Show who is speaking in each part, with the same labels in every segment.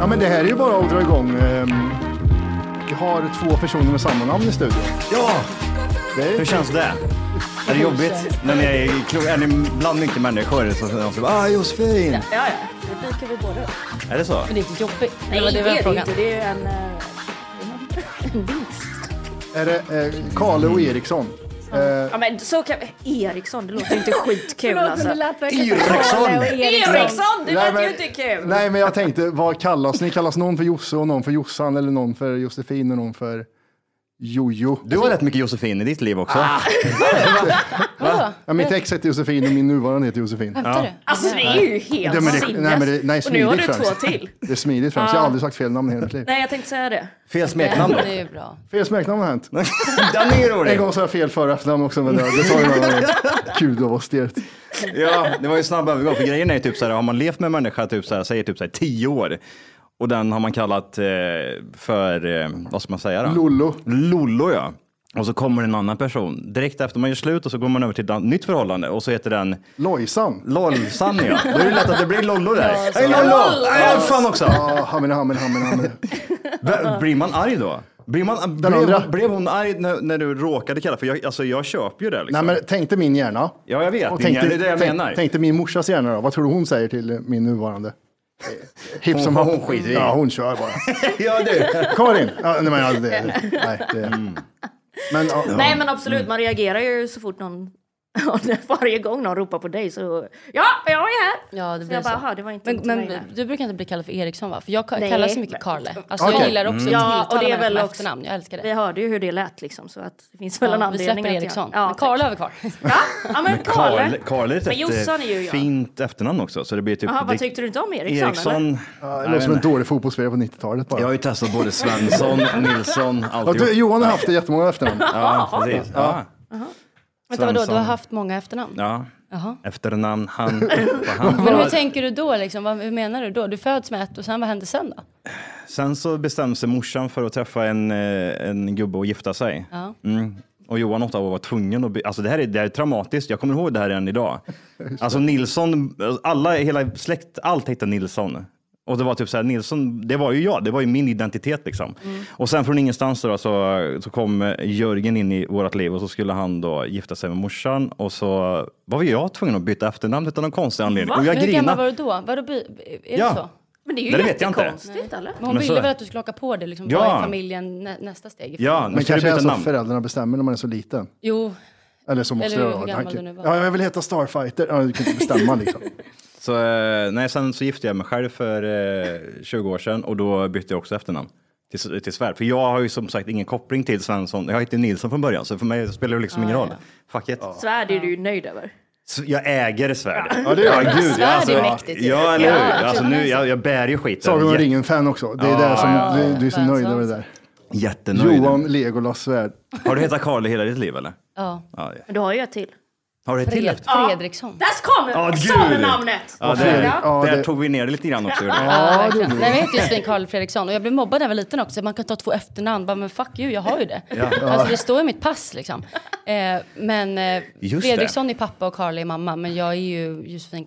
Speaker 1: Ja men det här är ju bara att dra igång. ehm, Vi har två personer med samma namn i studion.
Speaker 2: Ja!
Speaker 1: Det är,
Speaker 2: Hur känns det? Är det jobbigt när ni är i krog? Är ni bland mycket människor? Så så- så bara, ah Josefin! Ja, ja. Då dyker vi båda upp. Är det så?
Speaker 3: Det är inte jobbigt.
Speaker 4: Nej, det, är det inte. Det är en...
Speaker 3: eh,
Speaker 1: är det eh, Kalle och Eriksson? Eh,
Speaker 4: Ja, men så kan... Eriksson, det låter ju inte skitkul alltså.
Speaker 2: Eriksson!
Speaker 4: Eriksson, det låter ju
Speaker 1: men-
Speaker 4: inte kul!
Speaker 1: nej men jag tänkte, vad kallas ni? Kallas någon för Josse och någon för Jossan eller någon för Josefin och någon för Jojo? Ah.
Speaker 2: Du har rätt mycket Josefin i ditt liv också.
Speaker 1: Ja, mitt ex heter Josefin och min nuvarande heter Josefin.
Speaker 3: Skämtar du?
Speaker 4: Alltså det är ju helt
Speaker 1: Ja, men det-
Speaker 4: sinnes.
Speaker 1: nej, men det- nej,
Speaker 4: och nu har du
Speaker 1: smidigt
Speaker 4: två
Speaker 1: främst.
Speaker 4: till.
Speaker 1: Det är smidigt främst, jag har aldrig sagt fel namn i hela mitt liv.
Speaker 4: Nej, jag tänkte säga det.
Speaker 2: Fel smeknamn.
Speaker 3: Det är ju bra.
Speaker 1: Fel smeknamn har hänt.
Speaker 2: Den är ju
Speaker 1: En
Speaker 2: rolig.
Speaker 1: gång sa jag fel för och efternamn också men det, det tar ju några gånger. Kul det var stelt.
Speaker 2: Ja, det var ju en snabb övergång. För grejen är ju typ så här, har man levt med en människa typ så här, säger typ så här, tio år och den har man kallat eh, för, eh, vad ska man säga då?
Speaker 1: Lollo.
Speaker 2: Lollo ja. Och så kommer en annan person. Direkt efter man gör slut och så går man över till ett nytt förhållande och så heter den
Speaker 1: Lojsan.
Speaker 2: Lollsan ja. Då är det lätt att det blir Lollo där. Hej Lollo! Hej fan också!
Speaker 1: Ja, hammen, hammen, hammen, hammen.
Speaker 2: V- Blir man arg då? Blir man,
Speaker 1: andra.
Speaker 2: blev, blev hon arg när, när du råkade kalla? För jag, alltså, jag köper ju det liksom.
Speaker 1: Nej men tänkte min hjärna.
Speaker 2: Ja, jag vet.
Speaker 1: Och
Speaker 2: Din hjärna, det är det jag
Speaker 1: tänk-
Speaker 2: menar.
Speaker 1: tänkte min morsas hjärna då. Vad tror du hon säger till eh, min nuvarande? Eh, Hipp
Speaker 2: Hon-
Speaker 1: som
Speaker 2: hon
Speaker 1: happ.
Speaker 2: skiter i.
Speaker 1: Ja, hon kör bara.
Speaker 2: Ja du. Mm.
Speaker 1: Karin. Ja, nej, men, ja, det, nej, det. Men, ja,
Speaker 4: Nej, men absolut, man reagerar ju så fort någon... Varje gång någon ropar på dig så... Ja, jag är här!
Speaker 3: Ja, det
Speaker 4: Så jag
Speaker 3: blir
Speaker 4: bara,
Speaker 3: så.
Speaker 4: "Jaha, det var inte
Speaker 3: Men,
Speaker 4: inte mig där."
Speaker 3: men du brukar inte bli kallad för Eriksson va? För jag ka-
Speaker 4: Nej.
Speaker 3: kallas så mycket Karle. Alltså
Speaker 1: Okej.
Speaker 3: jag gillar också
Speaker 2: Mm.
Speaker 3: att
Speaker 4: Ja, och
Speaker 3: tilltala
Speaker 4: det är
Speaker 3: människor
Speaker 4: väl
Speaker 3: med
Speaker 4: också-
Speaker 3: efternamn. Jag älskar
Speaker 4: Vi
Speaker 3: det.
Speaker 4: hörde ju hur det lät liksom, så att det finns väl en
Speaker 3: Ja, vi
Speaker 4: anledning
Speaker 3: släpper
Speaker 4: att jag-
Speaker 3: Eriksson.
Speaker 4: Ja,
Speaker 3: Men Karle
Speaker 4: tack.
Speaker 3: har vi kvar.
Speaker 2: Typ
Speaker 4: Ja, ja, men
Speaker 2: Karl,
Speaker 4: Karle.
Speaker 2: Karl är ett
Speaker 4: Men Jossan är ju
Speaker 2: rätt
Speaker 4: jag.
Speaker 2: fint efternamn också. Så det blir typ...
Speaker 4: Jaha, vad
Speaker 2: det-
Speaker 4: tyckte du inte om Eriksson? eller?
Speaker 2: Eriksson.
Speaker 1: ja,
Speaker 2: Nej,
Speaker 1: det
Speaker 2: jag
Speaker 1: låter
Speaker 2: vet
Speaker 1: som en
Speaker 2: inte.
Speaker 1: dålig fotbollsspelare på 90-talet bara.
Speaker 2: Jag har
Speaker 1: Ja,
Speaker 2: ju testat både Svensson, Nilsson, alltihop.
Speaker 1: du, Johan har haft det jättemånga efternamn.
Speaker 2: Ja, precis. Ja.
Speaker 3: Vänta vadå, du har
Speaker 2: Svensson.
Speaker 3: haft många efternamn?
Speaker 2: ja.
Speaker 3: Jaha.
Speaker 2: Efternamn, han, vad han.
Speaker 3: Men hur tänker du då liksom? Vad, hur menar du då? Du föds med ett och sen vad händer sen då?
Speaker 2: Sen så bestämde sig morsan för att träffa en, eh, en gubbe och gifta sig.
Speaker 3: Ja.
Speaker 2: Mm. Och Johan åtta år var tvungen att... By- alltså det här, är, det här är traumatiskt, jag kommer ihåg det här än idag. Alltså Nilsson, alla, hela släkt, allt hette Nilsson. Och det var typ så här, Nilsson, det var ju jag, det var ju min identitet liksom.
Speaker 3: Mm.
Speaker 2: Och sen från ingenstans då, så, så kom Jörgen in i vårt liv och så skulle han då gifta sig med morsan och så var ju jag tvungen att byta efternamn utan någon konstig anledning. Och jag
Speaker 3: Men hur gammal var
Speaker 2: grinade.
Speaker 3: du då? Vadå, by- är det
Speaker 2: Ja.
Speaker 3: så?
Speaker 4: Men det är ju
Speaker 2: Nej, det vet jag inte.
Speaker 4: jättekonstigt, eller?
Speaker 3: Men hon
Speaker 2: Men så-
Speaker 3: ville väl att du skulle haka på det liksom?
Speaker 2: Ja.
Speaker 3: Vad är familjen nä, nästa steg?
Speaker 2: Ja,
Speaker 1: Men
Speaker 2: nu ska du
Speaker 1: kanske
Speaker 2: byta
Speaker 1: är så
Speaker 2: namn.
Speaker 1: föräldrarna bestämmer när man är så liten.
Speaker 3: Jo,
Speaker 1: Eller så måste
Speaker 3: Eller hur
Speaker 1: jag
Speaker 3: gammal du nu var.
Speaker 1: Ja, jag vill heta Starfighter. Ja, du kan inte bestämma liksom.
Speaker 2: Så, eh, nej, sen så gifte jag mig själv för eh, 20 år sedan och då bytte jag också efternamn till, till Svärd. För jag har ju som sagt ingen koppling till Svensson. Jag hette Nilsson från början, så för mig spelar det liksom ingen roll. Fuck it.
Speaker 4: Svärd är du ju nöjd över.
Speaker 2: S- Jag äger Svärd.
Speaker 1: Ja, det gör jag.
Speaker 2: Gud, alltså.
Speaker 3: Svärd är mäktigt ju.
Speaker 2: Ja, eller hur?
Speaker 3: Ja,
Speaker 2: alltså, nu, jag, jag bär ju skiten.
Speaker 1: Sagan om
Speaker 2: Jä-
Speaker 1: ringen-fan också. Det är
Speaker 2: Ja,
Speaker 1: där som,
Speaker 2: ja,
Speaker 1: du, du är så
Speaker 3: Fan,
Speaker 1: nöjd
Speaker 3: så-
Speaker 1: över det där.
Speaker 2: Jättenöjd.
Speaker 1: Johan Legolas Svärd.
Speaker 2: Har du hetat Karl i hela ditt liv eller?
Speaker 3: ja.
Speaker 2: Ja, ja.
Speaker 4: Men du har ju ett till.
Speaker 2: Har du ett till
Speaker 3: Fred,
Speaker 2: efter?
Speaker 3: Fredriksson.
Speaker 4: Där kom
Speaker 2: Ja, gud.
Speaker 4: samnamnet!
Speaker 2: Ja,
Speaker 1: Fredrik.
Speaker 2: där,
Speaker 1: Ja,
Speaker 2: där
Speaker 1: det-
Speaker 2: tog vi ner det lite grann också. gjorde vi.
Speaker 1: Ja, det
Speaker 3: verkligen.
Speaker 1: blir-
Speaker 3: Nej, men jag heter Josefin Karl Fredriksson och jag blev mobbad när jag var liten också. Man kan ta två efternamn. Bara, men fuck you, jag har ju det. Alltså, det står i mitt pass liksom. Eh, men eh,
Speaker 2: Just det.
Speaker 3: Fredriksson är pappa och Karl är mamma. Men jag är ju Josefin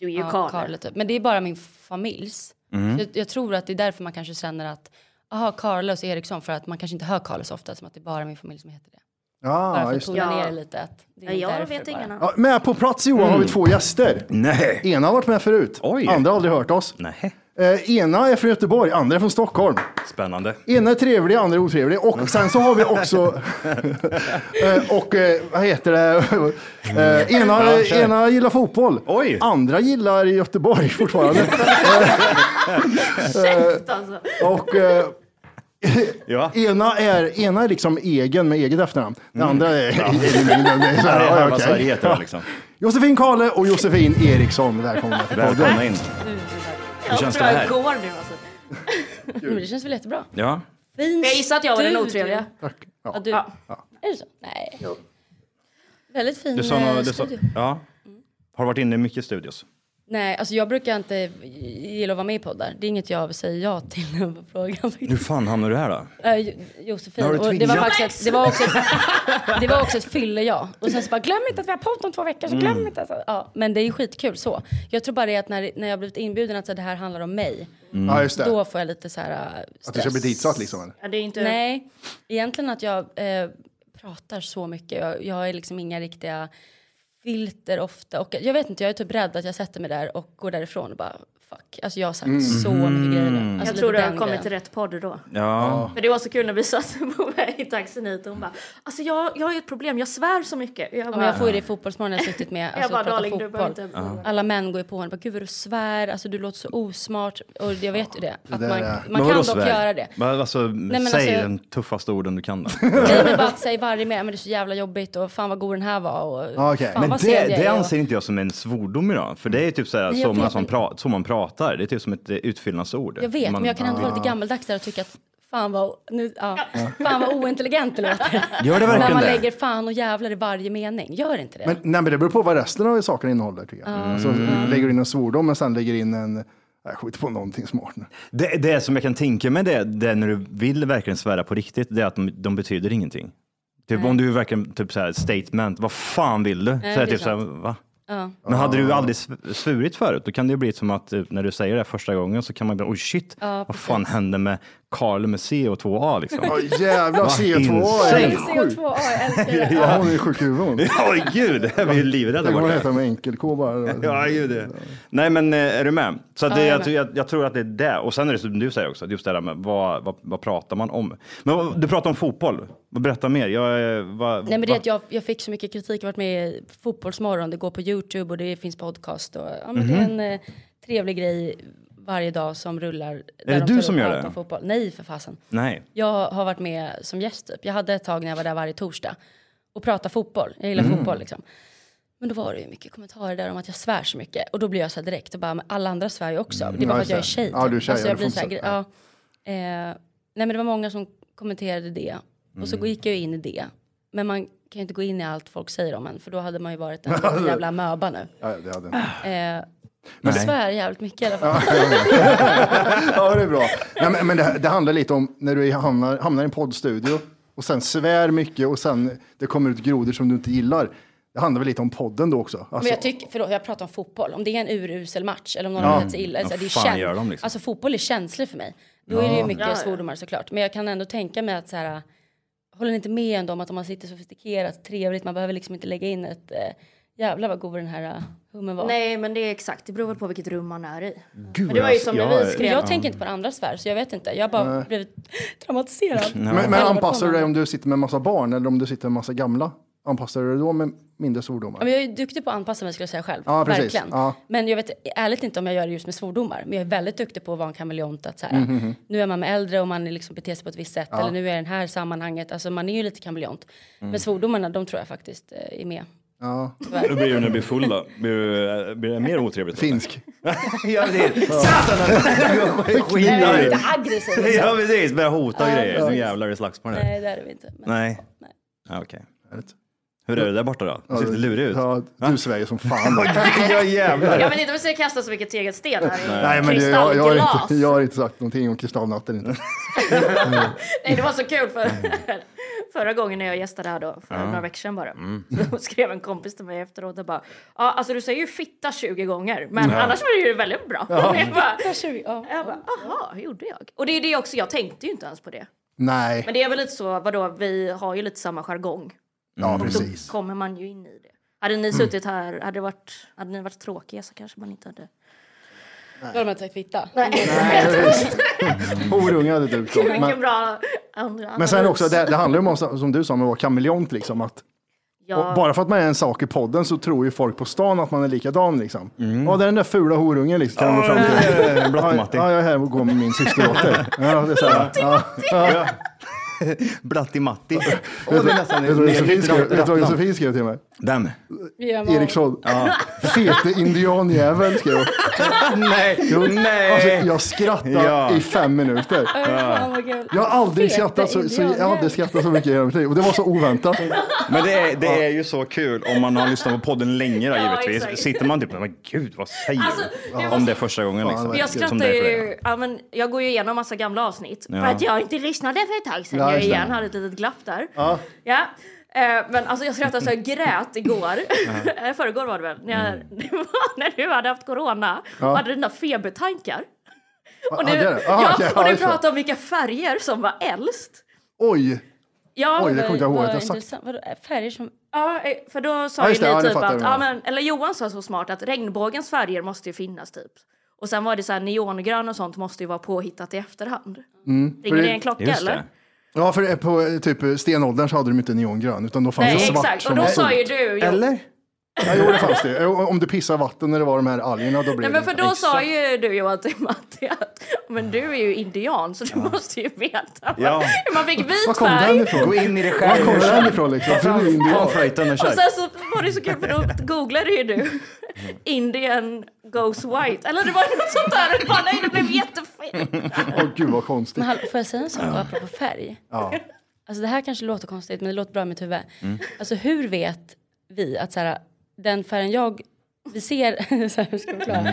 Speaker 4: Du är ju
Speaker 3: ja,
Speaker 4: Karl.
Speaker 3: Karl. Typ. Men det är bara min familjs. Så jag, jag tror att det är därför man kanske känner att Jaha, Carlos Eriksson, för att man kanske inte hör Carlos ofta, som att det är bara min familj som heter det. Bara
Speaker 1: Ja,
Speaker 3: för att
Speaker 1: Ah, just det.
Speaker 3: tona
Speaker 4: det.
Speaker 3: ner det
Speaker 4: Ja.
Speaker 3: lite. Att det är
Speaker 4: Jag
Speaker 3: därför
Speaker 4: vet
Speaker 3: bara.
Speaker 4: ingen annan.
Speaker 1: Ja, med på plats Johan har vi två gäster.
Speaker 2: Mm. Nej.
Speaker 1: Ena har varit med förut,
Speaker 2: Oj.
Speaker 1: andra har aldrig hört oss.
Speaker 2: Nej.
Speaker 1: Eh, ena är från Göteborg, andra är från Stockholm.
Speaker 2: Spännande.
Speaker 1: Ena är trevlig, andra är otrevlig. Och sen så har vi också... eh, och eh, vad heter det? Eh, ena,
Speaker 2: Ja, kör.
Speaker 1: ena gillar fotboll,
Speaker 2: Oj.
Speaker 1: andra gillar Göteborg fortfarande.
Speaker 4: Käft alltså!
Speaker 1: och eh,
Speaker 2: Ja. Mm.
Speaker 1: ena, är, ena är liksom egen med eget efternamn. Den andra är... Ja.
Speaker 2: Det är halva
Speaker 1: okej.
Speaker 2: Sverige heter det liksom.
Speaker 1: Josefin Kale och Josefin Eriksson, välkomna till podden.
Speaker 2: Välkomna in.
Speaker 4: Jag
Speaker 2: känns
Speaker 4: tror
Speaker 2: det här?
Speaker 4: jag går nu alltså.
Speaker 3: Men det känns väl jättebra?
Speaker 2: Ja.
Speaker 3: Fin
Speaker 4: Jag gissar att jag var den
Speaker 3: studio.
Speaker 4: otrevliga.
Speaker 3: Ja, du. Är det så? Nej. Väldigt fin
Speaker 2: Du sa, nå-
Speaker 3: eh,
Speaker 2: du sa,
Speaker 3: studio.
Speaker 2: ja. Har du varit inne i mycket studios?
Speaker 3: Nej, alltså jag brukar inte gilla att vara med i poddar. Det är inget jag säger ja till när jag får frågan.
Speaker 2: Mm. Hur fan hamnade du här då?
Speaker 3: Äh, Jo- Josefin.
Speaker 2: Har du
Speaker 3: Och det, var
Speaker 2: tvingat-
Speaker 3: faktiskt ett, det, var också ett, det var också ett fylle ja. Och sen så bara, glöm inte att vi har podd om två veckor. Så
Speaker 2: Mm.
Speaker 3: glöm inte. Att, ja, men det är ju skitkul så. Jag tror bara det att när, när jag blivit inbjuden att så, här, det här handlar om mig.
Speaker 2: Mm.
Speaker 1: Ja, just det.
Speaker 3: Då får jag lite så här äh, stress.
Speaker 1: Att du ska bli ditsatt liksom. eller?
Speaker 4: Ja, det är inte...
Speaker 3: Nej, egentligen att jag eh, pratar så mycket. Jag, jag har liksom inga riktiga filter ofta. Och jag vet inte, jag är typ rädd att jag sätter mig där och går därifrån och bara fuck. Alltså jag har sagt
Speaker 2: Mm.
Speaker 3: så mycket grejer nu. Alltså,
Speaker 4: Jag
Speaker 3: lite
Speaker 4: tror du
Speaker 3: den
Speaker 4: har kommit
Speaker 3: grejen.
Speaker 4: till rätt podd då.
Speaker 2: Ja.
Speaker 4: Men det var så kul när vi satt på väg i taxin hit och hon bara Alltså jag, jag har ju ett problem, jag svär så mycket. Jag
Speaker 3: Ja,
Speaker 4: bara,
Speaker 3: men jag får ju det i fotbollsmorgon när jag suttit med alltså,
Speaker 4: bara,
Speaker 3: och pratat
Speaker 4: "Darling, du
Speaker 3: fotboll.
Speaker 4: behöver inte-
Speaker 3: Alla män går ju på honom. Bara, Gud vad du svär, alltså, du låter så osmart. Och jag vet ju det. Att
Speaker 1: där
Speaker 3: man
Speaker 1: är-
Speaker 3: man kan dock göra det.
Speaker 2: Men alltså,
Speaker 3: men
Speaker 2: säg
Speaker 3: alltså-
Speaker 2: den tuffaste orden du kan. Då.
Speaker 3: Nej men bara att säga varje med, men det är så jävla jobbigt och fan vad god den här var. Och,
Speaker 1: Okej.
Speaker 3: fan,
Speaker 2: Men
Speaker 3: vad
Speaker 2: det,
Speaker 3: seg jag
Speaker 2: det
Speaker 3: är och-
Speaker 2: anser inte jag som en svordom idag. För det är typ så, här,
Speaker 3: Nej, jag
Speaker 2: som, man,
Speaker 3: vet,
Speaker 2: som,
Speaker 3: men-
Speaker 2: pra, som man pratar. Det är typ som ett eh, utfyllnadsord.
Speaker 3: Jag vet,
Speaker 2: man,
Speaker 3: men jag kan ändå vara lite gammaldags där och tycka att fan vad, nu, ja, fan vad ointelligent det låter.
Speaker 2: Gör
Speaker 3: När
Speaker 2: det verkligen
Speaker 3: man
Speaker 2: det?
Speaker 3: lägger fan och jävlar i varje mening. Gör inte det?
Speaker 1: Men, nej, men det beror på vad resten av saken innehåller tycker jag. Så
Speaker 2: Mm.
Speaker 1: lägger du in en svordom men sen lägger du in en, jag skiter på någonting smart nu.
Speaker 2: Det, det som jag kan tänka mig det, det är när du vill verkligen svära på riktigt, det är att de, de betyder ingenting. Typ om du verkligen, typ så här, statement, vad fan vill du? så
Speaker 3: det
Speaker 2: här,
Speaker 3: är
Speaker 2: typ så här, va? Men hade
Speaker 1: Ah.
Speaker 2: du aldrig sv- svurit förut, då kan det ju bli som att eh, när du säger det första gången så kan man bli, oj shit, vad fan hände med Karl med C och 2A liksom?
Speaker 1: Åh jävlar,
Speaker 2: Vad
Speaker 1: CO2 är
Speaker 2: insane.
Speaker 1: sjuk.
Speaker 3: CO2A, jag älskar det.
Speaker 1: Ja, hon är sjuk i huvudet hon.
Speaker 2: Oj gud, det här var ju livrädda
Speaker 1: Det kommer
Speaker 2: borta.
Speaker 1: att heta med enkel-K bara.
Speaker 2: Ja, ju det. Nej, men eh, är du med? Så att det,
Speaker 3: Ja, jag är
Speaker 2: jag, jag, jag tror att det är det. Och sen är det som du säger också, just det där med vad, vad, vad pratar man om? Men vad- du pratar om fotboll. Vad- Berätta mer. Jag, eh, vad,
Speaker 3: Nej men det är
Speaker 2: vad-
Speaker 3: att jag, jag fick så mycket kritik, jag har varit med i Fotbollsmorgon, det går på Youtube och det finns podcast och ja, men det är
Speaker 2: Mhm.
Speaker 3: en eh, trevlig grej varje dag som rullar. där
Speaker 2: det
Speaker 3: de
Speaker 2: du
Speaker 3: tar upp
Speaker 2: som gör
Speaker 3: allt
Speaker 2: det?
Speaker 3: om Fotboll. Nej för fasen.
Speaker 2: Nej.
Speaker 3: Jag har varit med som gäst typ. Jag hade ett tag när jag var där varje torsdag och pratade fotboll. Jag
Speaker 1: Mm.
Speaker 3: gillar fotboll liksom. Men då var det ju mycket kommentarer där om att jag svär så mycket. Och då blir jag så här direkt och bara, men alla andra svär ju också. Det är bara
Speaker 1: Mm, Ja,
Speaker 3: för att jag är
Speaker 1: just
Speaker 3: tjej.
Speaker 1: det. Ja, du är tjej,
Speaker 3: Alltså
Speaker 1: ja,
Speaker 3: jag
Speaker 1: du
Speaker 3: blir
Speaker 1: får
Speaker 3: så här,
Speaker 1: inte
Speaker 3: gre- ja. Eh, nej men det var många som kommenterade det. Och
Speaker 1: Mm.
Speaker 3: så gick jag ju in i det. Men man kan ju inte gå in i allt folk säger om en. För då hade man ju varit en liten jävla möba nu.
Speaker 1: Ja, det hade jag.
Speaker 3: Eh, men
Speaker 2: Nej.
Speaker 3: svär jävligt mycket i alla fall.
Speaker 1: Ja, det är bra. Nej, men men det, det handlar lite om när du hamnar, hamnar i en poddstudio och sen svär mycket och sen det kommer ut grodor som du inte gillar. Det handlar väl lite om podden då också.
Speaker 3: Men
Speaker 1: Alltså,
Speaker 3: jag tycker, förlåt, jag pratar om fotboll. Om det är en urusel match eller om någon
Speaker 1: Ja.
Speaker 3: har betett sig illa. Alltså,
Speaker 2: Vad
Speaker 3: det är
Speaker 2: fan gör de liksom?
Speaker 3: Alltså fotboll är känslig för mig. Då är det ju mycket
Speaker 4: Ja, ja.
Speaker 3: svordomar såklart. Men jag kan ändå tänka mig att så här, håller ni inte med ändå om att om man sitter sofistikerat, trevligt, man behöver liksom inte lägga in ett eh, jävlar vad god den här eh, hummen var.
Speaker 4: Nej men det är exakt, det beror väl på vilket rum man är i.
Speaker 2: Gud, alltså,
Speaker 4: Men det var ju som när vi
Speaker 2: jag-
Speaker 3: Men
Speaker 4: skrev.
Speaker 3: alltså, jag tänker inte på den andra svär, så jag vet inte. Jag har bara blivit traumatiserad.
Speaker 1: men, men
Speaker 3: Eller vad
Speaker 1: anpassar
Speaker 3: kommer.
Speaker 1: du dig om du sitter med en massa barn eller om du sitter med en massa gamla? Anpassar du dig då med mindre svordomar?
Speaker 3: Ja, Men jag är ju duktig på att anpassa mig skulle jag säga själv.
Speaker 1: Ja, precis.
Speaker 3: Verkligen.
Speaker 1: Ja.
Speaker 3: Men jag vet ärligt inte om jag gör det just med svordomar. Men jag är väldigt duktig på att vara en kameleont. Att så här,
Speaker 1: Mm-hmm.
Speaker 3: Nu är man med äldre och man är liksom beter sig på ett visst sätt. Eller nu är den här sammanhanget. Alltså man är ju lite kameleont.
Speaker 1: Mm.
Speaker 3: Men svordomarna, de tror jag faktiskt eh, är med.
Speaker 1: Ja.
Speaker 2: Hur blir du när du blir full då? Blir, du, eh, blir det mer otrevligt? då?
Speaker 1: Finsk.
Speaker 2: ja, precis. Satan!
Speaker 3: Nej, jag är
Speaker 2: Skit
Speaker 3: inte aggressiv. liksom.
Speaker 2: Ja, precis. Börjar hota och grejer. Nu jävlar är det slagsmål här.
Speaker 3: Nej, det är vi inte. Men,
Speaker 2: Nej.
Speaker 3: Nej.
Speaker 2: Ja, Okej. Hur är det där borta då? Du ser lite lurig ut.
Speaker 1: Ja, du svär ju som fan.
Speaker 2: Ja, jävlar.
Speaker 4: Jag vet inte om vi ska kasta så mycket tegelsten här i
Speaker 1: Nej, men det, jag, jag, har
Speaker 4: kristallglas.
Speaker 1: inte, jag har inte sagt någonting om kristallnatten. Inte.
Speaker 4: Nej, det var så kul för förra gången när jag gästade här då, för några veckor sedan bara. Så skrev en kompis till mig efteråt och bara, ja alltså du säger ju fitta 20 gånger, men annars var det ju väldigt bra. Och jag bara,
Speaker 3: Tjugo, ja.
Speaker 4: jag bara, aha, hur gjorde jag? Och det är det också, jag tänkte ju inte ens på det.
Speaker 1: Nej.
Speaker 4: Men det är väl lite så, vadå, vi har ju lite samma jargong.
Speaker 1: Ja,
Speaker 2: Mm.
Speaker 4: Då
Speaker 1: precis. Mm.
Speaker 4: kommer man ju in i det. Hade ni suttit här, hade, det varit, hade ni varit tråkiga så kanske man inte hade...
Speaker 3: Då har de inte sagt fitta.
Speaker 1: Nej, visst. Horunge hade du klart.
Speaker 4: Vilken
Speaker 1: Men,
Speaker 4: bra andra
Speaker 1: men sen
Speaker 4: analys.
Speaker 1: också, det, det handlar ju om, som du sa, om att vara kameleont liksom. Att,
Speaker 4: Ja.
Speaker 1: och bara för att man är en sak i podden så tror ju folk på stan att man är likadan liksom.
Speaker 2: Mm.
Speaker 1: Ja, det är den där fula horungen liksom. Kan de fram till.
Speaker 2: Blatt-Matti.
Speaker 1: Ja, jag är här och går med min systerdotter. Ja, det är så här. Ja.
Speaker 2: Blatti-Matti.
Speaker 1: Vet du vad Josefin skrev- vet du vad Josefin skrev till mig?
Speaker 2: Vem?
Speaker 1: Eriksson. Fete indianjävel skrev hon.
Speaker 2: Nej,
Speaker 1: Jo, Alltså,
Speaker 2: nej.
Speaker 1: jag skrattade
Speaker 2: Ja.
Speaker 1: i fem minuter.
Speaker 3: Fan vad kul.
Speaker 1: Jag har aldrig,
Speaker 3: Feta
Speaker 1: skrattat så, så, jag har aldrig skrattat så mycket i hela mitt liv. Och det var så oväntat.
Speaker 2: Men det är, det är ju så kul om man har lyssnat på podden länge då,
Speaker 4: Ja,
Speaker 2: givetvis.
Speaker 4: exakt.
Speaker 2: Sitter man typ men gud vad säger
Speaker 4: Alltså,
Speaker 2: du?
Speaker 4: jag
Speaker 2: Om
Speaker 4: måste-
Speaker 2: det är första gången liksom.
Speaker 1: det
Speaker 4: Jag
Speaker 2: Som
Speaker 4: skrattar
Speaker 2: det är för er.
Speaker 4: ju, ja, men jag går ju igenom massa gamla avsnitt
Speaker 2: Ja.
Speaker 4: för att jag inte lyssnade för ett tag sedan.
Speaker 1: Ja,
Speaker 4: jag
Speaker 1: just det.
Speaker 4: igen hade ett litet glapp där.
Speaker 5: Uh,
Speaker 4: Ja. Eh, Men alltså jag skrattade så jag grät igår, ja. förrgår var det väl, när,
Speaker 1: Mm.
Speaker 4: jag, det var när du hade haft corona och hade dina febertankar. Och
Speaker 1: hade jag
Speaker 4: du,
Speaker 1: Ah, det? Aha,
Speaker 4: ja,
Speaker 1: okej, ja,
Speaker 4: och du
Speaker 1: just det.
Speaker 4: pratade om vilka färger som var äldst.
Speaker 1: Oj!
Speaker 4: Ja,
Speaker 1: Oj, det kommer jag inte ihåg
Speaker 3: Vad
Speaker 1: att jag sagt.
Speaker 3: intressant. Vadå, eh, färger som...
Speaker 4: ja, eh, för då
Speaker 1: Ja,
Speaker 4: sa ju
Speaker 1: just det, ja,
Speaker 4: ni
Speaker 1: nu
Speaker 4: typ
Speaker 1: fattar jag
Speaker 4: att,
Speaker 1: vad
Speaker 4: ja,
Speaker 1: du
Speaker 4: men, eller Johan sa så smart att regnbågens färger måste ju finnas typ. Och sen var det så här neongrön och sånt måste ju vara påhittat i efterhand. Ringer
Speaker 1: Mm, för
Speaker 4: det
Speaker 1: det-
Speaker 4: en klocka
Speaker 2: Just
Speaker 4: eller?
Speaker 2: det.
Speaker 1: Ja, för på eh, typ stenåldern så hade de inte neongrön, utan då fanns
Speaker 4: Nej,
Speaker 1: det svart
Speaker 4: exakt. Och
Speaker 1: som
Speaker 4: då
Speaker 1: var
Speaker 4: sa
Speaker 1: sol.
Speaker 4: ju du... Jo,
Speaker 2: Eller?
Speaker 1: Ja, jo, det fanns det. Jo, Om du pissar vatten när det var de här algerna, då blev
Speaker 4: nej, men för
Speaker 1: det...
Speaker 4: då sa ju du Johan till Matti att men du är ju indian så du måste ju veta
Speaker 2: Ja.
Speaker 4: hur man fick vit
Speaker 1: Var kom den
Speaker 4: färg.
Speaker 1: ifrån?
Speaker 2: Gå in i det
Speaker 1: Var
Speaker 2: själv.
Speaker 1: kom den ifrån liksom? För du är indian.
Speaker 2: Panflöjten och
Speaker 4: Och
Speaker 2: kör.
Speaker 4: sen så var det så kul för då googlade ju du Indian goes white. Eller det var något sånt där. Och Bara, nej, det blev jättefel.
Speaker 1: Åh gud vad konstigt.
Speaker 3: Men hallå, får jag säga en sak apropå färg?
Speaker 1: Ja.
Speaker 3: Alltså det här kanske låter konstigt men det låter bra i mitt huvud.
Speaker 2: Mm.
Speaker 3: Alltså hur vet vi att så här, den färgen jag, vi ser, så här, hur ska jag förklara?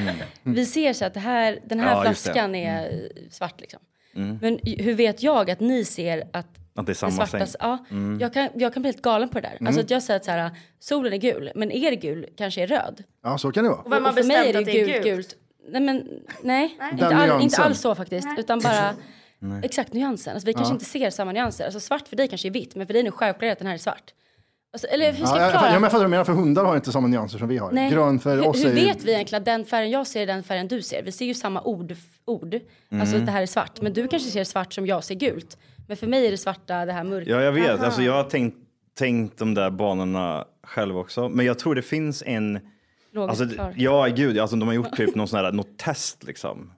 Speaker 3: Vi ser så att det här, den här
Speaker 2: Mm. Ja, just det. Mm.
Speaker 3: flaskan är svart liksom. Men i- hur vet jag att ni ser att
Speaker 2: Att det är
Speaker 3: det
Speaker 2: samma
Speaker 3: svarta,
Speaker 2: säng. Mm.
Speaker 3: ja, jag, kan, jag kan bli helt galen på det där. Alltså att jag säger att så här, solen är gul, men er gul kanske är röd.
Speaker 1: ja, så kan det vara.
Speaker 4: Och vem har
Speaker 3: Och för mig är
Speaker 4: bestämt
Speaker 3: det
Speaker 4: att det är gult?
Speaker 3: gult, gult. Nej, men nej, inte,
Speaker 1: Den
Speaker 3: all,
Speaker 1: nyansen.
Speaker 3: inte alls så faktiskt. Utan bara exakt nyansen. Alltså, vi kanske inte ser samma nyanser. Alltså, svart för dig kanske är vitt, men för dig är det självklart att den här är svart. Alltså, eller hur ska
Speaker 1: Ja,
Speaker 3: jag
Speaker 1: jag, jag,
Speaker 3: förklara?
Speaker 1: jag fattar vad du menar, för hundar har inte samma nyanser som vi har.
Speaker 3: Nej.
Speaker 1: Grön för
Speaker 3: hur,
Speaker 1: oss
Speaker 3: hur
Speaker 1: är ju...
Speaker 3: vet vi egentligen att den färgen jag ser är den färgen du ser? Vi ser ju samma ord. ord. Alltså
Speaker 1: Mm.
Speaker 3: att det här är svart. Men du kanske ser svart som jag ser gult. Men för mig är det svarta det här mörka.
Speaker 2: Ja, jag vet. Alltså, jag har tänkt, tänkt de där banorna själv också. Men jag tror det finns en...
Speaker 3: Logiskt
Speaker 2: Alltså,
Speaker 3: förklarat.
Speaker 2: ja, gud. Alltså, de har gjort typ någon sån här, något test liksom.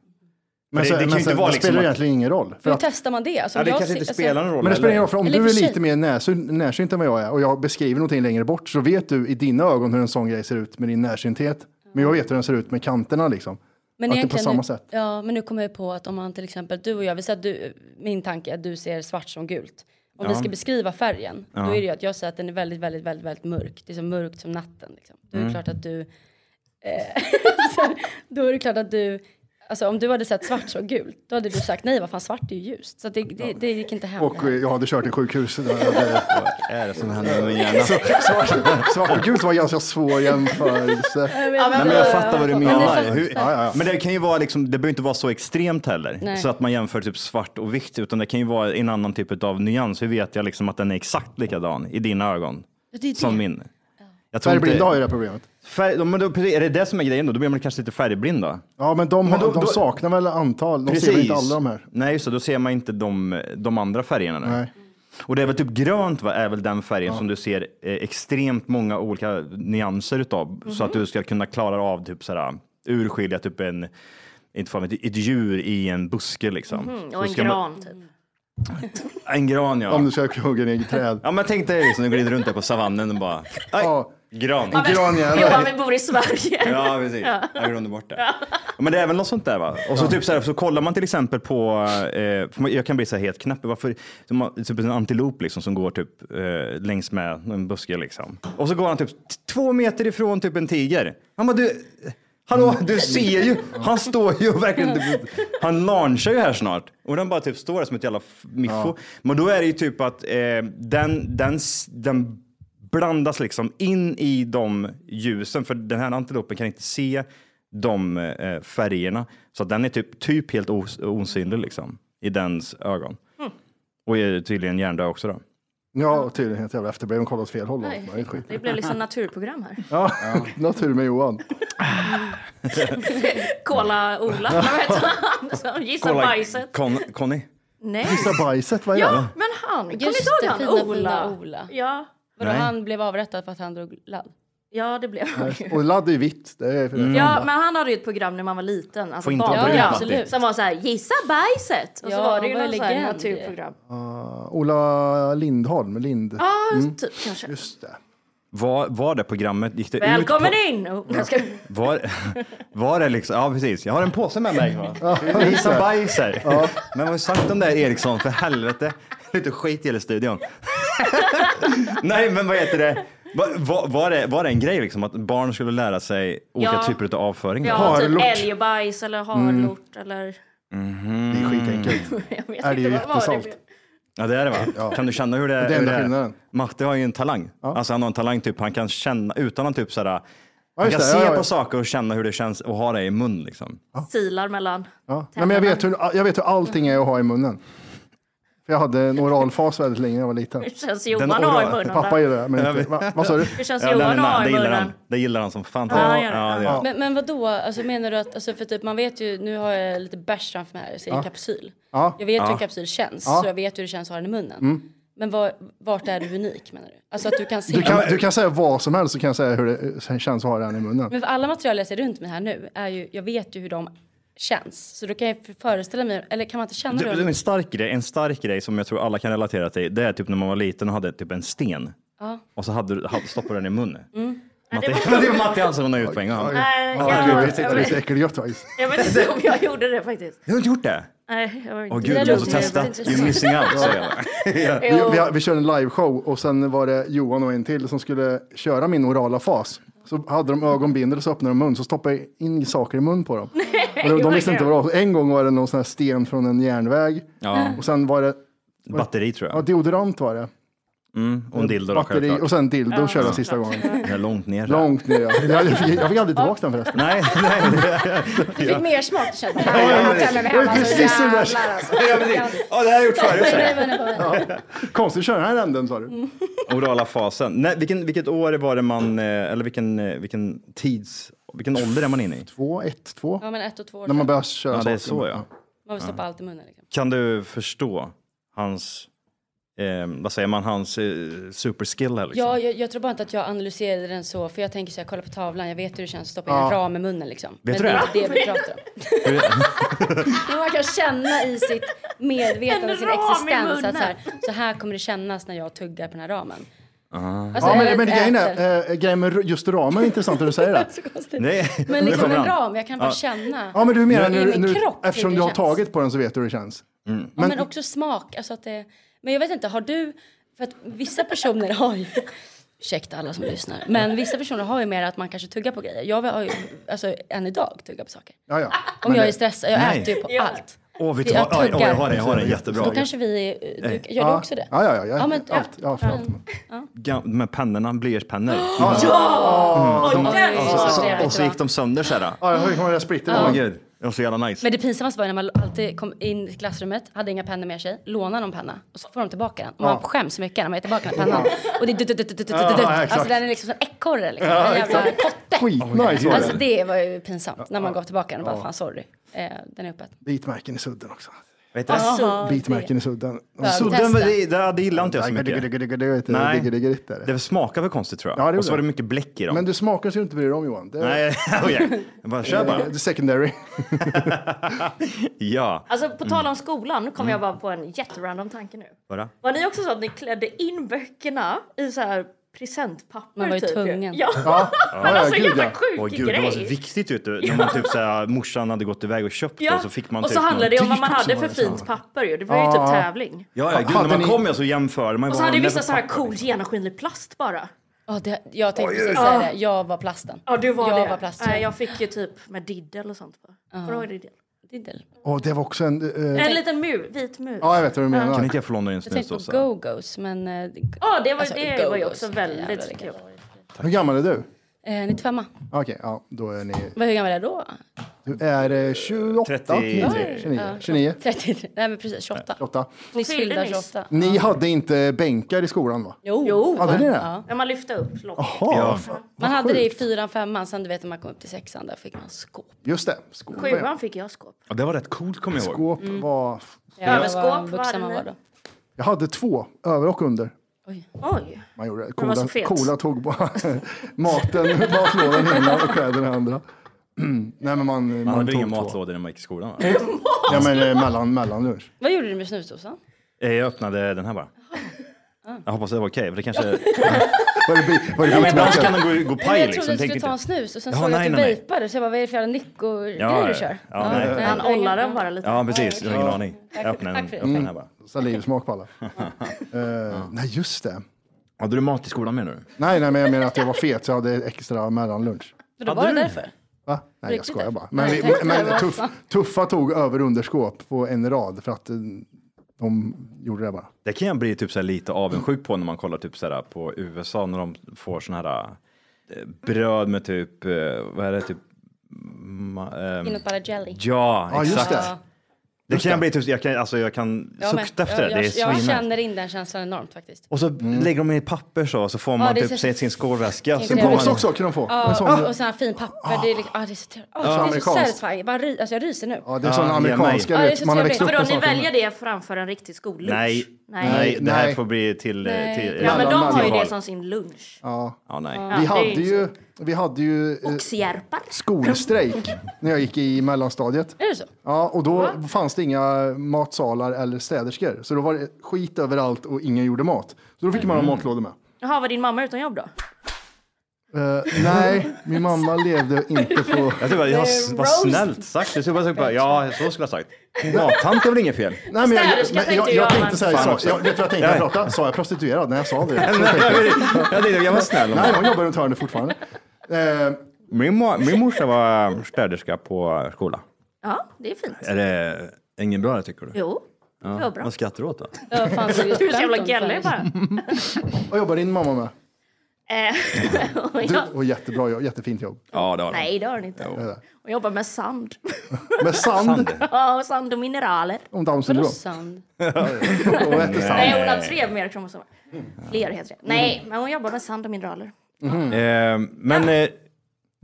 Speaker 1: Men,
Speaker 2: det-
Speaker 1: sen-
Speaker 2: det kan ju
Speaker 1: men
Speaker 2: inte
Speaker 1: sen-
Speaker 2: vara
Speaker 1: det
Speaker 2: liksom
Speaker 1: spelar
Speaker 2: att-
Speaker 1: egentligen ingen roll. För
Speaker 3: hur
Speaker 1: att,
Speaker 3: testar man det? Alltså,
Speaker 2: Ja,
Speaker 3: om
Speaker 2: det
Speaker 3: jag
Speaker 2: kanske
Speaker 3: ser-
Speaker 2: inte
Speaker 3: alltså-
Speaker 2: spelar någon roll
Speaker 1: men det spelar ingen roll, för om
Speaker 3: Eller
Speaker 1: du
Speaker 3: för
Speaker 1: är
Speaker 3: sig.
Speaker 1: lite mer närsyn, närsynt än vad jag är och jag beskriver någonting längre bort så vet du i dina ögon hur en sån grej ser ut med din närsynthet. Men jag vet hur den ser ut med kanterna liksom.
Speaker 3: Men
Speaker 1: att det är på
Speaker 3: egentligen
Speaker 1: samma
Speaker 3: nu,
Speaker 1: sätt.
Speaker 3: Ja, men nu kommer jag på att om man till exempel, du och jag, vi säger att du, min tanke är att du ser svart som gult. Om vi ska beskriva färgen, då är det ju att jag säger att den är väldigt, väldigt, väldigt, väldigt mörk. Det är så mörkt som natten. Liksom. Då
Speaker 1: Mm.
Speaker 3: är det klart att du, eh, så- då är det klart att du, alltså om du hade sett svart som gult, då hade du sagt nej, vad fan svart är ju ljust. Så att det, det, det gick inte hem.
Speaker 1: Och eh, jag hade kört i sjukhus. Det hade,
Speaker 2: Vad är det som händer med min hjärna?
Speaker 1: svart, svart och gult var en ganska svår jämförelse.
Speaker 3: Ja,
Speaker 2: Nej, men jag fattar vad du
Speaker 3: Men
Speaker 2: menar.
Speaker 3: det-
Speaker 2: Hur,
Speaker 1: Ja, ja, ja.
Speaker 2: Men det kan ju vara liksom, det behöver inte vara så extremt heller.
Speaker 3: Nej.
Speaker 2: Så att man jämför typ svart och vitt, utan det kan ju vara en annan typ av nyans. Hur vet jag liksom att den är exakt likadan i dina ögon?
Speaker 3: Det är det.
Speaker 2: Som min. Jag tror
Speaker 1: Färgblinda har ju
Speaker 2: inte,
Speaker 1: det här problemet.
Speaker 2: färg, ja, men då, precis, är det det som är grejen då? Då blir man kanske lite färgblind då?
Speaker 1: Ja, men de,
Speaker 2: Men då-
Speaker 1: de
Speaker 2: då-
Speaker 1: saknar väl antal. De ser väl inte alla de här.
Speaker 2: Nej, just det, då ser man inte de, de andra färgerna. där.
Speaker 1: Nej.
Speaker 2: Och det är väl typ grönt va, är väl den färgen som du ser eh, extremt många olika nyanser utav. Så
Speaker 1: Mhm.
Speaker 2: att du ska kunna klara av typ sådär, urskilja typ en, inte fan, vet jag, ett djur i en buske liksom. Så
Speaker 4: Mhm, Mm-hmm. Och en
Speaker 2: ska Man,
Speaker 4: gran typ.
Speaker 2: en gran ja.
Speaker 1: Om du ska hugga ner ett träd.
Speaker 2: Ja men tänk dig liksom, du glider runt där på savannen och bara, aj,
Speaker 1: Ja.
Speaker 2: gran.
Speaker 1: Granjävel.
Speaker 4: Johan, vi bor i Sverige.
Speaker 2: Ja, precis. Jag glömde bort det. Ja, Men det är väl något sånt där va? Och så, typ så, här, så kollar man till exempel på, eh, för man- jag kan bli så här helt knäpp, varför, de har typ en antilop liksom som går typ eh, längs med en buske liksom. Och så går han typ t- två meter ifrån typ en tiger. Han bara, du, hallå, du ser ju, han står ju och verkligen, typ, han launchar ju här snart. Och den bara typ står där som ett jävla f- miffo. Men då är det ju typ att eh, den, den, s- den blandas liksom in i de ljusen, för den här antilopen kan inte se de eh, färgerna. Så att den är typ, typ helt
Speaker 4: Mm.
Speaker 2: os- osynlig liksom, i dens ögon. Och är tydligen hjärndöd också då.
Speaker 1: Ja, och tydligen helt jävla efterbrev. Hon kollade åt fel håll. Nej.
Speaker 4: Nej,
Speaker 1: Nej, skit.
Speaker 4: Det blev liksom naturprogram här.
Speaker 1: Ja, natur med Johan.
Speaker 4: Kola-Ola, vad heter han? Som gissar bajset.
Speaker 2: Con, Conny.
Speaker 4: Nej,
Speaker 1: Gissa bajset, vad är
Speaker 4: ja,
Speaker 1: det?
Speaker 4: men han. Kommer
Speaker 3: Just
Speaker 4: du
Speaker 3: det,
Speaker 4: ihåg han?
Speaker 3: fina,
Speaker 4: Ola.
Speaker 3: fina Ola.
Speaker 4: Ja.
Speaker 3: Vadå,
Speaker 2: Nej.
Speaker 3: han blev avrättad för att han drog ladd?
Speaker 4: ja, det blev han ju.
Speaker 1: Och ladd är ju vitt. Det är
Speaker 2: Mm.
Speaker 4: Ja, men han hade ju ett program när man var liten. Alltså
Speaker 2: Får inte
Speaker 4: barnprogram.
Speaker 2: avbryta,
Speaker 3: Ja,
Speaker 2: Matti.
Speaker 3: absolut.
Speaker 4: Som var så här, gissa bajset! Och
Speaker 3: Ja,
Speaker 4: så var det ju
Speaker 3: han var
Speaker 4: någon så här
Speaker 3: legend.
Speaker 4: naturprogram.
Speaker 1: Ah, Ola Lindholm, Lind.
Speaker 4: Ja, typ kanske.
Speaker 1: Just det.
Speaker 2: Var, var det programmet, gick det
Speaker 4: Välkommen
Speaker 2: ut
Speaker 4: in! Oh, jag ska...
Speaker 2: på, var, var det liksom, ja precis, jag har en påse med mig. va? Lisa Bajser. Men vad har du sagt om det här, Eriksson, för helvete. Lite skit i hela studion. Nej men vad heter det, var, var, var det, var det en grej liksom att barn skulle lära sig olika
Speaker 4: Ja.
Speaker 2: typer av avföring?
Speaker 4: Ja,
Speaker 1: Harlort.
Speaker 4: typ älgbajs eller harlort eller...
Speaker 1: Det är skitenkelt.
Speaker 4: Jag vet
Speaker 1: Är det ju
Speaker 4: inte vad var det
Speaker 1: jättesalt?
Speaker 4: blev.
Speaker 2: Ja det är det va? Kan du känna hur det,
Speaker 1: Det är
Speaker 2: hur
Speaker 1: enda skillnaden.
Speaker 2: Matte har ju en talang. Alltså han har en talang typ, han kan känna utan att typ såhär, han
Speaker 1: just
Speaker 2: kan
Speaker 1: det,
Speaker 2: se
Speaker 1: ja, ja, ja.
Speaker 2: på saker och känna hur det känns och ha det i mun liksom.
Speaker 4: Silar mellan.
Speaker 1: Ja. Nej, men jag, vet hur, jag vet hur allting är att ha i munnen. För jag hade en oralfas väldigt länge när jag var liten.
Speaker 4: Hur känns Johan
Speaker 2: oral-
Speaker 4: att ha i munnen?
Speaker 1: Pappa
Speaker 4: där?
Speaker 1: gör det, men inte. Va, vad sa du?
Speaker 4: Hur känns
Speaker 2: Ja,
Speaker 4: Johan att ha
Speaker 2: det
Speaker 4: i
Speaker 2: gillar han.
Speaker 4: munnen?
Speaker 2: Det gillar han som fan.
Speaker 4: Ja, han gör det.
Speaker 2: det gör han.
Speaker 3: Men, men vadå, alltså menar du att, alltså för typ, man vet ju, nu har jag lite bärs framför mig här, så en kapsyl. Jag vet hur en kapsyl känns, så jag vet hur det känns att ha den i munnen.
Speaker 1: Mm.
Speaker 3: Men var, vart är du unik menar du? Alltså att du kan se.
Speaker 1: Du kan, du kan säga vad som helst så kan jag säga hur det känns att ha den i munnen.
Speaker 3: Men för alla material jag ser runt mig här nu, är ju, jag vet ju hur de känns. Så då kan jag föreställa mig, eller kan man inte känna
Speaker 2: Du,
Speaker 3: hur
Speaker 2: du,
Speaker 3: de...
Speaker 2: en, stark grej, en stark grej som jag tror alla kan relatera till, det är typ när man var liten och hade typ en sten. Och så hade, du- ha- stoppade du den i munnen.
Speaker 4: Mm.
Speaker 2: Matti, det var Matti Hansson hon har utpoäng. av.
Speaker 4: Nej,
Speaker 1: Ja,
Speaker 4: jag,
Speaker 1: gud,
Speaker 4: jag,
Speaker 1: jag tyckte det var lite äckelgött faktiskt.
Speaker 4: jag vet inte om jag gjorde det faktiskt.
Speaker 2: Du har inte gjort det?
Speaker 4: Nej, jag var inte.
Speaker 2: Åh gud,
Speaker 3: Det
Speaker 2: du måste
Speaker 3: låter
Speaker 2: testa.
Speaker 3: jävligt
Speaker 2: You're missing out, säger jag.
Speaker 1: Vi, vi, vi körde en liveshow och sen var det Johan och en till som skulle köra min orala fas. Så hade de ögonbindel och så öppnade de mun så stoppade jag in saker i mun på dem. Och
Speaker 2: Oh
Speaker 1: de, de visste inte vad det var. Så En gång var det någon sån här sten från en järnväg.
Speaker 2: Ja,
Speaker 1: Och sen var det,
Speaker 2: batteri tror
Speaker 1: ja
Speaker 2: jag.
Speaker 1: deodorant var det.
Speaker 2: Mm, Och en dildo då,
Speaker 1: Batteri
Speaker 2: självklart.
Speaker 1: och sen dildo körde jag sista gången.
Speaker 2: Det är långt ner. där.
Speaker 1: Långt ner. ja. Jag fick, jag fick aldrig tillbaka den förresten.
Speaker 2: Nej, nej.
Speaker 6: Du fick mer smak du kände. Ja,
Speaker 3: Alltså,
Speaker 1: Det var precis så där.
Speaker 2: Ja, precis. Ja, det har jag gjort förut. säger jag.
Speaker 1: Konstigt att köra den här änden sa
Speaker 3: Mm.
Speaker 1: du.
Speaker 2: Orala fasen. Nej, vilken, vilket år var det man, eh, eller vilken, eh, vilken tids, vilken ålder är man inne i?
Speaker 1: Två, ett, två.
Speaker 3: Ja men ett och två år
Speaker 1: När man
Speaker 3: man,
Speaker 1: börjar köra
Speaker 2: Ja, det är
Speaker 1: saker.
Speaker 2: så ja.
Speaker 3: man vill stoppa allt i munnen. Liksom.
Speaker 2: Kan du förstå hans, eh, vad säger man, hans eh, superskill här liksom?
Speaker 3: Ja, jag, jag tror bara inte att jag analyserade den så, för jag tänker så här, kolla på tavlan, jag vet hur det känns att stoppa in en ram i munnen liksom. Vet men
Speaker 2: du
Speaker 3: det
Speaker 2: det?
Speaker 3: är inte det vi pratar om. Men man kan känna i sitt medvetande,
Speaker 4: En
Speaker 3: sin
Speaker 4: ram i
Speaker 3: existens
Speaker 4: munnen.
Speaker 3: att så här, så här kommer det kännas när jag tuggar på den här ramen.
Speaker 2: Ah.
Speaker 3: Alltså,
Speaker 1: Ja, men,
Speaker 3: jag
Speaker 1: men grejen,
Speaker 3: äter.
Speaker 1: är, eh, grejen med just ramen är intressant när du säger det.
Speaker 3: Så konstigt.
Speaker 2: Nej.
Speaker 3: Men
Speaker 2: Nu
Speaker 3: liksom
Speaker 2: kommer
Speaker 3: en
Speaker 2: han.
Speaker 3: ram, jag kan bara känna.
Speaker 1: Ja, men du menar
Speaker 3: Det är
Speaker 1: nu,
Speaker 3: min
Speaker 1: nu
Speaker 3: kropp,
Speaker 1: eftersom
Speaker 3: hur
Speaker 1: du
Speaker 3: det
Speaker 1: har
Speaker 3: känns.
Speaker 1: tagit på den så vet du hur det känns.
Speaker 2: Mm.
Speaker 3: Ja, men också smak. Alltså att det, men jag vet inte, har du... För att vissa personer har ju... Ursäkta alla som lyssnar. Men vissa personer har ju mer att man kanske tuggar på grejer. Jag har ju alltså, än idag tuggar på saker.
Speaker 1: Ja, ja.
Speaker 3: Om jag är stressad, jag
Speaker 2: Nej.
Speaker 3: äter ju på allt.
Speaker 2: Åh, vet du
Speaker 3: Jag
Speaker 2: vad? Oj, oj,
Speaker 3: tuggar.
Speaker 2: jag har det, jag har det jättebra.
Speaker 3: Då kanske vi... eh, Du, gör du också det?
Speaker 1: Ja, ja, ja. Jag,
Speaker 3: Ja, men-
Speaker 1: allt, ja. för allt.
Speaker 2: Gam- Med pennorna, blyertspennor. Mm.
Speaker 4: Och den
Speaker 3: Oj,
Speaker 4: var
Speaker 3: så-
Speaker 4: trevlig.
Speaker 2: Och så gick de sönder så här.
Speaker 1: Ja, jag hör ju kommer det där splitter.
Speaker 2: Åh
Speaker 1: Ja.
Speaker 2: gud, det var så jävla nice.
Speaker 3: Men det pinsammaste var ju när man alltid kom in i klassrummet, hade inga pennor med sig, lånade någon penna och så får de tillbaka den. Och man skäms så mycket när man är tillbaka med pennan. Och det är dutt, dutt, dutt, dutt, dutt, dutt. Alltså den är liksom som en ekorre liksom. En jävla kotte.
Speaker 1: Skitnice var
Speaker 3: Alltså
Speaker 1: det.
Speaker 3: det var ju pinsamt när man gav tillbaka den och bara fan sorry. Eh, den är öppen.
Speaker 1: Bitmärken i sudden också.
Speaker 2: Vet du?
Speaker 1: Bitmärken i sudden.
Speaker 2: Så den, var- det, det, det gillade inte jag så mycket. Nej.
Speaker 1: Nej.
Speaker 2: Det smakade väl konstigt tror
Speaker 1: Ja, det
Speaker 2: jag.
Speaker 1: gjorde
Speaker 2: Och så var det
Speaker 1: det.
Speaker 2: mycket bläck i dem.
Speaker 1: Men du smakar så du inte bryr dig om Johan. Det,
Speaker 2: Nej, okej. Bara kör
Speaker 1: det,
Speaker 2: bara.
Speaker 1: det är secondary.
Speaker 2: Ja.
Speaker 4: Alltså på tal om skolan, nu kom jag bara på en jätterandom tanke nu.
Speaker 2: Mm. Bara.
Speaker 4: Var ni också så att ni klädde in böckerna i så här presentpapper?
Speaker 3: Man var ju
Speaker 4: typ?
Speaker 3: tvungen.
Speaker 4: Ja,
Speaker 1: Ja,
Speaker 4: men alltså
Speaker 1: gud,
Speaker 4: jävla
Speaker 1: ja.
Speaker 4: sjuk
Speaker 2: Åh gud,
Speaker 4: grej.
Speaker 2: det var så viktigt vet du. När man typ såhär, morsan hade gått iväg och köpt
Speaker 4: Ja.
Speaker 2: och så fick man
Speaker 4: och
Speaker 2: typ
Speaker 4: så handlade det om vad man
Speaker 2: dyrt också
Speaker 4: hade
Speaker 2: var
Speaker 4: för
Speaker 2: det.
Speaker 4: fint papper ju. Det var ju typ tävling.
Speaker 2: Ja, ja gud,
Speaker 1: Hade
Speaker 2: när man
Speaker 1: ni-
Speaker 2: kom jag så jämförde man ju
Speaker 4: Och så
Speaker 2: vad
Speaker 4: hade ju
Speaker 2: man
Speaker 4: vissa
Speaker 2: hade
Speaker 4: så
Speaker 2: för
Speaker 4: här
Speaker 2: papper,
Speaker 4: cool
Speaker 2: liksom.
Speaker 4: genomskinlig plast bara.
Speaker 3: Ja, det, jag tänkte precis säga det. Jag var plasten.
Speaker 4: Ja, du var
Speaker 3: jag
Speaker 4: det.
Speaker 3: var plast.
Speaker 4: Nej, jag fick ju typ med diddel och sånt på. Kommer du ihåg diddel?
Speaker 3: Diddel.
Speaker 1: Och det var också en... eh,
Speaker 4: En liten mur, vit mur.
Speaker 1: ja, jag vet vad du
Speaker 2: Kan
Speaker 1: menar.
Speaker 2: inte jag få låna din
Speaker 3: Jag tänkte på
Speaker 2: snusdosa?
Speaker 3: go-goes men... Eh,
Speaker 4: Ja, det var,
Speaker 3: Alltså,
Speaker 4: det var ju
Speaker 3: go-go's.
Speaker 4: också
Speaker 3: Jävlar,
Speaker 4: väldigt
Speaker 3: vilken-
Speaker 4: kul.
Speaker 1: Hur gammal är du?
Speaker 3: eh, 95
Speaker 1: Okej, ja, då är ni...
Speaker 3: Vad hur gammal är jag då?
Speaker 1: Du är eh, 28?
Speaker 2: 33.
Speaker 1: 29? 29?
Speaker 3: 33, nej men precis 28.
Speaker 1: 28.
Speaker 3: Nyss fyllda
Speaker 4: Fyllde nyss.
Speaker 3: 28.
Speaker 1: Ni hade inte bänkar i skolan va?
Speaker 3: Jo.
Speaker 1: Hade ni det?
Speaker 3: Ja.
Speaker 4: Ja, man lyfte upp locket.
Speaker 1: Ja.
Speaker 3: Man hade det i fyran, femman, sen du vet när man kom upp till sexan, där fick man skåp.
Speaker 1: Just det, skåp. ja.
Speaker 4: Sjuan fick jag skåp.
Speaker 2: Ja, det var rätt coolt
Speaker 4: Alltså,
Speaker 2: kommer jag ihåg.
Speaker 1: Skåp var...
Speaker 3: Mm. Ja,
Speaker 4: men skåp,
Speaker 3: vad
Speaker 4: vad hade
Speaker 3: vuxen man
Speaker 4: ni?
Speaker 3: var då.
Speaker 1: Jag hade två, över och under.
Speaker 4: Oj.
Speaker 1: Man gjorde det.
Speaker 4: var
Speaker 1: Coola,
Speaker 4: så fet.
Speaker 1: coola tog bara maten, matlådan ena och kläderna andra. Nej men man,
Speaker 2: Man
Speaker 1: man
Speaker 2: hade
Speaker 1: tog
Speaker 2: inga
Speaker 1: två.
Speaker 2: matlådor när man gick i skolan va?
Speaker 1: Ja men eh, mellan, mellan lunch.
Speaker 3: Vad gjorde du med snusdosan?
Speaker 2: Eh, Jag öppnade den här bara. Jag hoppas det var okej, för det kanske...
Speaker 1: Var det, bi- var det
Speaker 2: Ja, men annars kan
Speaker 1: bitmärken?
Speaker 2: den gå, gå
Speaker 3: Nej,
Speaker 2: paj
Speaker 3: jag trodde
Speaker 2: liksom.
Speaker 3: att du
Speaker 2: Tänk
Speaker 3: skulle ta
Speaker 2: inte.
Speaker 3: en snus och sen
Speaker 2: Jaha,
Speaker 3: såg jag att du
Speaker 2: nej, nej, nej.
Speaker 3: vejpade så jag bara, vad är det för jävla nicko-grejer
Speaker 2: Ja,
Speaker 3: du kör?
Speaker 2: ja, nej.
Speaker 4: Han ollade den bara lite.
Speaker 2: Ja, precis. Jag har ingen aning. Jag öppnade den,
Speaker 3: Tack för det.
Speaker 2: öppnade den här bara.
Speaker 1: Salivsmak på alla. Eh, nej just det.
Speaker 2: Hade du mat i skolan menar du?
Speaker 1: Nej, nej men jag menar att jag var fet så jag hade extra mellanlunch.
Speaker 3: För då var det
Speaker 2: Ehm,
Speaker 3: därför.
Speaker 1: Va? Nej jag
Speaker 3: Riktigt
Speaker 1: skojar
Speaker 3: där.
Speaker 1: bara. Men,
Speaker 3: Nej,
Speaker 1: vi,
Speaker 3: jag tänkte det
Speaker 1: men
Speaker 3: var
Speaker 1: tuff,
Speaker 3: fan.
Speaker 1: tuffa tog över och underskåp på en rad för att eh, de gjorde det bara.
Speaker 2: Det kan jag bli typ så här lite avundsjuk på när man kollar typ så här på USA när de får såna här eh, bröd med typ, eh, vad är det, typ... Ma, ehm,
Speaker 3: Peanut butter jelly.
Speaker 2: ja,
Speaker 1: Ja, just
Speaker 2: exakt.
Speaker 1: det.
Speaker 2: Det kan jag bli typ, jag kan, alltså jag kan
Speaker 3: Jag med.
Speaker 2: sukta efter det.
Speaker 3: jag,
Speaker 2: Det är
Speaker 3: jag, jag
Speaker 2: svinnice.
Speaker 3: känner in den känslan enormt faktiskt.
Speaker 2: Och så
Speaker 1: Mm.
Speaker 2: lägger de i ett papper så, så får man
Speaker 3: det är
Speaker 2: typ
Speaker 3: så-
Speaker 2: se sin skålväska. Så
Speaker 3: En
Speaker 1: En
Speaker 2: får man- Ah.
Speaker 1: påse också kan de få. En sån,
Speaker 3: Ja, och sån här fin papper. Det är, liksom, ah, det är så, oh, det är så
Speaker 1: amerikanskt.
Speaker 3: satisfying. Jag Bara, ry- alltså, jag ryser nu.
Speaker 1: ja, det är sådana
Speaker 2: Ja,
Speaker 1: amerikanska,
Speaker 3: ja,
Speaker 1: du
Speaker 3: nej.
Speaker 1: vet,
Speaker 3: Ja,
Speaker 1: man
Speaker 3: det
Speaker 1: har
Speaker 3: är så
Speaker 1: växt upp
Speaker 3: trevligt.
Speaker 1: med
Speaker 4: Vadå, ni
Speaker 1: sådana.
Speaker 4: väljer det framför en riktig skollunch?
Speaker 2: Nej, nej,
Speaker 4: Nej.
Speaker 2: det här
Speaker 1: nej.
Speaker 2: får bli till... eh,
Speaker 3: Nej.
Speaker 2: till
Speaker 4: Ja, men de har ju
Speaker 2: tillval.
Speaker 4: det som sin lunch.
Speaker 2: Ja, nej.
Speaker 1: Vi
Speaker 4: Ja, det är
Speaker 1: hade
Speaker 4: inte
Speaker 1: ju, vi hade ju eh,
Speaker 4: Oxjärpar.
Speaker 1: skolstrejk när jag gick i mellanstadiet.
Speaker 3: Är det så?
Speaker 1: Ja, och då fanns det inga matsalar eller städerskor. Så då var det skit överallt och ingen gjorde mat. Så då fick man ha
Speaker 2: Mm.
Speaker 1: matlådor med.
Speaker 4: Jaha, var din mamma utan jobb då?
Speaker 1: Eh, nej, min mamma levde inte på...
Speaker 2: Jag tycker bara, jag, vad
Speaker 3: roast.
Speaker 2: snällt sagt. Jag tycker bara, jag tycker bara, ja, så skulle jag ha sagt. Mattant är väl inget fel?
Speaker 1: Nej, men jag,
Speaker 4: Städerska
Speaker 1: men jag,
Speaker 4: tänkte
Speaker 1: jag
Speaker 4: jag,
Speaker 1: tänkte
Speaker 4: men-
Speaker 1: så här,
Speaker 2: Fan
Speaker 1: sa,
Speaker 2: också.
Speaker 1: jag, vet du vad jag tänkte när jag pratade? Sa jag prostituerad? Nej, jag sa det. Så tänkte jag,
Speaker 2: Jag, jag, jag, jag var snäll.
Speaker 1: nej, hon jobbar runt hörnet fortfarande. Eh,
Speaker 2: Min, mo- min morsa var städerska på skola.
Speaker 4: Ja, det är fint.
Speaker 2: Är det ingen bra det tycker du?
Speaker 4: Jo, det var bra.
Speaker 2: Vad skrattar du åt då?
Speaker 3: Jag fan såg
Speaker 4: Du är så jävla gallig bara.
Speaker 1: vad jobbar din mamma med?
Speaker 4: Eh, och
Speaker 1: Du,
Speaker 4: jag,
Speaker 1: och jättebra jobb, jättefint jobb.
Speaker 2: Ja, det har de.
Speaker 4: nej, det har hon inte. Hon jobbar med sand.
Speaker 1: Med sand,
Speaker 4: Ja, och sand och mineraler.
Speaker 1: om Downs syndrom.
Speaker 3: Sand.
Speaker 1: Och äter sand.
Speaker 4: Nej, hon har tre mer kromosomer. Fler heter det.
Speaker 1: Mm.
Speaker 4: Nej, men hon jobbar med sand och mineraler.
Speaker 1: Mhm.
Speaker 2: Eh, men eh,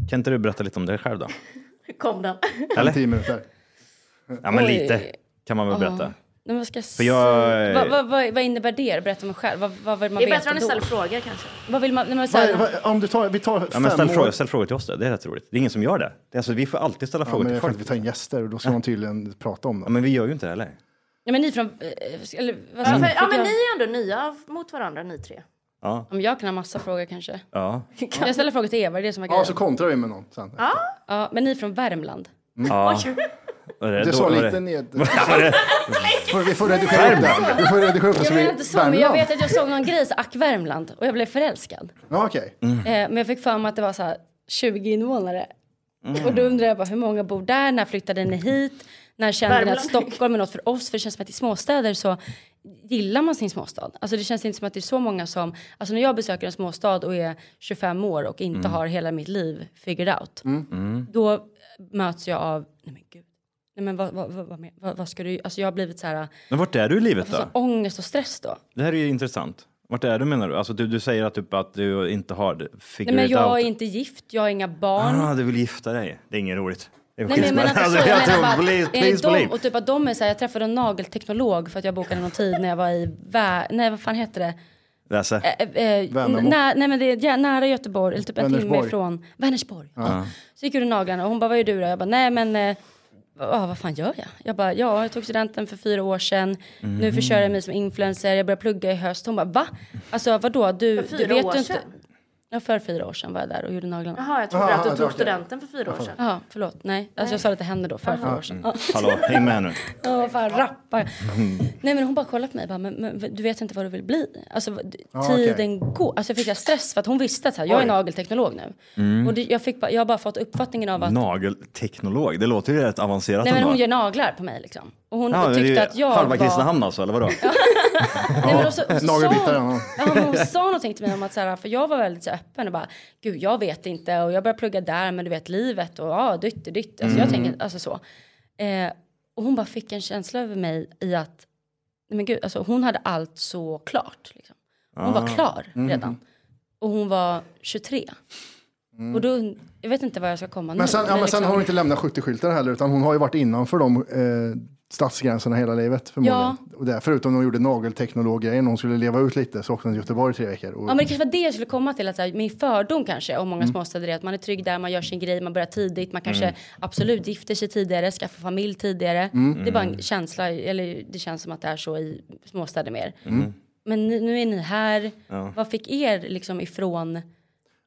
Speaker 2: kan inte du berätta lite om dig själv då?
Speaker 4: Kom den.
Speaker 1: Eller? Tio minuter.
Speaker 2: Ja, men
Speaker 3: Oj.
Speaker 2: lite kan man väl berätta.
Speaker 3: Nej, men vad ska jag
Speaker 2: jag- eh,
Speaker 3: säga? Vad, vad, vad, vad innebär det? Berätta om mig själv. Vad, vad vill man
Speaker 4: Det är
Speaker 3: veta
Speaker 4: bättre om ni
Speaker 3: då?
Speaker 4: ställer frågor kanske.
Speaker 3: Vad vill man... Nej, men, så
Speaker 1: Vad är-
Speaker 3: här,
Speaker 1: vad- Om du tar, vi tar
Speaker 2: Ja,
Speaker 1: fem
Speaker 2: men ställ,
Speaker 1: år.
Speaker 2: frågor, ställ frågor till oss då. det är rätt roligt. Det är ingen som gör det. det är alltså, vi får alltid ställa
Speaker 1: Ja,
Speaker 2: frågor
Speaker 1: men det är
Speaker 2: till
Speaker 1: för
Speaker 2: folk.
Speaker 1: att vi tar in gäster och då ska man tydligen prata om
Speaker 2: Ja,
Speaker 1: dem.
Speaker 2: men vi gör ju inte det heller.
Speaker 3: nej, men ni från... eh, Eller, vad
Speaker 4: Ja,
Speaker 3: ska
Speaker 4: för,
Speaker 3: jag-
Speaker 4: ja, men ni är ändå nya mot varandra, ni tre.
Speaker 2: Ja,
Speaker 3: Om jag kan ha massa frågor kanske.
Speaker 2: ja.
Speaker 3: Jag ställer frågor till Eva, det är det som är
Speaker 1: Ja,
Speaker 3: grejen.
Speaker 1: så kontrar vi med någon sen.
Speaker 3: Ja, men ni är från Värmland?
Speaker 1: Mm.
Speaker 2: ja. Var
Speaker 1: Det
Speaker 2: då-
Speaker 1: sa
Speaker 2: var
Speaker 1: lite ned... Får- Vi får redigera upp det. Vi får redigera upp det så
Speaker 3: Jag
Speaker 1: vi...
Speaker 3: menar inte så, men jag
Speaker 1: Värmland. Mm.
Speaker 3: vet att jag såg någon grej, så Ack Värmland, och jag blev förälskad.
Speaker 1: Ja, okej.
Speaker 3: Eh, men jag fick för mig att det var så här 20 invånare.
Speaker 2: Mm.
Speaker 3: Och då undrar jag bara, hur många bor där? När flyttade ni hit? När kände ni att
Speaker 4: Värmland.
Speaker 3: Stockholm är något för oss? För det känns som att i småstäder så gillar man sin småstad. Alltså det känns inte som att det är så många som... Alltså när jag besöker en småstad och är 25 år och inte
Speaker 2: Mm.
Speaker 3: har hela mitt liv figured out. Då möts jag av, nej men gud. Nej men vad, vad, vad, vad, men- vad, vad ska du... Alltså jag har blivit så här,
Speaker 2: Men vart är du i livet då?
Speaker 3: så ångest och stress då.
Speaker 2: Det här är ju intressant. Vart är du menar du? Alltså du, du säger att, typ, att du inte har det-
Speaker 3: Nej
Speaker 2: figured
Speaker 3: men jag
Speaker 2: out.
Speaker 3: är inte gift, jag har inga barn.
Speaker 2: Ah, du vill gifta dig. Det är inget roligt. Det är
Speaker 3: Nej, men jag menar inte så.
Speaker 2: Alltså,
Speaker 3: Jag
Speaker 2: jag
Speaker 3: menar bara,
Speaker 2: tror,
Speaker 3: enligt
Speaker 2: please, please
Speaker 3: dem,
Speaker 2: believe.
Speaker 3: och typ att de är så här, jag träffade en nagelteknolog för att jag bokade någon tid när jag var i, Vä- nej vad fan hette det?
Speaker 2: Lasse.
Speaker 3: Eh, eh,
Speaker 1: Värnamo.
Speaker 3: nä- nej men det är jä- nära Göteborg, eller typ en timme
Speaker 1: Vänersborg.
Speaker 3: ifrån Vänersborg. Ja. Så gick jag ur naglarna och hon bara, vad gör du då? Jag bara, nej men eh, ah, vad fan gör jag? Jag bara, ja jag tog studenten för fyra år sedan,
Speaker 2: Mhm.
Speaker 3: nu försörjer jag mig som influencer, jag börjar plugga i höst. Hon bara, va? Alltså vadå? Du,
Speaker 4: För
Speaker 3: du
Speaker 4: fyra
Speaker 3: vet
Speaker 4: år
Speaker 3: du inte.
Speaker 4: sedan?
Speaker 3: Ja, för fyra år sedan var jag där och gjorde naglarna.
Speaker 4: Jaha, jag trodde
Speaker 1: Aha,
Speaker 4: att du
Speaker 1: det
Speaker 4: tog
Speaker 1: var det.
Speaker 4: studenten för fyra år sedan.
Speaker 3: Ja, förlåt. Nej, alltså jag sa det till henne då, för fyra år
Speaker 7: Oh.
Speaker 3: sedan. Ja.
Speaker 2: Hallå, häng med nu.
Speaker 3: Ja, vad fan rappar. Nej men hon bara kollade på mig bara, men, men du vet inte vad du vill bli. Alltså vad-
Speaker 1: okej.
Speaker 3: tiden går. Alltså jag fick jag stress för att hon visste att så här, jag är
Speaker 1: Oj.
Speaker 3: nagelteknolog nu.
Speaker 2: Mm.
Speaker 3: Och det, jag, fick bara, jag har bara fått uppfattningen av att
Speaker 2: Nagelteknolog, det låter ju rätt avancerat
Speaker 3: Nej men
Speaker 2: ändå.
Speaker 3: hon gör naglar på mig liksom. Och Och hon
Speaker 2: Ja, det är ju
Speaker 3: tyckte att jag
Speaker 2: halva
Speaker 3: var...
Speaker 2: Kristinehamn alltså, eller vadå?
Speaker 3: Nej, men och så, och så sa
Speaker 1: Nagelbitar,
Speaker 3: hon,
Speaker 1: ja.
Speaker 3: ja, men hon sa någonting till mig om att så här, för jag var väldigt så här öppen och bara, gud jag vet inte och jag började plugga där men du vet livet och ja dytt och dytt. Alltså
Speaker 1: Mm.
Speaker 3: jag tänker, alltså så. Eh, och hon bara fick en känsla över mig i att, nej men gud, alltså hon hade allt så klart. Liksom. Hon var klar redan. Och hon var 23. Och då, jag vet inte vad jag ska komma nu.
Speaker 1: Mm.
Speaker 3: liksom-
Speaker 1: Men sen, ja, men sen har hon inte lämnat 70-skyltar heller, utan hon har ju varit innanför de eh, stadsgränserna hela livet. Förmodligen. Och där, förutom när hon gjorde nagelteknologgrejen, hon skulle leva ut lite, så åkte hon till Göteborg i tre veckor. Och,
Speaker 3: Ja
Speaker 1: Mm.
Speaker 3: men det kanske var det jag skulle komma till, att så här, min fördom kanske om många småstäder är att man är trygg där, man gör sin grej, man börjar tidigt, man kanske absolut gifter sig tidigare, skaffar familj tidigare.
Speaker 1: Mm.
Speaker 3: Det är bara en känsla, eller det känns som att det är så i småstäder mer.
Speaker 2: Mm.
Speaker 1: Mm.
Speaker 3: Men ni, nu är ni här, vad fick er liksom ifrån?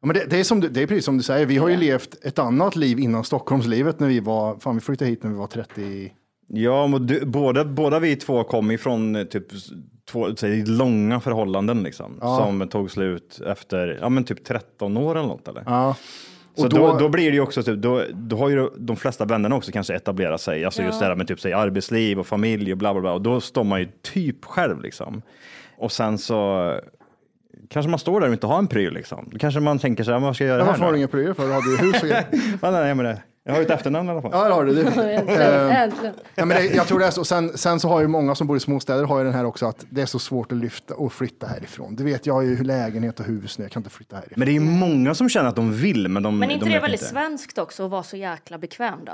Speaker 1: Ja, men det, det, är som du, det är precis som du säger, vi har ju levt ett annat liv innan Stockholmslivet när vi var, fan vi flyttade hit när vi var 30.
Speaker 2: Ja, men du, båda, båda vi två kom ifrån eh, typ s- två, säg, långa förhållanden liksom, som tog slut efter ja, men typ 13 år eller något. Eller?
Speaker 1: Ja.
Speaker 2: Så
Speaker 1: Och
Speaker 2: då,
Speaker 1: då-
Speaker 2: då, blir det ju också, typ, då, då har ju de flesta vännerna också kanske etablerat sig, alltså just det här med typ, säg, arbetsliv och familj och bla bla bla, och då står man ju typ själv liksom. Och sen så kanske man står där och inte har en pryl liksom. Då kanske man tänker så här, "Men vad ska jag göra
Speaker 1: Ja, varför
Speaker 2: här
Speaker 1: har du
Speaker 2: nu?
Speaker 1: inga prylar för? Du hade ju hus och grejer.
Speaker 2: Ja, nej, men det, jag har ju ett efternamn i alla fall.
Speaker 1: Ja, det har du. Det. Eh,
Speaker 3: Äntligen.
Speaker 1: ja, men det, jag tror det är så. Sen, sen så har ju många som bor i småstäder har ju den här också att det är så svårt att lyfta och flytta härifrån. Du vet, jag har ju lägenhet och hus nu, jag kan inte flytta härifrån.
Speaker 2: Men det är ju många som känner att de vill, men de
Speaker 4: Men inte
Speaker 2: de
Speaker 4: det är
Speaker 2: vet
Speaker 4: väldigt
Speaker 2: inte. Mm.
Speaker 4: svenskt också att vara så jäkla bekväm då?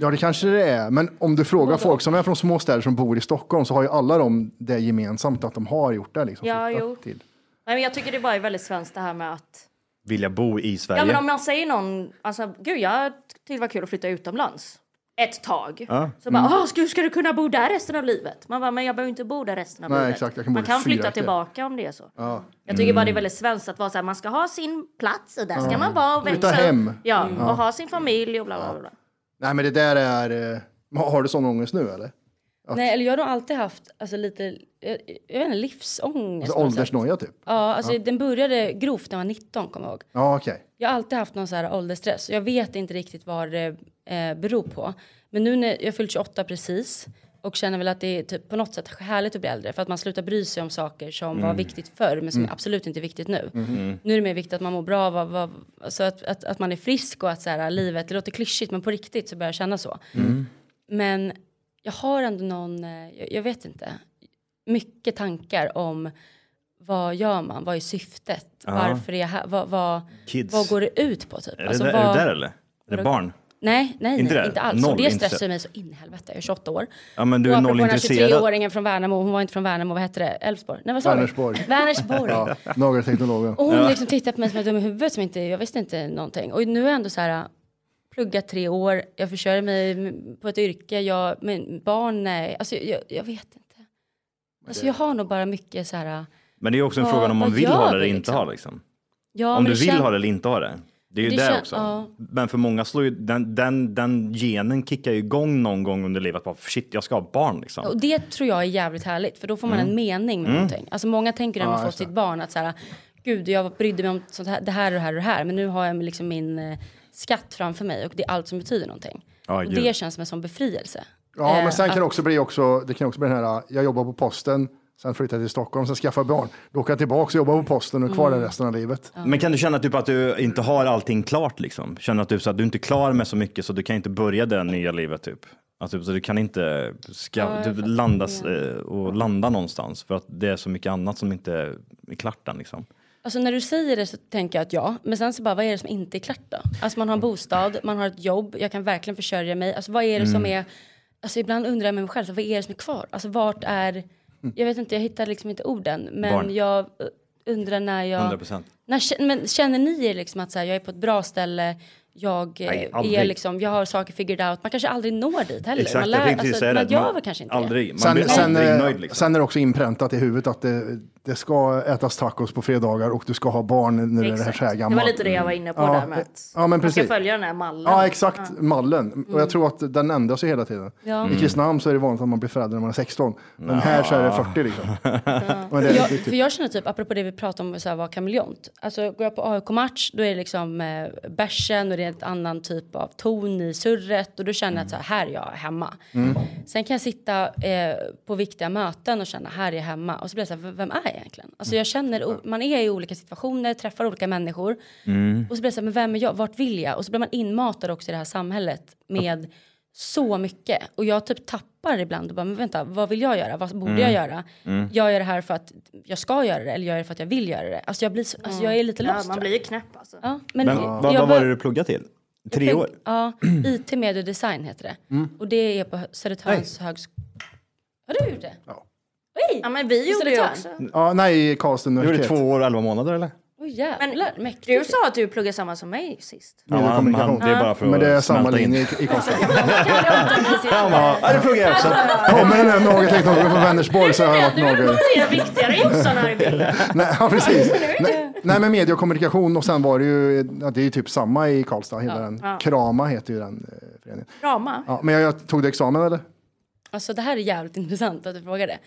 Speaker 1: Ja, det kanske det är. Men om du frågar folk som är från småstäder som bor i Stockholm så har ju alla de det gemensamt att de har gjort det. Liksom,
Speaker 4: Ja,
Speaker 1: flyttat
Speaker 4: jo.
Speaker 1: Till.
Speaker 4: Nej men jag tycker det bara är väldigt svenskt det här med att
Speaker 2: Vilja bo i Sverige.
Speaker 4: Ja men om jag säger någon, alltså gud jag tyckte det var kul att flytta utomlands ett tag. Så
Speaker 1: mm.
Speaker 4: bara, åh ska, ska du kunna bo där resten av livet? Man bara, men jag behöver inte bo där resten av
Speaker 1: Nej,
Speaker 4: livet.
Speaker 1: exakt, jag kan bo
Speaker 4: man
Speaker 1: i Mm.
Speaker 4: kan flytta
Speaker 1: Fyrakte.
Speaker 4: tillbaka om det är så. Jag tycker bara det är väldigt svenskt att vara så här, man ska ha sin plats och där ska man vara och
Speaker 1: Flytta
Speaker 4: växa upp.
Speaker 1: hem. Mm.
Speaker 4: Ja, och ha sin familj och bla bla bla. bla.
Speaker 1: Nej, men det där är... eh, Har har du sån ångest nu eller?
Speaker 3: Nej, eller jag har nog alltid haft alltså, lite, jag, jag vet inte, livsångest.
Speaker 1: Alltså,
Speaker 3: på något sätt.
Speaker 1: åldersnoja typ?
Speaker 3: Ja, alltså den började grovt när jag var 19 kommer jag ihåg.
Speaker 1: Ja, okej.
Speaker 3: Jag har alltid haft någon så här åldersstress. Jag vet inte riktigt vad det eh, beror på. Men nu när jag fyllt 28 precis och känner väl att det är typ på något sätt härligt att bli äldre för att man slutar bry sig om saker som var viktigt förr men som absolut inte är viktigt nu.
Speaker 4: Mm.
Speaker 1: Mm.
Speaker 3: Nu är det mer viktigt att man mår bra, vad, vad, alltså att, att, att man är frisk och att så här, livet, det låter klyschigt men på riktigt så börjar jag känna så.
Speaker 1: Mm.
Speaker 3: Men jag har ändå någon, eh, jag, jag vet inte, mycket tankar om vad gör man, vad är syftet, varför är jag här, vad, vad,
Speaker 2: Kids.
Speaker 3: vad går det ut på typ?
Speaker 2: Är,
Speaker 3: Alltså,
Speaker 2: det där,
Speaker 3: vad,
Speaker 2: är det där eller? Är det barn?
Speaker 3: Nej, nej,
Speaker 2: Inte
Speaker 3: nej,
Speaker 2: det?
Speaker 3: inte alls.
Speaker 2: Noll
Speaker 3: och det stressar
Speaker 2: intresse-
Speaker 3: ju mig så in i helvete, jag är 28 år.
Speaker 2: Ja, men du är
Speaker 3: och apropå
Speaker 2: noll
Speaker 3: den här
Speaker 2: intresserad.
Speaker 3: 23-åringen från Värnamo, hon var inte från Värnamo, vad hette det? Elfsborg? Nej, vad sa vi?
Speaker 1: Vänersborg.
Speaker 3: Vänersborg.
Speaker 1: Ja, Nagelteknologen.
Speaker 3: Och hon liksom tittade på mig som jag var dum i huvudet, som inte, jag visste inte någonting. Och nu är jag ändå så här, äh, pluggat tre år, jag försörjer mig på ett yrke, jag, men barn, nej, alltså jag, jag vet inte. Alltså jag har nog bara mycket så här, äh,
Speaker 2: Men det är ju också en
Speaker 3: Vad-
Speaker 2: fråga om man
Speaker 3: vad
Speaker 2: vill
Speaker 3: gör
Speaker 2: ha det
Speaker 3: vi,
Speaker 2: eller inte
Speaker 3: liksom?
Speaker 2: ha liksom.
Speaker 3: ja,
Speaker 2: om
Speaker 3: men
Speaker 2: du
Speaker 3: det
Speaker 2: vill
Speaker 3: kän-
Speaker 2: ha det eller inte ha det. Det är ju
Speaker 3: Det
Speaker 2: det,
Speaker 3: kän-
Speaker 2: också.
Speaker 3: ja.
Speaker 2: Men för många slår ju, den, den, den genen kickar ju igång någon gång under livet. Bara, shit, jag ska ha barn liksom. Mm.
Speaker 3: Och det tror jag är jävligt härligt för då får man en mening med någonting. Alltså många tänker när man får sitt barn att så här, äh, gud jag brydde mig om sånt här, det här och det här och det här men nu har jag liksom min eh, skatt framför mig och det är allt som betyder någonting.
Speaker 2: Ja,
Speaker 3: och
Speaker 2: gud.
Speaker 3: det känns som en sån befrielse.
Speaker 1: Ja,
Speaker 3: Eh,
Speaker 1: men sen kan
Speaker 3: att-
Speaker 1: det också bli också, det kan också bli den här, jag jobbar på posten, sen flyttar jag till Stockholm, sen skaffar jag barn, då åker jag tillbaka och jobbar på posten och är kvar där
Speaker 4: Mm.
Speaker 1: resten av livet.
Speaker 2: Men kan du känna typ att du inte har allting klart liksom? Känner att du, så att du inte är klar med så mycket så du kan inte börja det nya livet typ? Alltså, så du kan inte ska, typ, landas, eh, och landa någonstans för att det är så mycket annat som inte är klart än liksom.
Speaker 3: Alltså när du säger det så tänker jag att ja, men sen så bara vad är det som inte är klart då? Alltså man har en bostad, man har ett jobb, jag kan verkligen försörja mig. Alltså vad är det som
Speaker 2: Mm.
Speaker 3: är, alltså ibland undrar jag med mig själv, så vad är det som är kvar? Alltså vart är, jag vet inte, jag hittar liksom inte orden. Men
Speaker 2: Barn.
Speaker 3: jag eh, undrar när jag...
Speaker 2: 100%.
Speaker 3: När, kä- men känner ni er liksom att så här, jag är på ett bra ställe, jag, eh,
Speaker 2: Nej, aldrig.
Speaker 3: är liksom, jag har saker figured out, man kanske aldrig når dit heller. man
Speaker 2: jag tänkte precis
Speaker 3: alltså,
Speaker 2: säga
Speaker 3: man
Speaker 2: det.
Speaker 3: gör väl kanske inte det.
Speaker 2: aldrig, man
Speaker 1: Sen,
Speaker 2: blir
Speaker 1: sen,
Speaker 2: aldrig
Speaker 1: eh,
Speaker 2: nöjd liksom.
Speaker 1: sen är det också inpräntat i huvudet att det, det ska ätas tacos på fredagar och du ska ha barn när du är
Speaker 4: Exakt.
Speaker 1: så här
Speaker 4: Det
Speaker 1: gammal. Mm.
Speaker 4: var lite det jag var inne på
Speaker 1: Ja,
Speaker 4: där med att
Speaker 1: ja, men
Speaker 4: man ska
Speaker 1: precis.
Speaker 4: följa den här mallen. Mm.
Speaker 1: Ja, exakt. Mallen. Och jag tror att den ändras ju hela tiden.
Speaker 4: Ja. Mm.
Speaker 1: I Kristinehamn så är det vanligt att man blir förälder när man är 16. Men här så är det 40 liksom. Men det är
Speaker 3: Jag,
Speaker 1: riktigt-
Speaker 3: för jag känner typ, apropå det vi pratade om, så här, vara kameleont. Alltså går jag på AIK-match, då är det liksom eh, bärsen och det är en annan typ av ton i surret. Och då känner jag att så här, här är jag hemma.
Speaker 1: Mm.
Speaker 3: Sen kan jag sitta eh, på viktiga möten och känna, här är jag hemma. Och så blir jag så här, v- vem är jag egentligen? Alltså jag känner, o- man är i olika situationer, träffar olika människor. Och så blir jag så här, men vem är jag? Vart vill jag? Och så blir man inmatad också i det här samhället med så mycket. Och jag typ tappar ibland och bara, men vänta, vad vill jag göra? Vad borde jag göra? Gör jag det här för att jag ska göra det eller gör jag det för att jag vill göra det? Alltså jag, blir så, alltså jag är lite
Speaker 4: Ja,
Speaker 3: lost.
Speaker 4: man
Speaker 3: tror
Speaker 4: blir
Speaker 3: jag.
Speaker 4: ju knäpp alltså.
Speaker 3: ja, men
Speaker 2: Men
Speaker 3: jag-
Speaker 2: vad,
Speaker 3: jag
Speaker 2: vad var
Speaker 3: bör-
Speaker 2: det du pluggade till? Tre
Speaker 3: tänk-
Speaker 2: år?
Speaker 3: Ja, IT, media och design heter det. Och det är på Hö- Södertörns högskola. Har du gjort det? Ja. Oj!
Speaker 4: Ja, men vi gjorde ju
Speaker 3: Södertörn.
Speaker 4: också.
Speaker 1: ja, nej, i Karlstad
Speaker 2: Du gjorde
Speaker 1: universitet.
Speaker 2: två år och elva månader eller?
Speaker 3: Oj jävlar, mäktigt.
Speaker 4: Du sa att du pluggade samma som mig sist.
Speaker 2: Ja, han, han, det är bara för
Speaker 1: Men det är
Speaker 2: att
Speaker 1: samma
Speaker 2: smälta in.
Speaker 1: linje i, i Karlstad.
Speaker 2: Han bara, ja, det pluggar jag också.
Speaker 1: Kommer den här nagelteknologen från Vänersborg så har jag varit
Speaker 4: Du är
Speaker 1: nagel.
Speaker 4: bara viktigare Jossan här i bilden.
Speaker 1: Nej, ja, precis. Nej, nej, men media och kommunikation och sen var det ju, ja, det är ju typ samma i Karlstad, hela den. Krama heter ju den eh, föreningen.
Speaker 4: Rama.
Speaker 1: Ja, men jag, jag tog det examen eller?
Speaker 3: Alltså det här är jävligt intressant att du frågar det.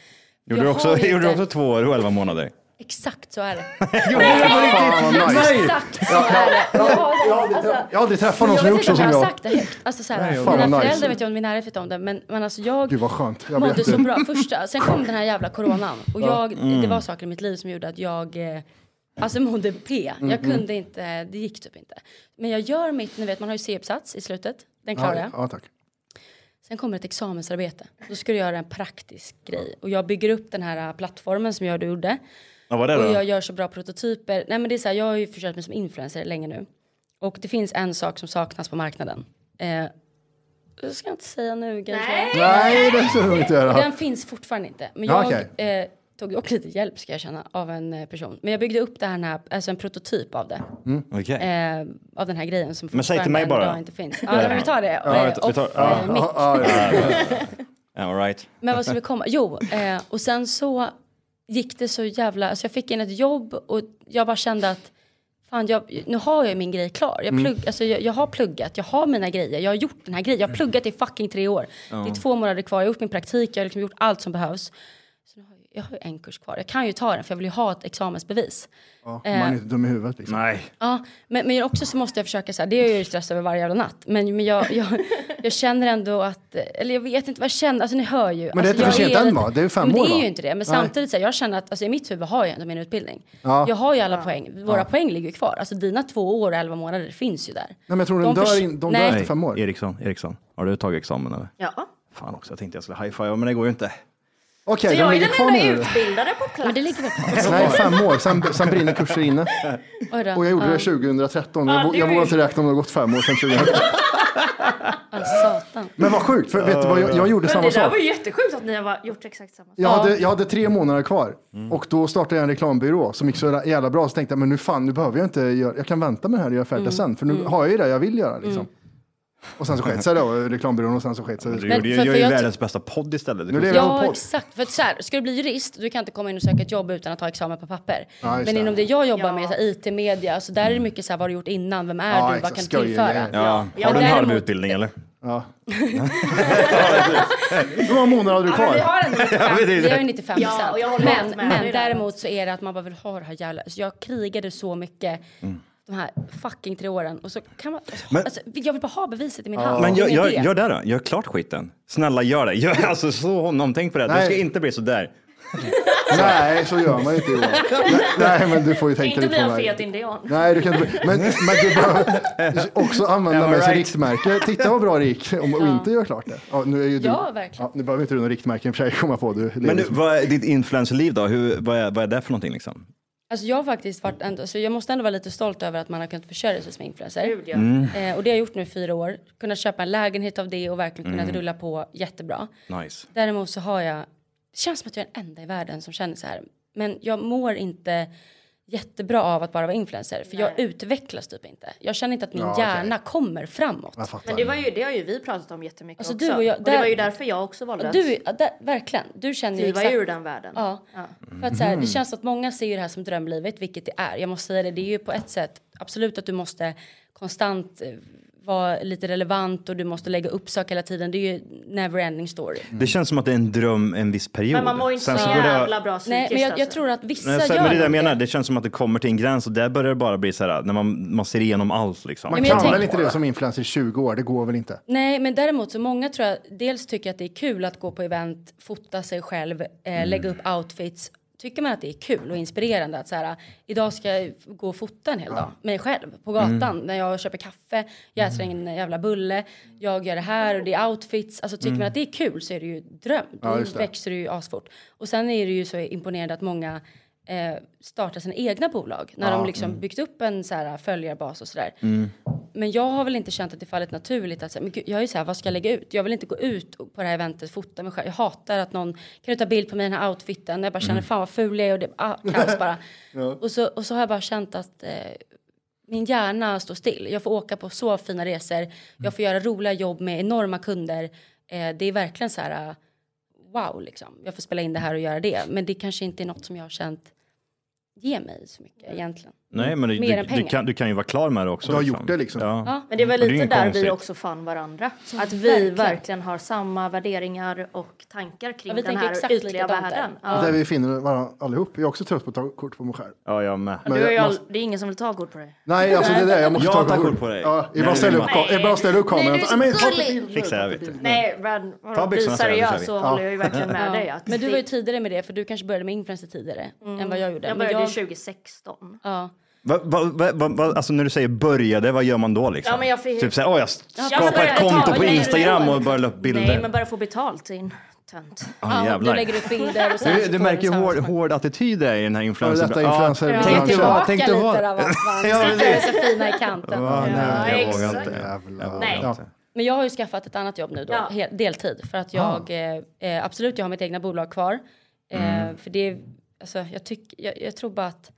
Speaker 2: Gjorde du
Speaker 3: Jag har
Speaker 2: också,
Speaker 3: ju
Speaker 2: gjorde du
Speaker 3: inte-
Speaker 2: också två år och elva månader?
Speaker 3: Exakt så är det.
Speaker 1: Fan vad nice.
Speaker 3: Exakt så är det. Jag har-
Speaker 1: Jag har aldrig träff- jag har aldrig träffat någon
Speaker 3: Jag
Speaker 1: som
Speaker 3: vet
Speaker 1: gjort
Speaker 3: inte
Speaker 1: så
Speaker 3: om
Speaker 1: som
Speaker 3: jag har
Speaker 1: jag.
Speaker 3: sagt det högt. Alltså så här,
Speaker 1: Nej,
Speaker 3: mina
Speaker 1: fan, nice.
Speaker 3: föräldrar vet jag och min närhet vet om det. Men, men alltså jag
Speaker 1: Gud vad skönt. Jag
Speaker 3: mådde
Speaker 1: blev
Speaker 3: så
Speaker 1: jätte-
Speaker 3: bra första. Sen kom den här jävla coronan. Och jag, det
Speaker 1: Mm.
Speaker 3: var saker i mitt liv som gjorde att jag eh, alltså mådde P.
Speaker 1: Mm,
Speaker 3: Jag kunde inte, det gick typ inte. Men jag gör mitt, ni vet man har ju C-uppsats i slutet. Den klarar jag.
Speaker 1: Ja, ja, tack.
Speaker 3: Sen kommer ett examensarbete. Då ska du göra en praktisk grej. Och jag bygger upp den här eh, plattformen som jag gjorde.
Speaker 2: Vad var det
Speaker 3: Och
Speaker 2: då?
Speaker 3: jag gör så bra prototyper. Nej men det är så här, jag har ju försökt mig som influencer länge nu. Och det finns en sak som saknas på marknaden. Eh, det ska jag inte säga nu kanske.
Speaker 1: Nej, det ska du inte göra.
Speaker 3: Den finns fortfarande inte. Men
Speaker 1: Ja,
Speaker 3: jag
Speaker 1: okej.
Speaker 3: eh, tog också lite hjälp ska jag känna av en eh, person. Men jag byggde upp det här, den här alltså en prototyp av det.
Speaker 2: Mm. Okej.
Speaker 3: Eh, av den här grejen som
Speaker 2: Men säg till
Speaker 3: fortfarande
Speaker 2: mig
Speaker 3: än
Speaker 2: bara.
Speaker 3: idag inte finns. Ja, men vi tar det.
Speaker 2: Ja,
Speaker 3: eh,
Speaker 2: vi tar- vi tar-
Speaker 3: off,
Speaker 2: ja.
Speaker 3: eh, mic.
Speaker 2: All right.
Speaker 3: Men vad ska vi komma? Jo, eh, och sen så gick det så jävla... Alltså jag fick in ett jobb och jag bara kände att fan, jag, nu har jag ju min grej klar. Jag,
Speaker 1: Mm.
Speaker 3: plugg, alltså jag, jag har pluggat, jag har mina grejer, jag har gjort den här grejen. Jag
Speaker 1: Mm.
Speaker 3: har pluggat i fucking tre år. Det är två månader kvar, jag har gjort min praktik, jag har liksom gjort allt som behövs. Så nu har jag, jag har ju en kurs kvar. Jag kan ju ta den för jag vill ju ha ett examensbevis.
Speaker 1: Ja,
Speaker 3: Eh.
Speaker 1: man är inte dum i huvudet liksom.
Speaker 2: Nej.
Speaker 3: Ja, men, men också så måste jag försöka så här, det är jag ju stressad över varje jävla natt. Men, men jag, jag, jag känner ändå att, eller jag vet inte vad jag känner, alltså ni hör ju.
Speaker 1: Men det är inte
Speaker 3: alltså,
Speaker 1: för
Speaker 3: jag
Speaker 1: sent än,
Speaker 3: lite-
Speaker 1: va? Det är ju fem
Speaker 3: men
Speaker 1: år,
Speaker 3: Det är
Speaker 1: va?
Speaker 3: ju inte det, men
Speaker 1: Nej.
Speaker 3: samtidigt så här, jag känner att alltså, i mitt huvud har jag ändå min utbildning.
Speaker 1: Ja.
Speaker 3: Jag har ju alla poäng, våra poäng ligger ju kvar. Alltså dina två år och elva månader finns ju där. Nej
Speaker 1: men jag tror den dör in- de dör
Speaker 3: Nej.
Speaker 1: inte. Fem år.
Speaker 2: Eriksson, Eriksson, har du tagit examen eller?
Speaker 4: Ja.
Speaker 2: Fan också, jag tänkte jag skulle high-five, men det går ju inte.
Speaker 1: Okej,
Speaker 4: Jag
Speaker 1: de
Speaker 4: är
Speaker 1: ligger kvar
Speaker 4: den
Speaker 1: nu.
Speaker 4: enda
Speaker 1: eller?
Speaker 4: utbildade på plats.
Speaker 3: Men det ligger väl kvar.
Speaker 1: Nej, fem år. Sen, sen brinner kurser inne.
Speaker 3: Oj då.
Speaker 1: Och jag gjorde
Speaker 3: Ja.
Speaker 1: det 2013. Jag, vå-
Speaker 4: det
Speaker 1: jag
Speaker 4: är-
Speaker 1: vågar inte räkna om det har gått fem år sedan 2013.
Speaker 3: Ah, satan.
Speaker 1: Men vad sjukt, för vet du vad, jag, jag gjorde
Speaker 4: Men
Speaker 1: samma
Speaker 4: det där
Speaker 1: sak.
Speaker 4: var ju jättesjukt att ni har gjort exakt samma sak.
Speaker 1: Jag hade, jag hade tre månader kvar och då startade jag en reklambyrå som gick så jävla bra. Så tänkte jag, men nu fan, nu behöver jag inte göra, jag kan vänta med det här och göra
Speaker 3: Mm.
Speaker 1: färdigt sen, för nu har jag ju det jag vill göra liksom. Och sen Alltså, så sket sig det då, reklambyrån och sen så sket sig
Speaker 2: Du
Speaker 1: det.
Speaker 2: gjorde ju,
Speaker 3: för-
Speaker 2: gör
Speaker 3: för
Speaker 2: ju
Speaker 3: jag ty-
Speaker 2: världens bästa podd istället. Det
Speaker 1: Nu
Speaker 2: finns-
Speaker 1: lever jag på
Speaker 3: Ja,
Speaker 1: podd.
Speaker 3: exakt. För att så här, ska du bli jurist, du kan inte komma in och söka ett jobb utan att ha examen på papper.
Speaker 1: Ja, just
Speaker 3: Men
Speaker 1: det.
Speaker 3: inom det jag jobbar
Speaker 4: Ja.
Speaker 3: med, så här, IT, media, så där är det mycket så här, vad har du gjort innan, vem är
Speaker 1: Ja,
Speaker 3: du, vad
Speaker 1: exakt.
Speaker 3: kan du
Speaker 1: Skojiga
Speaker 3: tillföra?
Speaker 1: grejer.
Speaker 2: Ja. Har du en halv
Speaker 3: däremot-
Speaker 2: utbildning eller?
Speaker 1: Hur många månader hade du
Speaker 3: Men vi
Speaker 1: kvar?
Speaker 3: har ändå 95,
Speaker 2: men det är-
Speaker 3: vi har ju 95
Speaker 4: Ja, och jag håller
Speaker 3: men
Speaker 4: helt med dig
Speaker 3: men
Speaker 4: där.
Speaker 3: däremot så är det att man bara vill ha det här jävla... Så jag krigade så mycket de här fucking tre åren. Och så kan man,
Speaker 2: Mm. Men-
Speaker 3: alltså, jag vill bara ha beviset i min hand.
Speaker 2: Men
Speaker 3: Det är
Speaker 2: gör,
Speaker 3: min
Speaker 2: gör,
Speaker 3: idé.
Speaker 2: gör det då, gör klart skiten. Snälla gör det. Gör, alltså slå honom, tänk på det. Du
Speaker 1: Nej.
Speaker 2: ska inte bli sådär.
Speaker 1: Nej, så gör man ju inte Johan. Nej, Nej, men du får ju tänka
Speaker 4: Inte
Speaker 1: lite
Speaker 4: bli
Speaker 1: på
Speaker 4: en
Speaker 1: mig.
Speaker 4: fet indian.
Speaker 1: Nej, du kan inte bli- men, men du behöver också använda
Speaker 2: Am I
Speaker 1: mig som
Speaker 2: right?
Speaker 1: riktmärke. Titta vad bra det gick om och inte gör klart det. Ja, nu är ju du,
Speaker 3: Ja, verkligen.
Speaker 1: nu behöver inte du någon riktmärken för sig komma på. Du lever
Speaker 2: Men du,
Speaker 1: som-
Speaker 2: vad är ditt influencerliv då? Hur, vad, är, vad är det för någonting liksom?
Speaker 3: Alltså jag har faktiskt varit ändå, så jag måste ändå vara lite stolt över att man har kunnat försörja sig som influencer.
Speaker 4: Gud, ja.
Speaker 2: Mm.
Speaker 3: Eh, och det har jag gjort nu i fyra år. Kunnat köpa en lägenhet av det och verkligen
Speaker 2: Mm.
Speaker 3: kunnat rulla på jättebra.
Speaker 2: Nice.
Speaker 3: Däremot så har jag, det känns som att jag är den enda i världen som känner så här. Men jag mår inte jättebra av att bara vara influencer. För jag
Speaker 4: Nej.
Speaker 3: utvecklas typ inte. Jag känner inte att min
Speaker 1: Ja, okej.
Speaker 3: hjärna kommer framåt.
Speaker 1: Jag
Speaker 4: Men
Speaker 1: fattar.
Speaker 4: det, var ju, det har ju vi pratat om jättemycket
Speaker 3: Alltså,
Speaker 4: också.
Speaker 3: du och jag-
Speaker 4: det
Speaker 3: där-
Speaker 4: var ju därför jag också valde
Speaker 3: Du,
Speaker 4: att
Speaker 3: ja, där, verkligen. Du känner ju
Speaker 4: kliva
Speaker 3: exakt.
Speaker 4: ur den världen.
Speaker 3: Ja.
Speaker 2: Mm.
Speaker 3: För att så här, det känns att många ser ju det här som drömlivet, vilket det är. Jag måste säga det, det är ju på ett sätt absolut att du måste konstant eh, vara lite relevant och du måste lägga upp saker hela tiden. Det är ju never ending story.
Speaker 1: Mm.
Speaker 2: Det känns som att det är en dröm en viss period.
Speaker 4: Men man mår ju inte så
Speaker 2: Sen går det-
Speaker 4: jävla bra psykiskt
Speaker 3: Nej, men jag, jag
Speaker 4: alltså.
Speaker 3: tror att vissa
Speaker 2: Nej, så,
Speaker 3: gör
Speaker 2: men det är det jag
Speaker 3: nog
Speaker 2: menar, det känns som att det kommer till en gräns och där börjar det bara bli så här när man, man ser igenom allt liksom.
Speaker 1: Man
Speaker 3: men jag
Speaker 1: kan väl
Speaker 3: tänker-
Speaker 1: inte det som influencer i 20 år? Det går väl inte?
Speaker 3: Nej, men däremot så många tror jag dels tycker att det är kul att gå på event, fota sig själv, eh,
Speaker 1: Mm.
Speaker 3: lägga upp outfits. Tycker man att det är kul och inspirerande att så här, idag ska jag gå och fota en hel dag, mig själv, på gatan,
Speaker 1: Mm.
Speaker 3: när jag köper kaffe, jag äter en jävla bulle, jag gör det här och det är outfits. Alltså tycker man att det är kul så är det ju dröm, då
Speaker 1: Mm. Ja, just det.
Speaker 3: växer det ju asfort. Och sen är det ju så imponerande att många eh, startar sina egna bolag när de liksom
Speaker 1: mm.
Speaker 3: byggt upp en så här följarbas och sådär. Men jag har väl inte känt att det fallit naturligt att säga, men gud, jag är ju så här, vad ska jag lägga ut? Jag vill inte gå ut och- på det här eventet, fota mig själv. Jag hatar att någon, kan du ta bild på mig i den här outfiten? Jag bara
Speaker 4: Mm.
Speaker 3: känner, fan vad ful jag är och det, ah, kaos bara. och, så, och så har jag bara känt att eh, min hjärna står still. Jag får åka på så fina resor, jag får göra roliga jobb med enorma kunder. Eh, det är verkligen så här, eh, wow liksom. Jag får spela in det här och göra det. Men det kanske inte är något som jag har känt ger mig så
Speaker 4: Mm.
Speaker 3: mycket egentligen.
Speaker 2: Nej, men du,
Speaker 3: Mer
Speaker 2: du,
Speaker 3: än
Speaker 2: du,
Speaker 3: pengar.
Speaker 2: kan, du kan ju vara klar med det också.
Speaker 1: Du har gjort det, liksom.
Speaker 2: Ja.
Speaker 4: Men det var
Speaker 2: Och det är
Speaker 4: lite
Speaker 2: ju
Speaker 4: där
Speaker 2: konstigt.
Speaker 4: vi också fann varandra. att vi
Speaker 3: verkligen.
Speaker 4: verkligen. har samma värderingar och tankar kring
Speaker 3: Ja, vi
Speaker 4: den
Speaker 3: tänker
Speaker 4: här
Speaker 3: exakt
Speaker 4: ytliga
Speaker 3: likadant där.
Speaker 4: världen.
Speaker 1: Och
Speaker 4: Ja.
Speaker 1: Där vi finner varandra allihop. Jag är också trött på att ta kort på mig själv.
Speaker 2: ja, jag med.
Speaker 1: Men
Speaker 4: Du och
Speaker 1: jag
Speaker 4: jag,
Speaker 1: måste-
Speaker 4: det är ingen som vill ta kort på dig.
Speaker 1: Nej, alltså det är det. Jag måste
Speaker 2: Jag
Speaker 1: ta
Speaker 2: tar
Speaker 1: kort.
Speaker 2: kort på dig.
Speaker 1: Ja,
Speaker 2: Nej,
Speaker 1: jag bara ställer upp,
Speaker 2: det
Speaker 1: ka- jag bara ställer upp kameran.
Speaker 4: Nej, du är så
Speaker 1: Nej, men ta
Speaker 4: gullig.
Speaker 1: bild.
Speaker 2: Fixar jag,
Speaker 1: Ta
Speaker 2: vet du.
Speaker 1: bild.
Speaker 4: Nej, men
Speaker 2: Ta
Speaker 4: vadå, blir
Speaker 2: byxorna, säger jag, nu kör
Speaker 4: seriös
Speaker 2: vi.
Speaker 4: så håller jag ju verkligen med dig. Att
Speaker 3: Men du
Speaker 4: det- Mm.
Speaker 3: var ju tidigare med det, för du kanske började med influencer tidigare än vad jag gjorde.
Speaker 4: jag
Speaker 3: Men
Speaker 4: började ju
Speaker 3: jag-
Speaker 4: 2016.
Speaker 3: Ja.
Speaker 2: Va, va, va, va, va, alltså när du säger började, vad gör man då liksom?
Speaker 4: Ja, men jag fick-
Speaker 2: Typ såhär, åh jag
Speaker 4: men
Speaker 2: skapar
Speaker 4: började
Speaker 2: ett konto
Speaker 4: ta-
Speaker 2: på
Speaker 4: nej,
Speaker 2: Instagram
Speaker 4: nej,
Speaker 2: och börjar la upp bilder.
Speaker 4: Nej, men bara få betalt din tönt.
Speaker 2: Åh,
Speaker 3: ja, du
Speaker 2: jävlar.
Speaker 3: lägger upp bilder och sen
Speaker 2: Du,
Speaker 3: så
Speaker 2: du
Speaker 3: får liksom
Speaker 2: märker
Speaker 3: en
Speaker 2: hur hård,
Speaker 3: sammanhang.
Speaker 2: hård attityd det är i den här influencer...
Speaker 1: detta influencer-
Speaker 2: Ja.
Speaker 1: Ja.
Speaker 2: Tänk dig vad,
Speaker 1: Tillbaka
Speaker 2: tänk dig
Speaker 3: lite
Speaker 2: vad.
Speaker 3: av att man
Speaker 2: Ja, men
Speaker 3: sitter
Speaker 2: det-
Speaker 3: och är så fina i kanten.
Speaker 2: Nej, jag vågar
Speaker 4: exakt.
Speaker 2: inte. Ah.
Speaker 1: Jävlar.
Speaker 4: Nej.
Speaker 1: Ja.
Speaker 3: Men jag har ju skaffat ett annat jobb nu då,
Speaker 4: Ja.
Speaker 3: hel, deltid. För att jag, eh, eh, absolut jag har mitt egna bolag kvar. Eh,
Speaker 2: Mm.
Speaker 3: För det, är- alltså jag tycker, jag, jag tror bara att,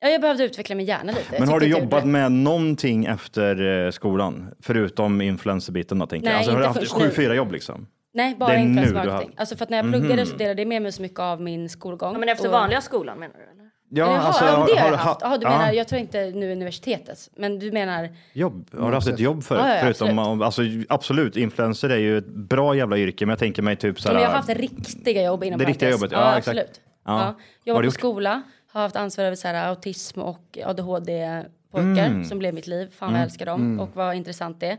Speaker 3: ja, jag behövde utveckla min hjärna lite. Jag
Speaker 2: Men har
Speaker 3: tyckte
Speaker 2: du
Speaker 3: att jag
Speaker 2: jobbat
Speaker 3: gjorde-
Speaker 2: med någonting efter eh, skolan? Förutom influencerbiten då, tänker jag.
Speaker 3: Nej,
Speaker 2: Alltså, har du
Speaker 3: inte
Speaker 2: haft
Speaker 3: först
Speaker 2: sju,
Speaker 3: nu.
Speaker 2: fyra jobb liksom?
Speaker 3: Nej,
Speaker 2: Det
Speaker 3: bara
Speaker 2: är nu
Speaker 3: influencer
Speaker 2: du har- Mhm.
Speaker 3: marketing. Alltså för att när jag pluggade så delade jag med mig så mycket av min skolgång.
Speaker 4: Ja, men efter
Speaker 3: Och-
Speaker 4: vanliga skolan menar du? Eller?
Speaker 2: Ja,
Speaker 3: Jaha, ja, men det har
Speaker 2: du
Speaker 3: jag haft. Jaha, du menar,
Speaker 2: ja,
Speaker 3: jag tror inte nu universitetet, men du menar
Speaker 2: jobb? Har du haft ett jobb förut?
Speaker 3: Ja, ja, ja,
Speaker 2: Förutom, alltså, absolut, influencer är ju ett bra jävla yrke, men jag tänker mig typ så
Speaker 3: Ja,
Speaker 2: här...
Speaker 3: men jag har haft riktiga jobb inom
Speaker 2: Det riktiga
Speaker 3: parentes.
Speaker 2: jobbet, ja, exakt.
Speaker 3: absolut.
Speaker 2: Ja.
Speaker 3: Ja.
Speaker 2: Vad har
Speaker 3: Jobbat
Speaker 2: du
Speaker 3: på
Speaker 2: gjort?
Speaker 3: skola, har haft ansvar över så här, autism och ADHD-pojkar
Speaker 2: Mm.
Speaker 3: som blev mitt liv. Fan vad jag älskar dem och vad intressant det är.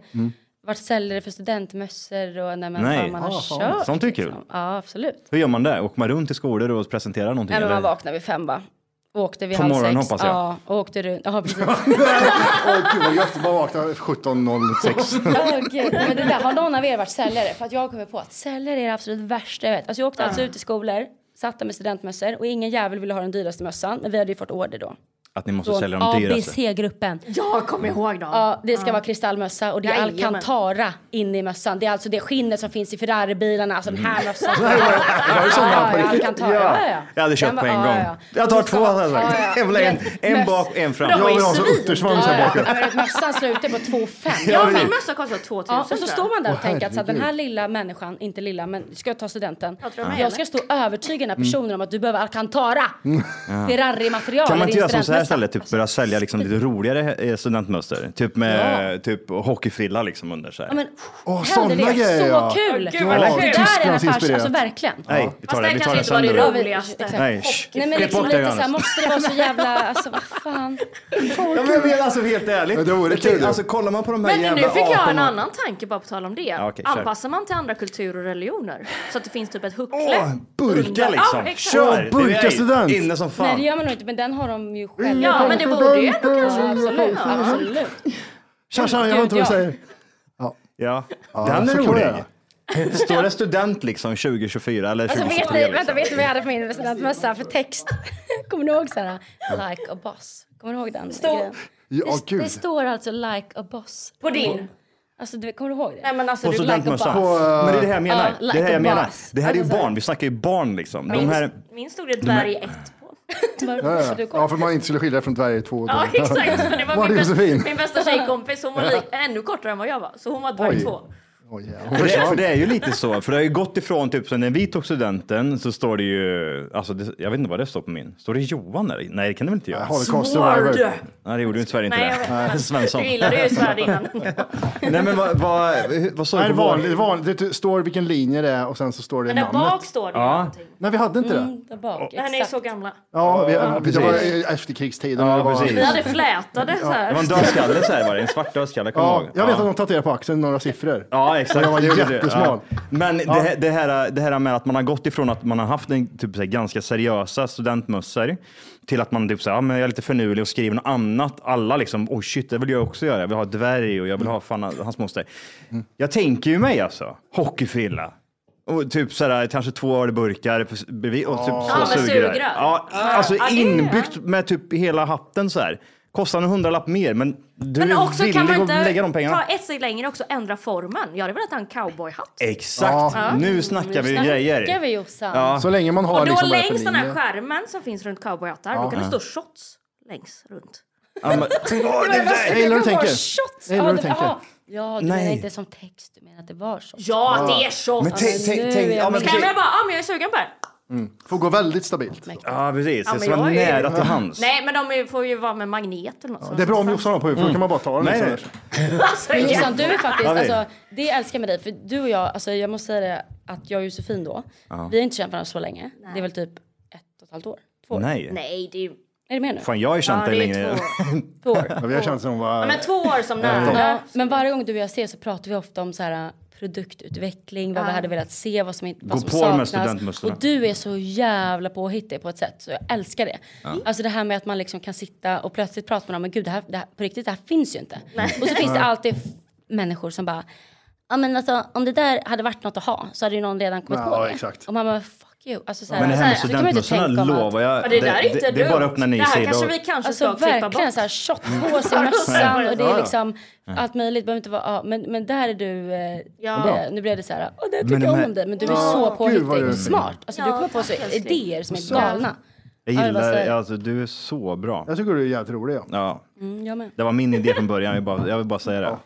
Speaker 3: Varit säljare för studentmössor och när man,
Speaker 2: Nej.
Speaker 3: fan, man har
Speaker 2: Ah, fan.
Speaker 3: kört. liksom.
Speaker 2: Sånt är kul.
Speaker 3: Ja, absolut.
Speaker 2: Hur gör man det? Åker man runt i skolor och presenterar någonting?
Speaker 3: Nej, men man
Speaker 2: eller?
Speaker 3: vaknar vid fem va? Åkte vid
Speaker 2: På
Speaker 3: halv
Speaker 2: morgonen,
Speaker 3: sex.
Speaker 2: hoppas jag.
Speaker 3: Ja, och åkte runt. Ja, precis.
Speaker 1: Åh, gud vad gött. Bara vakna 17.06.
Speaker 3: Ja, gud. Men det där, har någon av er varit säljare? För att jag kommer på att säljare är det absolut värsta jag vet. Alltså jag åkte alltså ut i skolor, satt där med studentmössor och ingen jävel ville ha den dyraste mössan. Men vi hade ju fått order då.
Speaker 2: Att ni måste
Speaker 3: Från
Speaker 2: sälja de dyraste?
Speaker 3: ABC-gruppen.
Speaker 4: Jag kommer ihåg dem.
Speaker 3: Ja, det ska vara kristallmössa och det är
Speaker 4: Jajamän.
Speaker 3: alcantara inne i mössan. Det är alltså det skinnet som finns i Ferraribilarna. Alltså den
Speaker 2: Mm.
Speaker 3: här mössan.
Speaker 1: Var det sådana på riktigt?
Speaker 3: Alcantara. Ja, ja.
Speaker 2: Jag hade köpt
Speaker 3: Den
Speaker 2: på
Speaker 3: var-
Speaker 2: en
Speaker 3: ja,
Speaker 2: gång.
Speaker 3: ja.
Speaker 2: Jag tar
Speaker 3: Du ska
Speaker 2: två,
Speaker 3: ha-
Speaker 2: hade jag sagt.
Speaker 3: ja, ja.
Speaker 2: Jag vill ha en, en
Speaker 3: Möss.
Speaker 2: bak och en fram.
Speaker 1: Jag
Speaker 4: var ju
Speaker 1: vill ha en sån
Speaker 4: svin.
Speaker 1: uttersvans här
Speaker 3: Ja,
Speaker 1: bak.
Speaker 3: ja. Men Mössan slutar på 2,5.
Speaker 4: Ja, min mössa kostar 2000
Speaker 3: Ja, och så står man där och
Speaker 1: Åh,
Speaker 3: tänker att så här, den här
Speaker 1: herregud.
Speaker 3: lilla människan, inte lilla, men ska jag ta studenten?
Speaker 4: Jag tror de är
Speaker 3: Jag ska
Speaker 4: eller?
Speaker 3: stå och övertyga
Speaker 2: Mm.
Speaker 3: den här personen om att du behöver Alcantara. Ferrari-material.
Speaker 2: Kan man
Speaker 3: i din
Speaker 2: inte göra som så här
Speaker 3: studentmössa?
Speaker 2: istället, typ börja sälja liksom lite roligare eh, studentmöster? Typ med typ hockeyfrilla liksom under så här.
Speaker 3: Ja, men,
Speaker 1: Åh,
Speaker 3: händer
Speaker 1: såna
Speaker 3: det?
Speaker 1: grejer,
Speaker 3: Så
Speaker 1: ja.
Speaker 3: kul!
Speaker 4: Åh, gud, vad läckert.
Speaker 3: det där är en
Speaker 1: Tysklands
Speaker 3: affärs... Alltså
Speaker 1: inspirerat.
Speaker 3: verkligen.
Speaker 2: Nej, vi tar
Speaker 4: Fast
Speaker 2: den, vi
Speaker 4: den
Speaker 2: tar
Speaker 4: kanske
Speaker 2: den
Speaker 4: inte var det
Speaker 2: sönder. då.
Speaker 4: roligaste.
Speaker 3: Exakt.
Speaker 2: Nej, shh.
Speaker 3: Nej men
Speaker 2: Klipp
Speaker 3: liksom
Speaker 2: bort den,
Speaker 3: lite såhär,
Speaker 2: Johannes.
Speaker 3: måste det vara så jävla, alltså vad fan.
Speaker 2: Ja, men jag menar alltså helt ärligt.
Speaker 1: Men det vore
Speaker 2: Jag
Speaker 1: kul
Speaker 2: tänker,
Speaker 1: ju.
Speaker 2: Alltså kollar man på de här
Speaker 4: Men
Speaker 2: jävla
Speaker 4: nu fick jag
Speaker 2: 18
Speaker 4: en annan tanke bara på tal om det.
Speaker 2: okej, kör.
Speaker 4: Anpassar man till andra kulturer och religioner så att det finns typ ett huckle.
Speaker 2: Åh, burka
Speaker 4: Under-
Speaker 2: liksom.
Speaker 4: Ja, exakt.
Speaker 2: Kör!
Speaker 1: Åh, burka
Speaker 2: Det är jag
Speaker 1: student.
Speaker 2: Inne som fan.
Speaker 3: Nej det gör man nog inte, men den har de ju själva.
Speaker 4: Ja, men det borde ju ändå kanske...
Speaker 3: Ja, absolut, absolut.
Speaker 1: Tja, tja, jag hör inte vad du
Speaker 3: Gud, ja.
Speaker 1: säger.
Speaker 2: Ja.
Speaker 1: Ja,
Speaker 2: Den
Speaker 1: så
Speaker 2: är
Speaker 1: kan man
Speaker 2: rolig.
Speaker 1: göra.
Speaker 2: Står det student liksom 2024 eller
Speaker 3: Alltså
Speaker 2: 2023?
Speaker 3: vet ni,
Speaker 2: liksom?
Speaker 3: vänta, vet ni vad jag hade på min studentmössa för text? Kommer ni ihåg såhär, like a boss? Kommer ni ihåg den? grejen?
Speaker 1: Ja,
Speaker 3: det,
Speaker 1: gud.
Speaker 3: det står alltså like a boss.
Speaker 4: På din?
Speaker 3: Alltså du, kommer du ihåg det?
Speaker 4: Nej men alltså
Speaker 2: På
Speaker 4: du like a
Speaker 2: studentmössa.
Speaker 4: boss.
Speaker 2: Men det är det här jag menar.
Speaker 3: Ja, like
Speaker 2: det är det här
Speaker 3: a
Speaker 2: jag menar.
Speaker 3: boss.
Speaker 2: Det här är ju
Speaker 3: Alltså, så här-
Speaker 2: barn, vi snackar ju barn liksom. De här...
Speaker 4: Min, min stod det dvärg ett på.
Speaker 3: Varför
Speaker 1: Ja,
Speaker 3: måste
Speaker 1: ja.
Speaker 3: du komma?
Speaker 1: ja, för man inte skulle skilja det från Sverige i två
Speaker 4: Ja,
Speaker 1: dagar.
Speaker 4: exakt. För det var
Speaker 1: Var
Speaker 4: min,
Speaker 1: det Josefin?
Speaker 4: bästa, min bästa tjejkompis, hon var li- ännu kortare än vad jag var. Så hon var dvärg
Speaker 1: Oj.
Speaker 4: två.
Speaker 1: Oj, ja.
Speaker 2: För det, för det är ju lite så, för det har ju gått ifrån typ sen när vi tog studenten så står det ju, alltså det, jag vet inte vad det står på min. Står det Johan där? i? Nej det kan det väl inte göra?
Speaker 1: Har det konstigt att vara över.
Speaker 2: Nej det gjorde ju inte Sverige inte
Speaker 4: Nej, jag
Speaker 2: det.
Speaker 4: vet. Men
Speaker 2: Svensson.
Speaker 4: Du gillade ju svärd innan.
Speaker 2: Nej men vad, vad, vad såg
Speaker 1: Nej,
Speaker 2: du
Speaker 1: det
Speaker 2: på vår?
Speaker 1: vanligt, vanligt. Det står vilken linje det är och sen så står det
Speaker 4: Men där
Speaker 1: namnet.
Speaker 4: bak står det ju någonting.
Speaker 1: Nej, vi hade inte det.
Speaker 3: Mm, där bak,
Speaker 4: Den är
Speaker 3: exakt.
Speaker 4: så gamla.
Speaker 1: Ja, vi, det
Speaker 2: precis.
Speaker 1: var eh, efterkrigstiden.
Speaker 2: Ja,
Speaker 1: när det var,
Speaker 2: precis.
Speaker 4: Vi hade flätade så
Speaker 2: Det var
Speaker 4: här.
Speaker 2: en dödskalle så här var det, en svart dödskalle kommer
Speaker 1: Ja,
Speaker 2: ihåg.
Speaker 1: jag vet att de tatuerade på axeln några siffror.
Speaker 2: Ja, exakt.
Speaker 1: Jag var
Speaker 2: Det gjorde det.
Speaker 1: jättesmal.
Speaker 2: Ja. Men det, här- det, här, det här med att man har gått ifrån att man har haft en, typ, så här, ganska seriösa studentmössor till att man typ så här, ja, men jag är lite förnulig och skriver något annat. Alla liksom, oh shit, det vill jag också göra. Jag vill ha dvärg och jag vill ha fan, hans moster. Jag tänker ju mig alltså, hockeyfrilla. Och typ så här, kanske två ölburkar bredvid och typ
Speaker 4: Ja,
Speaker 2: så
Speaker 4: med
Speaker 2: sugrör.
Speaker 4: sugrör.
Speaker 2: Ja, alltså
Speaker 4: Ja, det är-
Speaker 2: inbyggt med typ hela hatten så här. Kostar en hundralapp mer, men du
Speaker 4: Men också
Speaker 2: är villig
Speaker 4: kan man
Speaker 2: att lägga de
Speaker 4: inte
Speaker 2: pengarna.
Speaker 4: ta ett steg längre också ändra formen. Jag hade velat ha en cowboyhatt.
Speaker 2: Exakt, nu snackar vi grejer.
Speaker 3: Snackar vi Jossan?
Speaker 1: Så länge man har
Speaker 4: Och då
Speaker 1: liksom vad det är för
Speaker 4: längs den här
Speaker 1: linje.
Speaker 4: skärmen som finns runt cowboyhattar, då kan det stå shots längs runt.
Speaker 2: Ja, men- Åh, det
Speaker 3: Vad
Speaker 2: där-
Speaker 1: Jag gillar hur du
Speaker 3: det var
Speaker 1: tänker.
Speaker 3: shots.
Speaker 1: Jag gillar
Speaker 3: Ja,
Speaker 1: hur du
Speaker 3: det-
Speaker 1: tänker.
Speaker 3: ja. Ja, du menar
Speaker 2: Nej.
Speaker 3: inte som text, du menar att det var shots.
Speaker 4: Ja, det är
Speaker 2: Men
Speaker 4: shots!
Speaker 2: tänk, tänk,
Speaker 3: nu
Speaker 2: tänk.
Speaker 3: är
Speaker 2: Ja,
Speaker 3: jag
Speaker 2: men
Speaker 3: med.
Speaker 4: Kan
Speaker 2: tänk.
Speaker 4: jag bara, ah, men jag är sugen på det. här.
Speaker 1: Får gå väldigt stabilt.
Speaker 2: Ja, precis.
Speaker 4: Ja, men
Speaker 2: det ska vara
Speaker 4: jag är-
Speaker 2: nära till hands.
Speaker 4: Nej, men de är- får ju vara med magnet eller något sånt.
Speaker 1: Det är bra om Jossan har på huvudet, då kan man bara ta den.
Speaker 2: Mm. Nej,
Speaker 1: liksom.
Speaker 2: nej.
Speaker 4: Alltså,
Speaker 3: Men
Speaker 4: ja.
Speaker 3: Jossan, du är faktiskt,
Speaker 2: Ja, vi.
Speaker 3: alltså, det älskar jag med dig. För du och jag, alltså, jag måste säga det att jag och Josefin då, vi har inte känt varandra så länge. Det är väl typ ett och ett halvt år? Två år?
Speaker 2: Nej.
Speaker 4: Nej, det är ju...
Speaker 3: Är du med nu?
Speaker 2: Fan, jag har ju känt
Speaker 4: Ja,
Speaker 2: dig
Speaker 4: det är
Speaker 2: längre.
Speaker 4: två år.
Speaker 3: Två år.
Speaker 1: Ja, vi har känt som var...
Speaker 4: Ja, men två år som
Speaker 3: Ja,
Speaker 4: nära.
Speaker 3: men varje gång du och jag ses så pratar vi ofta om så här, äh, produktutveckling, vad vi hade velat se, vad som, inte- vad
Speaker 2: Gå
Speaker 3: som
Speaker 2: på de här
Speaker 3: saknas.
Speaker 2: studentmössorna.
Speaker 3: Och du är så jävla påhittig på ett sätt, så jag älskar det. Alltså det här med att man liksom kan sitta och plötsligt prata med någon, men gud det här, det här, på riktigt, det här finns ju inte. Och så finns det alltid f- människor som bara, ja men alltså om det där hade varit något att ha så hade ju någon redan kommit
Speaker 1: Ja,
Speaker 3: på det.
Speaker 1: exakt.
Speaker 3: Och man bara, fuck you. Alltså, så här,
Speaker 2: Men det här med
Speaker 3: så här, det kan man ju inte
Speaker 2: studentmössorna
Speaker 3: tänka om att-
Speaker 2: lovar jag.
Speaker 4: Ja, det där är inte
Speaker 2: det, det är
Speaker 4: dumt.
Speaker 2: bara att öppna en ny
Speaker 4: Det här
Speaker 2: sida.
Speaker 4: kanske
Speaker 2: och-
Speaker 4: vi kanske
Speaker 3: Alltså
Speaker 4: ska klippa
Speaker 3: verkligen
Speaker 4: bort.
Speaker 3: såhär shortpåse, mössan och det är liksom allt möjligt. Behöver inte vara, ja, men, men där är du, eh,
Speaker 4: Ja.
Speaker 3: eh, nu blev det såhär, åh det tycker
Speaker 2: de
Speaker 3: jag om
Speaker 2: här-
Speaker 3: om dig. Men du är så
Speaker 1: Gud, vad
Speaker 3: påhittig
Speaker 1: du är
Speaker 3: och smart. Alltså du
Speaker 4: Ja,
Speaker 3: kommer på så
Speaker 4: tack, älskling.
Speaker 3: idéer som är galna.
Speaker 2: Jag
Speaker 3: Ja, jag bara
Speaker 2: gillar
Speaker 3: säger.
Speaker 2: dig. Alltså, du är så bra.
Speaker 1: Jag tycker du är jävligt rolig. Ja.
Speaker 2: Ja,
Speaker 3: Mm, jag med.
Speaker 2: det var min idé från början. Jag vill bara, jag vill bara säga det.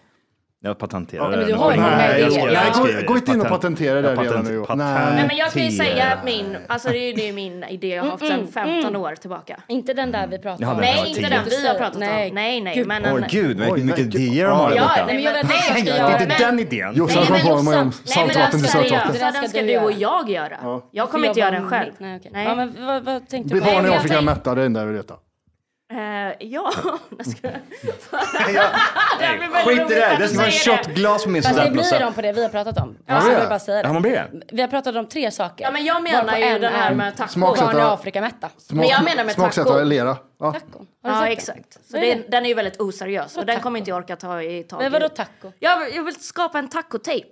Speaker 2: Jag patenterar
Speaker 3: men
Speaker 2: det.
Speaker 3: du har ju
Speaker 2: Nej,
Speaker 3: många
Speaker 2: jag
Speaker 3: idéer.
Speaker 2: skojar.
Speaker 3: Ja.
Speaker 2: Jag
Speaker 1: Gå-
Speaker 2: skriver
Speaker 1: gå inte in och
Speaker 2: patent-
Speaker 1: patentera det
Speaker 2: jag
Speaker 1: redan
Speaker 2: patent-
Speaker 1: nu, Johan.
Speaker 2: patent-
Speaker 1: Nej,
Speaker 4: Men jag kan ju säga att min, alltså det är ju det är min idé jag har haft sedan 15 år tillbaka.
Speaker 3: Inte den där vi pratade om.
Speaker 2: men
Speaker 4: Nej,
Speaker 2: var
Speaker 4: inte
Speaker 2: tio.
Speaker 4: den vi har pratat om. Nej, nej,
Speaker 3: Gud.
Speaker 4: men
Speaker 2: Åh
Speaker 4: en...
Speaker 2: gud, vad
Speaker 1: Oj,
Speaker 2: mycket
Speaker 1: nej, gud.
Speaker 2: idéer de har
Speaker 1: Ja,
Speaker 2: där
Speaker 1: ja,
Speaker 2: borta.
Speaker 3: Nej, men jag vet
Speaker 4: Nej,
Speaker 3: inte vad jag ska
Speaker 4: men-
Speaker 2: Det är
Speaker 3: göra.
Speaker 2: inte den idén.
Speaker 1: Jossan kom
Speaker 4: men
Speaker 1: på mig
Speaker 3: Jossan-
Speaker 1: om
Speaker 3: nej, men
Speaker 4: Nej, men den
Speaker 1: saltvatten till
Speaker 4: ska, jag,
Speaker 1: sötvatten.
Speaker 3: Det där
Speaker 4: den
Speaker 3: ska
Speaker 4: ska
Speaker 3: du
Speaker 4: du och
Speaker 3: göra.
Speaker 4: jag göra. Jag kommer
Speaker 3: För
Speaker 4: inte
Speaker 3: jag
Speaker 4: göra den
Speaker 3: var-
Speaker 4: själv.
Speaker 3: Nej, okej.
Speaker 4: Nej.
Speaker 3: Ja, men vad, vad tänkte
Speaker 1: Blir
Speaker 3: du? på?
Speaker 1: barnen i
Speaker 4: jag
Speaker 1: Afrika
Speaker 4: tänk-
Speaker 1: mätta, det är det enda jag vill veta.
Speaker 4: Eh, ja, jag ska...
Speaker 2: Skit i det, här. det ska vara en shotglas på min
Speaker 3: Fast det blir
Speaker 2: studentmössa.
Speaker 3: de på det vi har pratat om. Alltså, jag vill bara säga det.
Speaker 2: Ja, man blir det.
Speaker 3: Vi har pratat om tre saker.
Speaker 4: Ja, men jag menar
Speaker 3: Varpå
Speaker 4: ju
Speaker 3: en
Speaker 4: den här
Speaker 3: är
Speaker 4: med taco.
Speaker 1: Smak-
Speaker 3: Barn i
Speaker 1: Fortsätta.
Speaker 3: Afrika-mätta.
Speaker 4: Men jag menar med taco.
Speaker 1: Smaksättare, lera. Ja.
Speaker 3: Taco. Har du
Speaker 4: Ja,
Speaker 3: sett den?
Speaker 4: exakt. Så den, den är ju väldigt oseriös och den kommer inte jag orka ta i tag i.
Speaker 3: Men vadå taco?
Speaker 4: Jag, vill- jag vill skapa en tacotejp.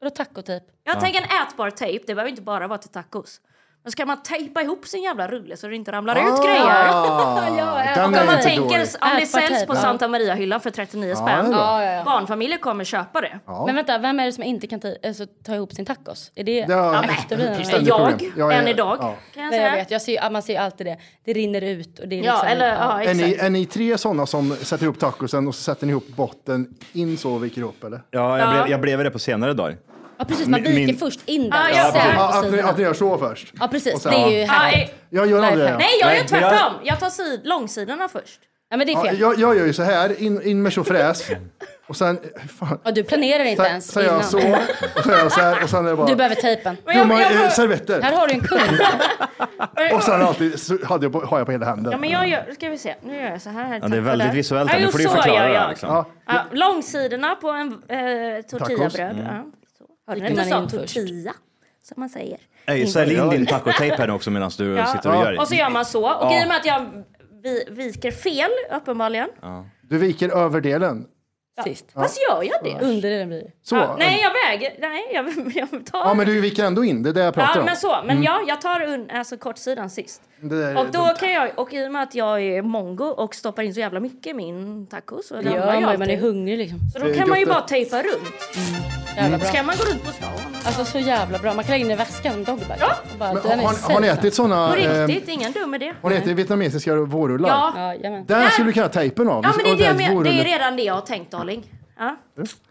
Speaker 3: Vadå tacotejp?
Speaker 4: Jag tänker en ätbar tejp, det behöver inte bara vara till tacos. Men ska man tejpa ihop sin jävla rulle så det inte ramlar
Speaker 3: Ah.
Speaker 4: ut grejer?
Speaker 1: Ah. Den
Speaker 4: Om man
Speaker 1: är inte
Speaker 4: tänker
Speaker 1: dålig.
Speaker 4: s- om det
Speaker 3: Ätbar
Speaker 4: säljs
Speaker 3: tejp,
Speaker 4: på
Speaker 3: ja.
Speaker 4: Santa Maria-hyllan för 39
Speaker 1: det
Speaker 4: spänn,
Speaker 1: är bra.
Speaker 3: Ja, ja, ja.
Speaker 4: barnfamiljer kommer köpa det.
Speaker 3: Men vänta, vem är det som inte kan ta, alltså, ta ihop sin tacos? Är det
Speaker 1: Ja,
Speaker 3: efterbliven?
Speaker 1: ständigt
Speaker 3: Nej,
Speaker 4: Jag,
Speaker 1: problem. Ja, ja,
Speaker 4: än
Speaker 1: ja.
Speaker 4: idag,
Speaker 1: Ja.
Speaker 4: kan jag
Speaker 3: Nej,
Speaker 4: säga.
Speaker 3: jag vet. Jag ser, ju- man ser ju alltid det. Det rinner ut och det är
Speaker 4: Ja,
Speaker 3: liksom...
Speaker 4: eller ja,
Speaker 1: Är
Speaker 4: exakt.
Speaker 1: ni, är ni tre sådana som sätter ihop tacosen och så sätter ni ihop botten in så och viker ihop eller?
Speaker 2: Ja, jag blev, jag blev det på senare dagar.
Speaker 3: ja, precis. Man
Speaker 2: Min-
Speaker 3: viker
Speaker 2: min-
Speaker 3: först in den.
Speaker 4: Ja,
Speaker 3: och
Speaker 4: ja,
Speaker 3: så
Speaker 4: precis.
Speaker 3: här på
Speaker 1: Ja, att, ni,
Speaker 3: sidorna.
Speaker 1: att ni gör så först?
Speaker 3: Ja, precis.
Speaker 1: Och sen-
Speaker 3: Det är ju
Speaker 1: Ja.
Speaker 3: härligt.
Speaker 1: Jag gör aldrig det.
Speaker 4: Nej, jag gör
Speaker 2: Nej, men jag-
Speaker 4: tvärtom. Jag tar sid- långsidorna först.
Speaker 3: Ja, men det är
Speaker 1: Ja,
Speaker 3: fel.
Speaker 1: jag, jag gör ju så här, in, in med tjofräs
Speaker 2: Mm.
Speaker 1: och sen, fan,
Speaker 3: Ja, du planerar inte
Speaker 1: sen,
Speaker 3: ens
Speaker 1: sen gör jag så
Speaker 3: innan.
Speaker 1: och sen gör jag så här och sen är det bara...
Speaker 3: Du behöver tejpen.
Speaker 4: Men
Speaker 1: Jo,
Speaker 4: jag,
Speaker 1: man,
Speaker 4: jag,
Speaker 1: eh,
Speaker 4: jag,
Speaker 1: servetter.
Speaker 3: Här har du en kund.
Speaker 1: Och sen alltid, så hade jag på, har jag på hela handen.
Speaker 4: ja, men jag gör, ska vi se, nu gör jag så här.
Speaker 2: Ja, det är väldigt visuellt. här.
Speaker 4: Ja,
Speaker 2: Nu
Speaker 4: jo,
Speaker 2: får du ju
Speaker 4: så
Speaker 2: förklara
Speaker 4: gör
Speaker 2: det här.
Speaker 4: jag.
Speaker 2: Liksom.
Speaker 1: Ja.
Speaker 4: Ja, långsidorna på en eh, tortillabröd. Ja, så. Hörde ni
Speaker 3: Vilken
Speaker 4: inte
Speaker 3: man in
Speaker 4: så?
Speaker 3: först.
Speaker 4: Tortilla, som man säger.
Speaker 2: Hey, sälj in din tacotejp här nu också medan du sitter och gör det.
Speaker 4: Och så gör man så. Och i och med att jag vi, viker fel, uppenbarligen.
Speaker 1: Du viker överdelen.
Speaker 3: Sist.
Speaker 4: Fast gör jag det?
Speaker 3: Under den blir det.
Speaker 1: Så.
Speaker 4: Ja, nej, jag väger. Nej, jag, jag tar...
Speaker 1: Ja, men du viker ändå in. Det är det jag pratar
Speaker 4: ja,
Speaker 1: om. Mm.
Speaker 4: men så. Men ja, jag tar un, alltså, kortsidan sist.
Speaker 1: Det där är
Speaker 4: Och då
Speaker 1: dumt.
Speaker 4: kan jag, och i och med att jag är mongo och stoppar in så jävla mycket i min tacos. Och
Speaker 3: Det gör man ju. Man är
Speaker 4: alltid.
Speaker 3: hungrig liksom.
Speaker 4: Så då kan man ju
Speaker 1: gött det.
Speaker 4: bara tejpa runt.
Speaker 1: Mm.
Speaker 3: Jävla bra.
Speaker 4: Ska man gå runt på stan?
Speaker 3: Alltså så jävla bra. Man kan lägga in i väskan som dogbag.
Speaker 4: Ja.
Speaker 3: Och bara,
Speaker 1: Men
Speaker 3: den är
Speaker 1: har, har ni
Speaker 3: safe.
Speaker 1: ätit sådana?
Speaker 4: På
Speaker 1: eh,
Speaker 4: riktigt, ingen dum idé.
Speaker 1: Har ni ätit vietnamesiska vårrullar?
Speaker 4: Ja.
Speaker 3: Ja, jajamän.
Speaker 1: Där skulle du kunna ha tejpen av.
Speaker 4: Ja, men det är, det, jag menar. det är
Speaker 1: vårrulle-
Speaker 4: redan det jag har tänkt, darling. Ja.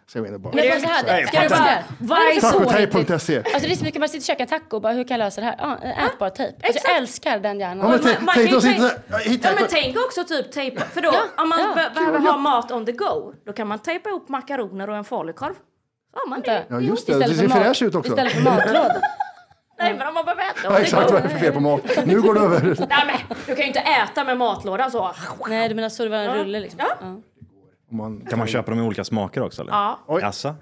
Speaker 1: Ska jag gå in och bara-
Speaker 6: Men bara så här, ska du bara...
Speaker 4: Vad är så?
Speaker 1: Tacotejp.se.
Speaker 3: Alltså det är så mycket, man sitter i köket, taco och bara hur kan jag lösa det här? Ja, ät bara tejp. Alltså, jag älskar den
Speaker 1: Ja,
Speaker 3: hjärnan.
Speaker 1: men
Speaker 4: man-
Speaker 1: tänk-
Speaker 4: man kan
Speaker 1: tänk
Speaker 4: ju
Speaker 1: oss inte
Speaker 4: tänk-
Speaker 1: så här, hitta-
Speaker 4: Ja, men tänk också typ tejpa. För då, om man be- behöver ha mat on the go, då kan man tejpa ihop makaroner och en falukorv. Så har man det.
Speaker 1: Ja, just det. Det ser
Speaker 3: för
Speaker 1: fräscht ut också.
Speaker 3: Istället för matlåda.
Speaker 4: Nej, men om man behöver äta
Speaker 1: Ja,
Speaker 4: on the
Speaker 1: exakt
Speaker 4: go.
Speaker 1: vad är det för fel på mat? Nu går det över.
Speaker 4: Nej, men, du kan ju inte äta med matlådan så.
Speaker 3: Nej, du menar så det var en rulle liksom.
Speaker 4: Ja.
Speaker 3: Ja.
Speaker 1: Man,
Speaker 2: Kan man köpa dem i olika smaker också eller?
Speaker 4: Ja.
Speaker 1: Oj.
Speaker 2: Jassa?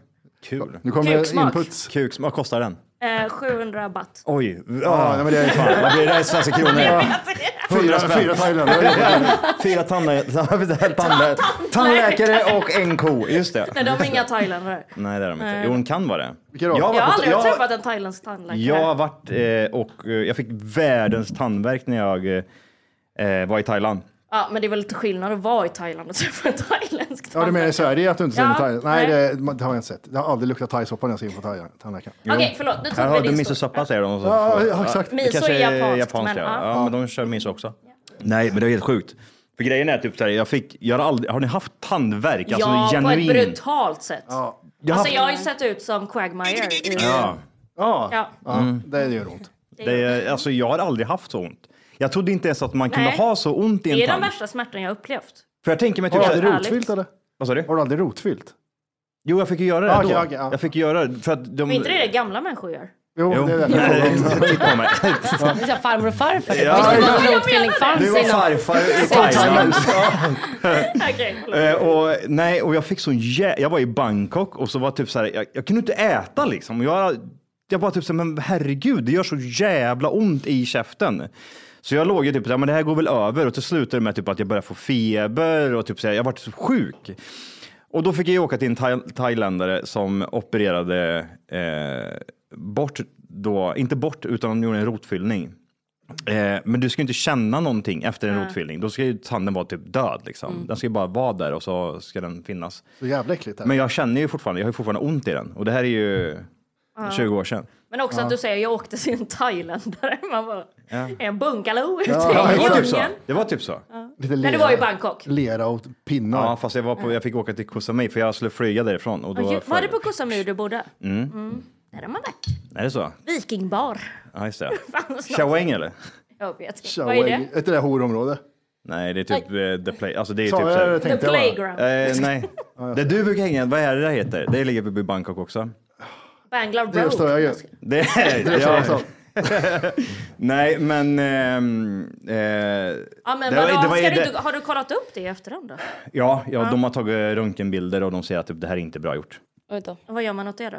Speaker 2: Kul.
Speaker 1: nu kommer
Speaker 4: Kuksmak.
Speaker 1: inputs.
Speaker 2: Kuksmak, vad kostar den?
Speaker 4: Eh, 700 baht.
Speaker 2: Oj,
Speaker 1: Ja,
Speaker 2: ah,
Speaker 1: nej, men det är fan.
Speaker 2: fan, vad blir det i svenska kronor?
Speaker 1: Fyra,
Speaker 2: spänn.
Speaker 1: fyra thailändare.
Speaker 2: Fyra tandlä- tandlä- tandläkare och en ko, just det.
Speaker 4: Nej, de är inga thailändare.
Speaker 2: Nej det är de inte. Jo, hon kan vara det.
Speaker 1: Vilka då?
Speaker 2: har
Speaker 4: Jag har
Speaker 2: varit-
Speaker 4: aldrig
Speaker 2: jag-
Speaker 4: träffat en thailändsk tandläkare.
Speaker 2: Jag har varit eh, och eh, jag fick världens tandvärk när jag eh, var i Thailand.
Speaker 4: Ja, men det är väl lite skillnad att vara i Thailand och träffa en thailändsk
Speaker 1: Ja, du menar
Speaker 4: tandläkare.
Speaker 1: i Sverige att du inte ser
Speaker 4: Ja,
Speaker 1: ja, thailändare? Nej,
Speaker 4: nej.
Speaker 1: det, det har jag inte sett. Jag har aldrig luktat thaisoppa när jag ser in på thai- tandläkaren.
Speaker 4: Okej, förlåt. Nu
Speaker 2: Här
Speaker 4: tog
Speaker 2: har
Speaker 4: vi
Speaker 2: du
Speaker 4: din
Speaker 2: misosoppa säger de. och så-
Speaker 1: Ja, ja, exakt.
Speaker 2: Det
Speaker 4: Miso
Speaker 2: kanske
Speaker 4: är japanskt, men,
Speaker 2: ja.
Speaker 4: ja.
Speaker 2: ja. men de kör miso också. Nej, men det är helt sjukt. För grejen är typ så här, jag fick, jag har aldrig, har ni haft tandvärk? Alltså
Speaker 4: Ja,
Speaker 2: genuin.
Speaker 4: på ett brutalt sätt.
Speaker 2: Jag har
Speaker 4: Alltså
Speaker 2: haft-
Speaker 4: jag har ju sett ut som Quagmire. I,
Speaker 2: Ja.
Speaker 1: Ja, Mm.
Speaker 4: Ja.
Speaker 1: ja det gör ont.
Speaker 2: Det är, alltså jag har aldrig haft så ont. Jag trodde inte ens att man kunde
Speaker 4: Nej.
Speaker 2: ha så ont i en
Speaker 4: Det är de
Speaker 2: tand.
Speaker 4: värsta smärtorna jag har upplevt.
Speaker 2: För jag tänker mig
Speaker 1: Har
Speaker 2: typ...
Speaker 1: du
Speaker 2: så
Speaker 1: aldrig
Speaker 2: här-
Speaker 4: Ärligt.
Speaker 1: rotfyllt eller?
Speaker 2: Vad sa du?
Speaker 1: Har du aldrig rotfyllt?
Speaker 2: Jo, jag fick ju göra det
Speaker 1: Ah,
Speaker 2: då.
Speaker 1: okej, okej, ja.
Speaker 2: Jag fick göra det för att de...
Speaker 4: Men inte det det gamla människor gör?
Speaker 1: Jo,
Speaker 2: Jo.
Speaker 1: det är därför jag
Speaker 2: Nej,
Speaker 1: frågar om-
Speaker 2: titta på mig.
Speaker 3: Det är så här farmor och farfar.
Speaker 2: Ja,
Speaker 3: Visst
Speaker 2: ja,
Speaker 3: var det rotfyllning
Speaker 2: Du
Speaker 3: fanns
Speaker 2: var
Speaker 3: inom...
Speaker 2: farfar i Thailand.
Speaker 4: Okej, förlåt.
Speaker 2: Eh, och, nej, och jag fick sån jä... Jag var i Bangkok och så var typ så här, jag, jag kunde inte äta liksom. Och Jag, jag bara typ så här, men herregud, det gör så jävla ont i käften. Så jag låg ju typ så här, men det här går väl över. Och till slut är det med typ att jag började få feber och typ så här, jag vart så sjuk. Och då fick jag ju åka till en thai thailändare som opererade eh, bort då, inte bort, utan de gjorde en rotfyllning. Eh, men du ska ju inte känna någonting efter en rotfyllning. Då ska ju tanden vara typ död liksom.
Speaker 4: Mm.
Speaker 2: Den ska ju bara vara där och så ska den finnas.
Speaker 1: Så jävla äckligt. Här.
Speaker 2: Men jag känner ju fortfarande, jag har ju fortfarande ont i den. Och det här är ju 20 år sedan.
Speaker 4: Men också att du säger jag åkte till en thailändare. Man bara, en bungalow ute
Speaker 2: Det
Speaker 4: i
Speaker 2: var typ så.
Speaker 4: djungeln.
Speaker 2: Det var typ så.
Speaker 1: Lite
Speaker 4: Men du
Speaker 1: lera-
Speaker 4: var i Bangkok.
Speaker 1: Lera och pinnar.
Speaker 2: Ja, fast jag, var på, jag fick åka till Koh Samui för jag skulle flyga därifrån. Och då
Speaker 4: Var,
Speaker 2: för-
Speaker 4: det på Koh Samui du bodde? Mm. Där är man där.
Speaker 2: Är det så?
Speaker 4: Vikingbar.
Speaker 2: Ja, just det. Chaweng eller?
Speaker 4: Jag vet inte. Vad
Speaker 1: Shaway.
Speaker 4: är det?
Speaker 1: Är inte det horområde?
Speaker 2: Nej, det är typ eh, the play. Alltså det är
Speaker 1: Sa
Speaker 2: typ
Speaker 1: jag
Speaker 2: så här-
Speaker 1: det
Speaker 4: The
Speaker 1: tänkte jag bara.
Speaker 4: playground.
Speaker 2: Eh, nej. Där du brukar hänga, vad är det det heter? Det ligger uppe i Bangkok också.
Speaker 4: Bangla Road.
Speaker 1: Det är just det, jag-
Speaker 2: Det är,
Speaker 1: det är så-
Speaker 2: ja, nej, men... ehm, eh,
Speaker 4: Ja, men
Speaker 2: det var-
Speaker 4: vadå,
Speaker 2: det var-
Speaker 4: ska
Speaker 2: det-
Speaker 4: du, inte- har du kollat upp det i efterhand då?
Speaker 2: ja, ja, de har tagit röntgenbilder och de säger att typ, det här är inte bra gjort.
Speaker 3: Oj då.
Speaker 4: Vad gör man åt det då?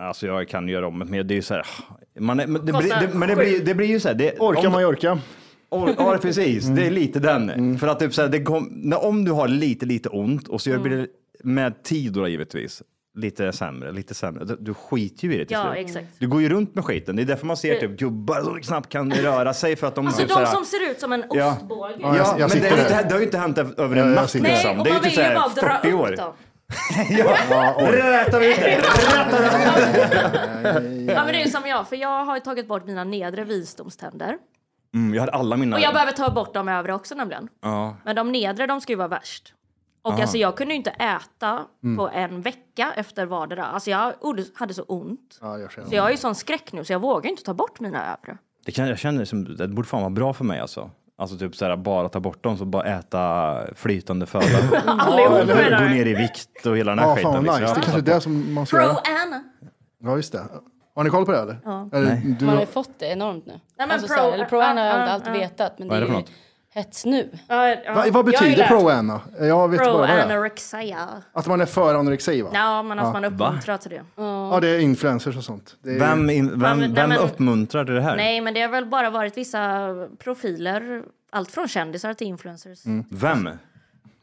Speaker 2: Alltså jag kan göra om det, men det är ju så här... Man är, men det, blir,
Speaker 4: Kostar
Speaker 2: det, men det, blir, det blir ju så här... Det,
Speaker 1: Orkar
Speaker 2: om-
Speaker 1: Mallorca. Mm.
Speaker 2: Or, ja, precis. Det är lite den. För att typ så här, det kom, när, om du har lite, lite ont och så
Speaker 4: Mm.
Speaker 2: gör blir det med tid då givetvis lite sämre, lite sämre. Du- Du skiter ju i det till
Speaker 4: Ja,
Speaker 2: slut.
Speaker 4: exakt.
Speaker 2: Du går ju runt med skiten. Det är därför man ser typ gubbar som knappt kan röra sig för att de...
Speaker 4: Alltså
Speaker 2: typ
Speaker 4: de
Speaker 2: så här-
Speaker 4: som ser ut som en
Speaker 2: Ja.
Speaker 4: ostbåge.
Speaker 2: Ja, men
Speaker 1: jag
Speaker 2: det,
Speaker 1: sitter
Speaker 2: är inte,
Speaker 1: där.
Speaker 2: det har ju inte hänt över en
Speaker 1: jag
Speaker 2: natt
Speaker 1: sitter där.
Speaker 4: Nej,
Speaker 2: liksom.
Speaker 4: och
Speaker 2: Det är ju
Speaker 4: man
Speaker 2: typ
Speaker 4: vill
Speaker 2: så
Speaker 4: ju
Speaker 2: här
Speaker 4: bara dra
Speaker 2: 40 år.
Speaker 4: upp dem.
Speaker 2: Rätar vi ut det?
Speaker 4: Ja, men det är ju som jag, för jag har ju tagit bort mina nedre visdomständer.
Speaker 2: Mm, jag hade alla mina...
Speaker 4: Och jag behöver ta bort de övre också nämligen.
Speaker 2: ja.
Speaker 4: Men de nedre, de ska ju vara värst. Och alltså jag kunde ju inte äta
Speaker 1: Mm.
Speaker 4: på en vecka efter vardera. Alltså jag hade så ont.
Speaker 1: Ja, jag känner.
Speaker 4: Så jag har ju sån skräck nu så jag vågar ju inte ta bort mina övre.
Speaker 2: det kan, jag känner som, det borde fan vara bra för mig alltså. Alltså typ så här, bara ta bort dem, så bara äta flytande föda.
Speaker 4: Allihop
Speaker 2: Eller hur? Gå
Speaker 4: menar
Speaker 2: ner i vikt och hela den här
Speaker 1: Ja,
Speaker 2: skiten.
Speaker 1: fan vad
Speaker 2: liksom.
Speaker 1: nice. Det kanske är det som man ska göra.
Speaker 4: Pro-Anna.
Speaker 1: Ja, just det. Har ni koll på det eller? eller
Speaker 3: Man har ju
Speaker 1: du,
Speaker 3: fått det enormt nu.
Speaker 4: men
Speaker 3: alltså,
Speaker 4: pro-
Speaker 3: så här, eller proan har
Speaker 4: ah,
Speaker 3: jag inte
Speaker 4: ah,
Speaker 3: alltid
Speaker 4: ah.
Speaker 3: vetat, men det
Speaker 2: Vad
Speaker 3: är
Speaker 2: är det för
Speaker 3: ju
Speaker 2: något?
Speaker 3: hets nu.
Speaker 1: vad, vad betyder pro-anna? Jag vet bara vad det är.
Speaker 4: Pro-anorexia.
Speaker 1: Att man är för anorexi va?
Speaker 4: Ja, men att man uppmuntrar till det.
Speaker 1: Ja, det är influencers och sånt. Det är,
Speaker 2: Vem, in,
Speaker 4: Ja,
Speaker 2: vem,
Speaker 4: men-
Speaker 2: vem
Speaker 4: nej, men-
Speaker 2: uppmuntrar till det här?
Speaker 4: Nej, men det har väl bara varit vissa profiler. Allt från kändisar till influencers.
Speaker 2: Mm. Vem?
Speaker 1: Mm.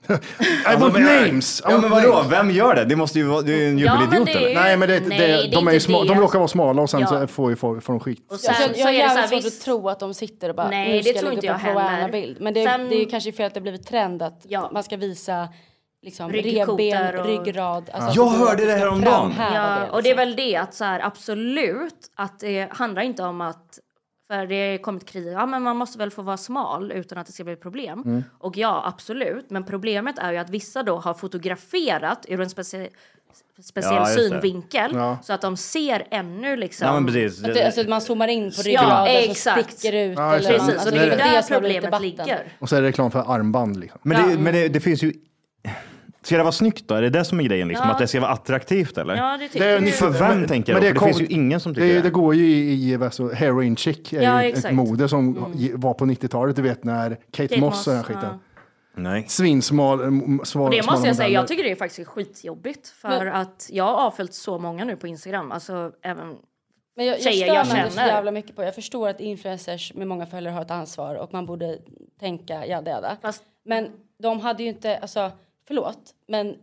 Speaker 1: I want
Speaker 2: men-
Speaker 1: names! I
Speaker 2: Ja, men
Speaker 1: want
Speaker 2: vadå?
Speaker 1: names.
Speaker 2: Vem gör det? Det måste ju vara, du är ju en
Speaker 4: Ja, men
Speaker 2: jubelidiot
Speaker 4: det är ju-
Speaker 2: eller?
Speaker 1: Nej, men det,
Speaker 4: Nej, det
Speaker 1: det,
Speaker 4: är
Speaker 1: de, är ju
Speaker 4: inte
Speaker 1: sma,
Speaker 4: det.
Speaker 1: de råkar vara smala och sen
Speaker 4: Ja.
Speaker 1: så får, får, får de skit.
Speaker 4: Och sen
Speaker 3: Alltså,
Speaker 4: så
Speaker 3: jag har
Speaker 4: är det så här,
Speaker 3: jävligt svårt
Speaker 4: visst,
Speaker 3: att tro att de sitter och bara
Speaker 4: Nej,
Speaker 3: nu
Speaker 4: det
Speaker 3: ska jag
Speaker 4: tror
Speaker 3: lägga
Speaker 4: inte
Speaker 3: på
Speaker 4: jag
Speaker 3: pro- och
Speaker 4: heller.
Speaker 3: Anna-bild. Men det,
Speaker 4: Sen-
Speaker 3: det är ju kanske fel att det har blivit trend att
Speaker 4: Ja.
Speaker 3: man ska visa liksom,
Speaker 4: Ryggkotor
Speaker 3: revben,
Speaker 4: och-
Speaker 3: ryggrad. Alltså,
Speaker 2: Jag
Speaker 3: att det går
Speaker 2: hörde
Speaker 3: att
Speaker 2: det här om dagen.
Speaker 3: framhäva
Speaker 4: Ja, och det är
Speaker 3: liksom.
Speaker 4: väl det att så här, absolut att det handlar inte om att för det har kommit krig, ja men man måste väl få vara smal utan att det ska bli problem.
Speaker 1: Mm.
Speaker 3: Mm.
Speaker 4: Och ja, absolut, men problemet är ju att vissa då har fotograferat ur en specie, speciell
Speaker 2: Ja, just det.
Speaker 4: synvinkel
Speaker 1: Ja.
Speaker 4: så att de ser ännu liksom.
Speaker 2: Ja, men precis.
Speaker 3: Att det, alltså, att man zoomar in på
Speaker 4: Ja,
Speaker 3: ryggraden så
Speaker 4: exakt.
Speaker 3: sticker ut.
Speaker 1: Ja,
Speaker 3: eller,
Speaker 1: exakt.
Speaker 4: Precis,
Speaker 3: alltså,
Speaker 4: och det är ju
Speaker 3: väl
Speaker 4: där
Speaker 3: som har blivit
Speaker 4: problemet
Speaker 3: debatten.
Speaker 4: ligger.
Speaker 1: Och så är det reklam för armband liksom.
Speaker 2: Men, det,
Speaker 4: Ja.
Speaker 2: men det, det finns ju... Ska det vara snyggt då? Är det det som är grejen? Liksom?
Speaker 4: Ja.
Speaker 2: Att det ska vara attraktivt eller?
Speaker 4: Ja, det
Speaker 1: Det
Speaker 4: tycker
Speaker 1: är
Speaker 4: jag.
Speaker 1: en-
Speaker 2: För vem
Speaker 1: Men-
Speaker 2: tänker
Speaker 1: men
Speaker 2: jag
Speaker 1: det
Speaker 2: då? För det
Speaker 1: kom-
Speaker 2: finns ju ingen som tycker
Speaker 1: Det,
Speaker 2: det.
Speaker 1: det går ju i, i alltså, heroin chic, är
Speaker 4: Ja,
Speaker 1: ju ett- ett
Speaker 4: exakt. Mm.
Speaker 1: mode som ge- var på 90-talet, du vet när Kate,
Speaker 4: Kate
Speaker 1: Moss och den
Speaker 4: Moss,
Speaker 1: skiten.
Speaker 4: ja.
Speaker 2: Nej.
Speaker 1: Svinsmal, m- m- sval,
Speaker 4: Och det
Speaker 1: smala
Speaker 4: måste jag säga,
Speaker 1: modeller.
Speaker 4: jag tycker det är faktiskt skitjobbigt för
Speaker 3: Men-
Speaker 4: att jag har avföljt så många nu på Instagram, alltså även
Speaker 3: Men jag, jag
Speaker 4: Tjejer
Speaker 3: stör
Speaker 4: jag
Speaker 3: mig så
Speaker 4: känner.
Speaker 3: jävla mycket på. Jag förstår att influencers med många följare har ett ansvar och man borde tänka jada jada.
Speaker 4: Fast-
Speaker 3: Men de hade ju inte, alltså förlåt, men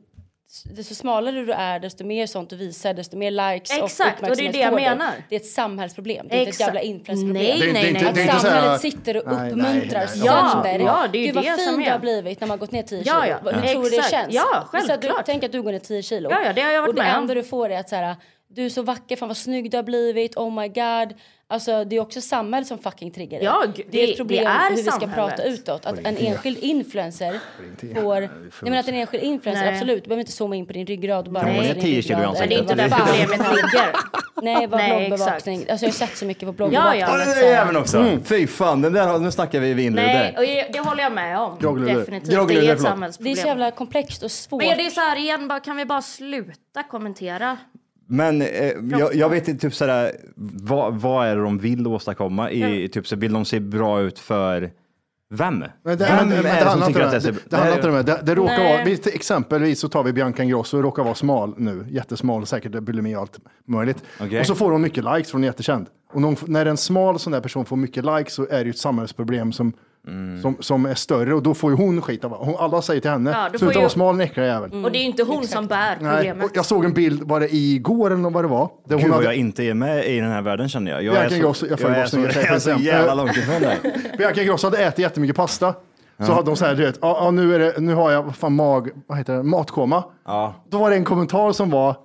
Speaker 3: s- desto smalare du är desto mer sånt du visar, desto mer likes och
Speaker 4: Exakt, och det är
Speaker 3: uppmärksamhet
Speaker 4: det jag
Speaker 3: får du.
Speaker 4: menar.
Speaker 3: Det är ett samhällsproblem, det är inte ett
Speaker 4: Exakt.
Speaker 3: jävla influencerproblem.
Speaker 4: Nej, nej, nej.
Speaker 3: Att
Speaker 4: Det är inte
Speaker 3: samhället
Speaker 1: såhär-
Speaker 3: sitter och
Speaker 1: Nej, nej,
Speaker 3: uppmuntrar
Speaker 1: nej.
Speaker 4: Ja,
Speaker 3: sönder.
Speaker 4: ja, det är ju
Speaker 3: Gud, vad
Speaker 4: det
Speaker 3: fin
Speaker 4: som
Speaker 3: du har
Speaker 4: är.
Speaker 3: blivit när man har gått ner 10 kilo.
Speaker 4: Ja, ja.
Speaker 3: Hur tror du det
Speaker 4: Exakt.
Speaker 3: känns?
Speaker 4: Ja,
Speaker 3: Det är så att Du,
Speaker 4: självklart.
Speaker 3: tänk att du går ner 10 kilo.
Speaker 4: Ja, ja, det har jag varit
Speaker 3: och det
Speaker 4: med om.
Speaker 3: enda du får är att så här, du är så vacker, fan vad snygg du har blivit, oh my god. Alltså det är också samhället som fucking triggar dig.
Speaker 4: Ja, g-
Speaker 3: det är
Speaker 4: det-
Speaker 3: ett problem
Speaker 4: det är
Speaker 3: hur vi ska
Speaker 4: samhället.
Speaker 3: prata utåt. Att en enskild influencer får... Nej, men att en enskild influencer,
Speaker 4: Nej.
Speaker 3: absolut, du behöver inte zooma in på din ryggrad och bara...
Speaker 2: Nej,
Speaker 3: visa
Speaker 2: det är
Speaker 3: din
Speaker 2: 10 kilo i
Speaker 3: ryggrad.
Speaker 4: Men det är inte
Speaker 2: Det
Speaker 4: där
Speaker 2: är
Speaker 3: Vad fan?
Speaker 4: problemet ligger.
Speaker 3: Nej, vad
Speaker 4: Nej,
Speaker 3: bloggbevakning.
Speaker 4: exakt.
Speaker 3: Alltså jag har sett så mycket på
Speaker 4: Ja,
Speaker 3: bloggbevakning. Mm.
Speaker 4: ja.
Speaker 2: Ja, det är även också. Mm, Fy fan, den där, har- nu snackar vi vindlur
Speaker 4: Nej,
Speaker 2: där.
Speaker 4: och jag- det håller jag med om.
Speaker 1: Groggluder.
Speaker 4: Definitivt.
Speaker 2: Groggluder,
Speaker 4: det är ett
Speaker 2: förlåt.
Speaker 3: Det är
Speaker 4: samhällsproblem.
Speaker 3: så jävla komplext och svårt.
Speaker 4: Men ja, det är så här igen, bara, kan vi bara sluta kommentera?
Speaker 2: Men eh, jag, jag vet inte, typ sådär, vad, vad är det de vill åstadkomma? I, typ, så vill de se bra ut för vem?
Speaker 1: Men det,
Speaker 2: vem
Speaker 1: men, det, men, det
Speaker 2: är det som
Speaker 1: handlar
Speaker 2: tycker
Speaker 1: inte om
Speaker 2: att
Speaker 1: det.
Speaker 2: det ser
Speaker 1: Det, det, handlar inte om det. Det, det råkar
Speaker 4: Nej.
Speaker 1: vara, vi, till exempelvis så tar vi Bianca Ingrosso, råkar vara smal nu, jättesmal, säkert bulimi och allt möjligt.
Speaker 2: Okej.
Speaker 1: Och så får hon mycket likes från jättekänd. Och någon, när en smal sån där person får mycket likes så är det ju ett samhällsproblem som,
Speaker 2: Mm.
Speaker 1: som, som är större och då får ju hon skit av hon, Alla säger till henne,
Speaker 4: Ja, då får ju-
Speaker 1: sluta
Speaker 4: Mm.
Speaker 1: vara smal den äckliga jäveln.
Speaker 3: Mm.
Speaker 4: Och det är ju inte hon som bär
Speaker 1: Nej,
Speaker 4: problemet.
Speaker 1: och jag såg en bild, var det igår eller vad det var? Där
Speaker 2: Gud
Speaker 1: hon
Speaker 2: vad
Speaker 1: hade,
Speaker 2: jag inte är med i den här världen känner jag. Jag
Speaker 1: Jag
Speaker 2: är
Speaker 1: kan ju också-
Speaker 2: så,
Speaker 1: jag
Speaker 2: jag
Speaker 1: följer
Speaker 2: är
Speaker 1: också
Speaker 2: så,
Speaker 1: nya tjejer,
Speaker 2: jag är så
Speaker 1: till exempel.
Speaker 2: jävla långt ifrån dig.
Speaker 1: Eh, Bianca Ingrosso hade ätit jättemycket pasta. Så hade hon så här, du vet, ja ja, nu, är det, nu har jag vad fan mag, vad heter det, matkoma. Då var det en kommentar som var,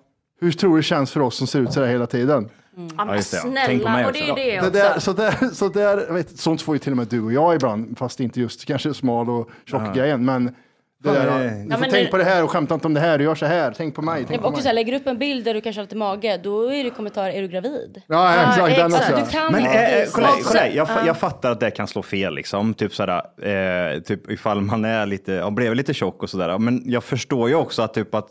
Speaker 1: hur tror du det känns för oss som ser ut så där hela tiden?
Speaker 4: Mm. ja, men
Speaker 2: just det, ja. Tänk på mig
Speaker 4: snälla, och det är
Speaker 2: också,
Speaker 4: ju det
Speaker 1: Det
Speaker 4: också.
Speaker 1: där, så där, så där, jag vet, sånt får ju till och med du och jag ibland, fast inte just kanske smal och tjock grejen. Men det där,
Speaker 2: nej.
Speaker 1: ja, du
Speaker 4: Ja,
Speaker 1: får
Speaker 4: men
Speaker 1: tänk
Speaker 4: det-
Speaker 1: på det här och skämta inte om det här och gör så här. Tänk på mig. Tänk
Speaker 3: Jag
Speaker 1: på
Speaker 3: också
Speaker 1: mig.
Speaker 3: så här, lägger du upp en bild där du kanske har lite mage, då är det kommentarer, är du gravid? Alltså,
Speaker 1: Ja, exakt. Den
Speaker 4: exakt.
Speaker 1: också.
Speaker 3: Du kan
Speaker 2: Men
Speaker 3: inte.
Speaker 2: eh, eh,
Speaker 3: visa.
Speaker 2: kolla, kolla, jag, fa- jag fattar att det kan slå fel, liksom. typ, sådär, eh, typ ifall man är lite, ja, blev lite tjock och sådär. Men jag förstår ju också att, typ, att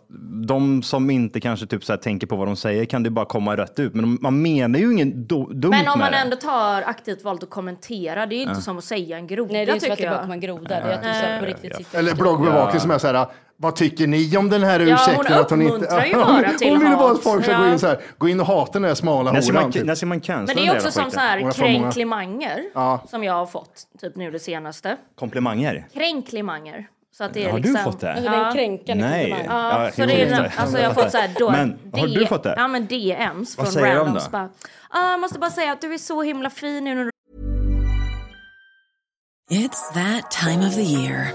Speaker 2: de som inte kanske typ, såhär, tänker på vad de säger kan det bara komma rätt ut. Men de, man menar ju ingen do, dumt
Speaker 4: Men om
Speaker 2: med
Speaker 4: man
Speaker 2: det.
Speaker 4: ändå tar aktivt valt att kommentera, det är ju inte som att säga en groda
Speaker 3: Nej, det är ju som att
Speaker 4: tycker
Speaker 3: det bara
Speaker 4: jag.
Speaker 3: kommer en groda. Det är att du så här på riktigt sitter
Speaker 1: Eller bloggbevakning som är så här, vad tycker ni om den här
Speaker 4: hon
Speaker 1: ursäkten? att hon inte...
Speaker 4: uppmuntrar ju bara till
Speaker 1: Hon vill bara att
Speaker 4: hat.
Speaker 1: folk ska gå in
Speaker 4: Ja.
Speaker 1: så här, gå in och hata den där smala
Speaker 2: När ska
Speaker 1: horan.
Speaker 2: man,
Speaker 1: Typ.
Speaker 2: när ska man cancella
Speaker 4: Men det
Speaker 2: den
Speaker 4: är
Speaker 2: där
Speaker 4: också som
Speaker 2: skiten?
Speaker 4: så
Speaker 1: Och
Speaker 4: här
Speaker 1: jag får många-
Speaker 4: kränklimanger som jag har fått, typ nu det senaste.
Speaker 2: Komplimanger?
Speaker 4: Kränklimanger. Så att det är
Speaker 2: Har du
Speaker 4: liksom...
Speaker 2: fått det?
Speaker 3: Alltså, det är en kränkande
Speaker 2: Nej.
Speaker 3: komplimang.
Speaker 4: Ja,
Speaker 2: Ja,
Speaker 4: så
Speaker 2: jo,
Speaker 4: det
Speaker 2: just
Speaker 4: är,
Speaker 2: det.
Speaker 4: alltså jag har fått så här, då,
Speaker 2: Men, har du
Speaker 4: D-
Speaker 2: fått det?
Speaker 4: Ja, men DMs
Speaker 2: Vad
Speaker 4: från
Speaker 2: säger de
Speaker 4: randoms.
Speaker 2: då?
Speaker 4: Bara, ah, jag måste bara säga att du är så himla fin nu när du
Speaker 8: It's that time of the year.